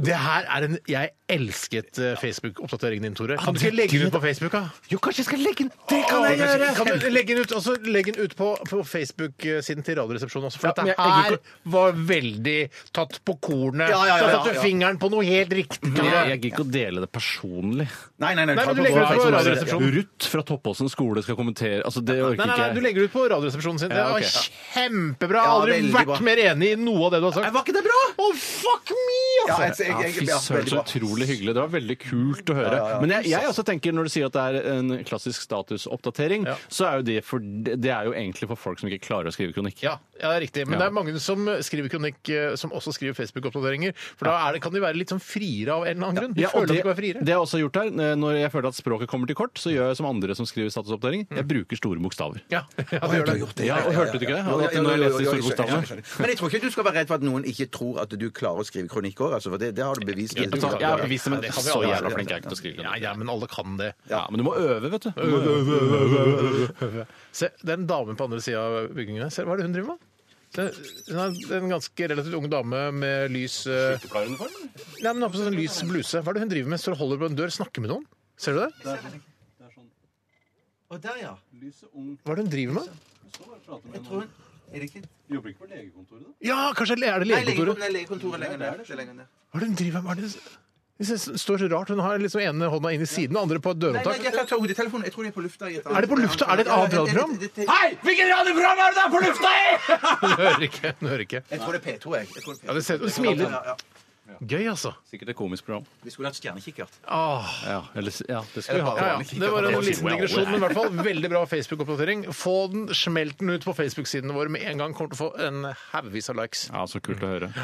D: Det her er en Jeg elsket eh, Facebook-oppdateringen din, Tore. Kan du ikke legge den ut på Facebook? da?
F: Jo, kanskje jeg skal legge den Det kan jeg
D: Å,
F: gjøre!
D: Kan du legge den ut, altså, legg den ut på, på Facebook-siden til Radioresepsjonen også, for
F: Ja,
D: dette
F: men jeg- jeg
D: her
F: gikk-
D: var veldig tatt på kornet.
E: Ja, ja, ja,
D: Da
E: ja,
D: satte du
E: ja.
D: fingeren på noe helt riktig.
F: Jeg gidder ikke å dele det personlig.
E: Nei, nei, nei.
D: Nei,
E: ta
D: men du
E: på- Sånn,
D: legger ut på
E: ta-
D: Radioresepsjonen.
F: Ruth fra Toppåsen skole skal kommentere. Altså, det
D: Nei,
F: orker
D: nei,
F: ikke
D: nei, du legger det ut på Radioresepsjonen sin. Det
F: Ja, ok.
D: var kjempebra.
E: Ja,
D: Aldri
E: veldig
D: vært
E: bra.
D: mer enig i noe av det du har sagt.
F: Var ikke det bra?
D: Å, fuck me,
E: altså! jeg- jeg- jeg-
F: Ja, Fy
E: ja,
F: søren,
E: veldig
F: så
E: bra.
F: utrolig hyggelig. Det var veldig kult å høre.
E: Ja, ja, ja.
F: Men jeg, jeg også tenker, når du sier at det er en klassisk statusoppdatering, så er jo det, for, det er jo egentlig for folk som ikke klarer å skrive kronikk.
D: Ja, ja, det er riktig. Men det
F: Ja.
D: er mange som skriver kronikk, eh, som også skriver Facebook-oppdateringer. For da er det, kan de være litt sånn friere av en eller annen grunn. De
F: Ja, og
D: føler
F: det,
D: at de kan være friere.
F: det jeg også har gjort her, eh, Når jeg føler at språket kommer til kort, så gjør jeg som andre som skriver statusoppdatering. Jeg bruker store bokstaver.
D: Ja, ja, det
E: Å, ja,
D: gjør
E: du har
D: det.
E: gjort det.
F: Ja, og hørte du ikke det?
E: Jo, jo,
F: At når jeg
E: jo,
F: leste
E: jo,
F: de
E: jo,
F: store
E: jeg skjønner,
F: bokstavene.
E: jeg skjønner. Men jeg tror ikke du skal være redd for at noen ikke tror at du klarer å skrive kronikk òg, altså, for det, det har du bevist.
F: Jeg
E: Du
F: tar-
E: kan-
F: jeg er bevisst, men
E: Ja, det kan vi
F: så
E: alle.
F: jævla flink er jeg ikke til å skrive
D: Ja,
F: kronikk.
D: ja, men alle kan det.
F: Ja, men du må øve, vet du. Du må øve.
D: Se, det er en dame på andre sida av bygningen her. Se, Hva er det hun driver med? Se, Hun er en ganske relativt ung dame med lys eh, Nei, men hun har på seg sånn lys bluse. Hva er det hun driver med? Står og holder på en dør, snakker med noen. Ser du det?
E: Å, der, ja.
D: Hva er det hun driver med?
E: Jeg tror hun Er det ikke
F: Jobber ikke på legekontoret, da?
D: Ja, kanskje er det
E: Nei, lege-
D: legekontoret?
E: nei, legekontoret lenger ned. Det er lenger ned.
D: Hva er det hun driver med? Hva er det det s- står så rart. Hun har liksom ene hånda inn i siden, den andre på et
E: Nei, nei,
D: dørhåndtak.
E: jeg kan ta hodetelefonen. Jeg tror de er på lufta. i et annet-
D: Er det på lufta? Er det et annet radioprogram?
E: Hei! Hvilket radioprogram er det der på lufta i?!
D: Hun hører ikke. Hun hører ikke.
E: Jeg tror det er P2, jeg. jeg tror det er P2.
D: Ja, det ser-
E: Jeg tror
D: smiler.
E: Ja, ja.
D: Gøy, altså.
F: Sikkert et komisk program.
E: Vi skulle hatt stjernekikkert.
D: Åh.
F: Ja, eller, s- ja det skal vi
D: Ja,
F: ha.
D: ja. Det var en liten digresjon, men i hvert fall veldig bra Facebook-oppdatering. Få den, smelt den ut på Facebook-sidene våre med en gang. Kommer til å få en haugvis av likes.
F: Ja, så kult å høre.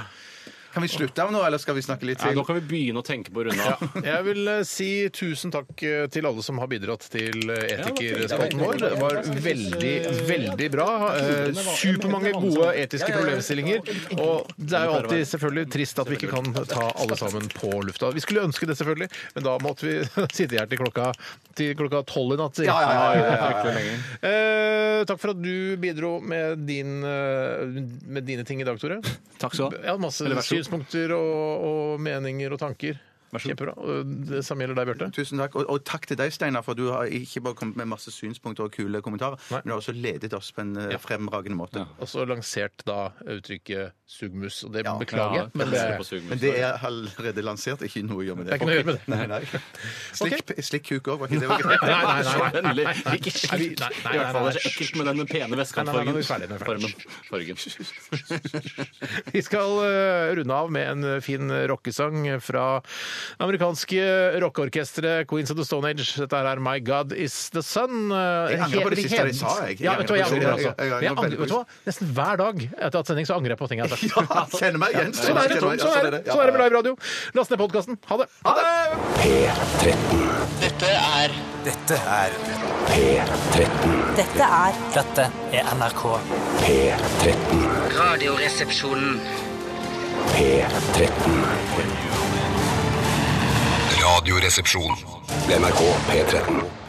E: Kan vi slutte av nå, eller skal vi snakke litt
F: Ja,
E: til?
F: nå kan vi begynne å tenke på å runde av.
D: Jeg vil eh, si tusen takk eh, til alle som har bidratt til eh, Etikerspalten vår. Det var veldig, veldig bra. Eh, Supermange gode etiske problemstillinger. Og det er jo alltid selvfølgelig trist at vi ikke kan ta alle sammen på lufta. Vi skulle ønske det, selvfølgelig, men da måtte vi sitte her til klokka til klokka tolv i natt. sier jeg.
E: Ja, ja, ja, ja, ja, ja.
D: Eh, Takk for at du bidro med, din, eh, med dine ting i dag, Tore.
F: Takk skal du ha.
D: Ja, masse
F: Eller vær så god.
D: synspunkter og, og meninger og tanker. Kjempebra. Og Det samme gjelder deg, Bjarte.
E: Tusen takk. Og, og takk til deg, Steinar, for du har ikke bare kommet med masse synspunkter og kule kommentarer, men du har også ledet oss på en eh, fremragende måte.
D: Og så lansert da uttrykket 'sugmus'. Og det
E: Ja.
D: beklager jeg, men det
F: Ja,
D: er
E: Men det er allerede lansert, ikke noe å gjøre med
D: Det
E: det.
D: er ikke noe å gjøre med det.
E: Nei, nei. Slikk, slikk kuk òg, var ikke det var greit?
D: Nei, nei, nei.
F: Vennlig. Ikke
D: Nei, vi-
F: slik.
D: nei, nei,
F: I hvert fall
D: nei,
F: det er så
D: nei.
F: ekkelt med den pene
D: Nei, nei, nei, nå er vi
F: vestkantfargen.
D: ferdig, nå er vi ferdig.
F: Farmen. Fargen.
D: Vi skal eh, runde av med en fin rockesang fra det amerikanske rockeorkesteret Queens of the Stone Age. Dette her er 'My God Is The Sun'. Jeg
E: angrer på det siste jeg sa, jeg. Jeg
D: Ja, vet du hva, jeg
E: angrer på
D: angrer også.
E: det. Jeg angrer
D: Men jeg
E: veldig
D: angrer, vet du hva? Nesten hver dag etter at sending så angrer jeg på ting jeg har sagt.
E: Ja, kjenner meg igjen.
D: Sånn er det, Tom. Sånn er det, sånn er det med live radio. Last ned podkasten. Ha det! Ha det!
M: Dette er Dette er
N: Dette er Dette er NRK.
M: Radioresepsjonen.
A: Radioresepsjon. NRK P13.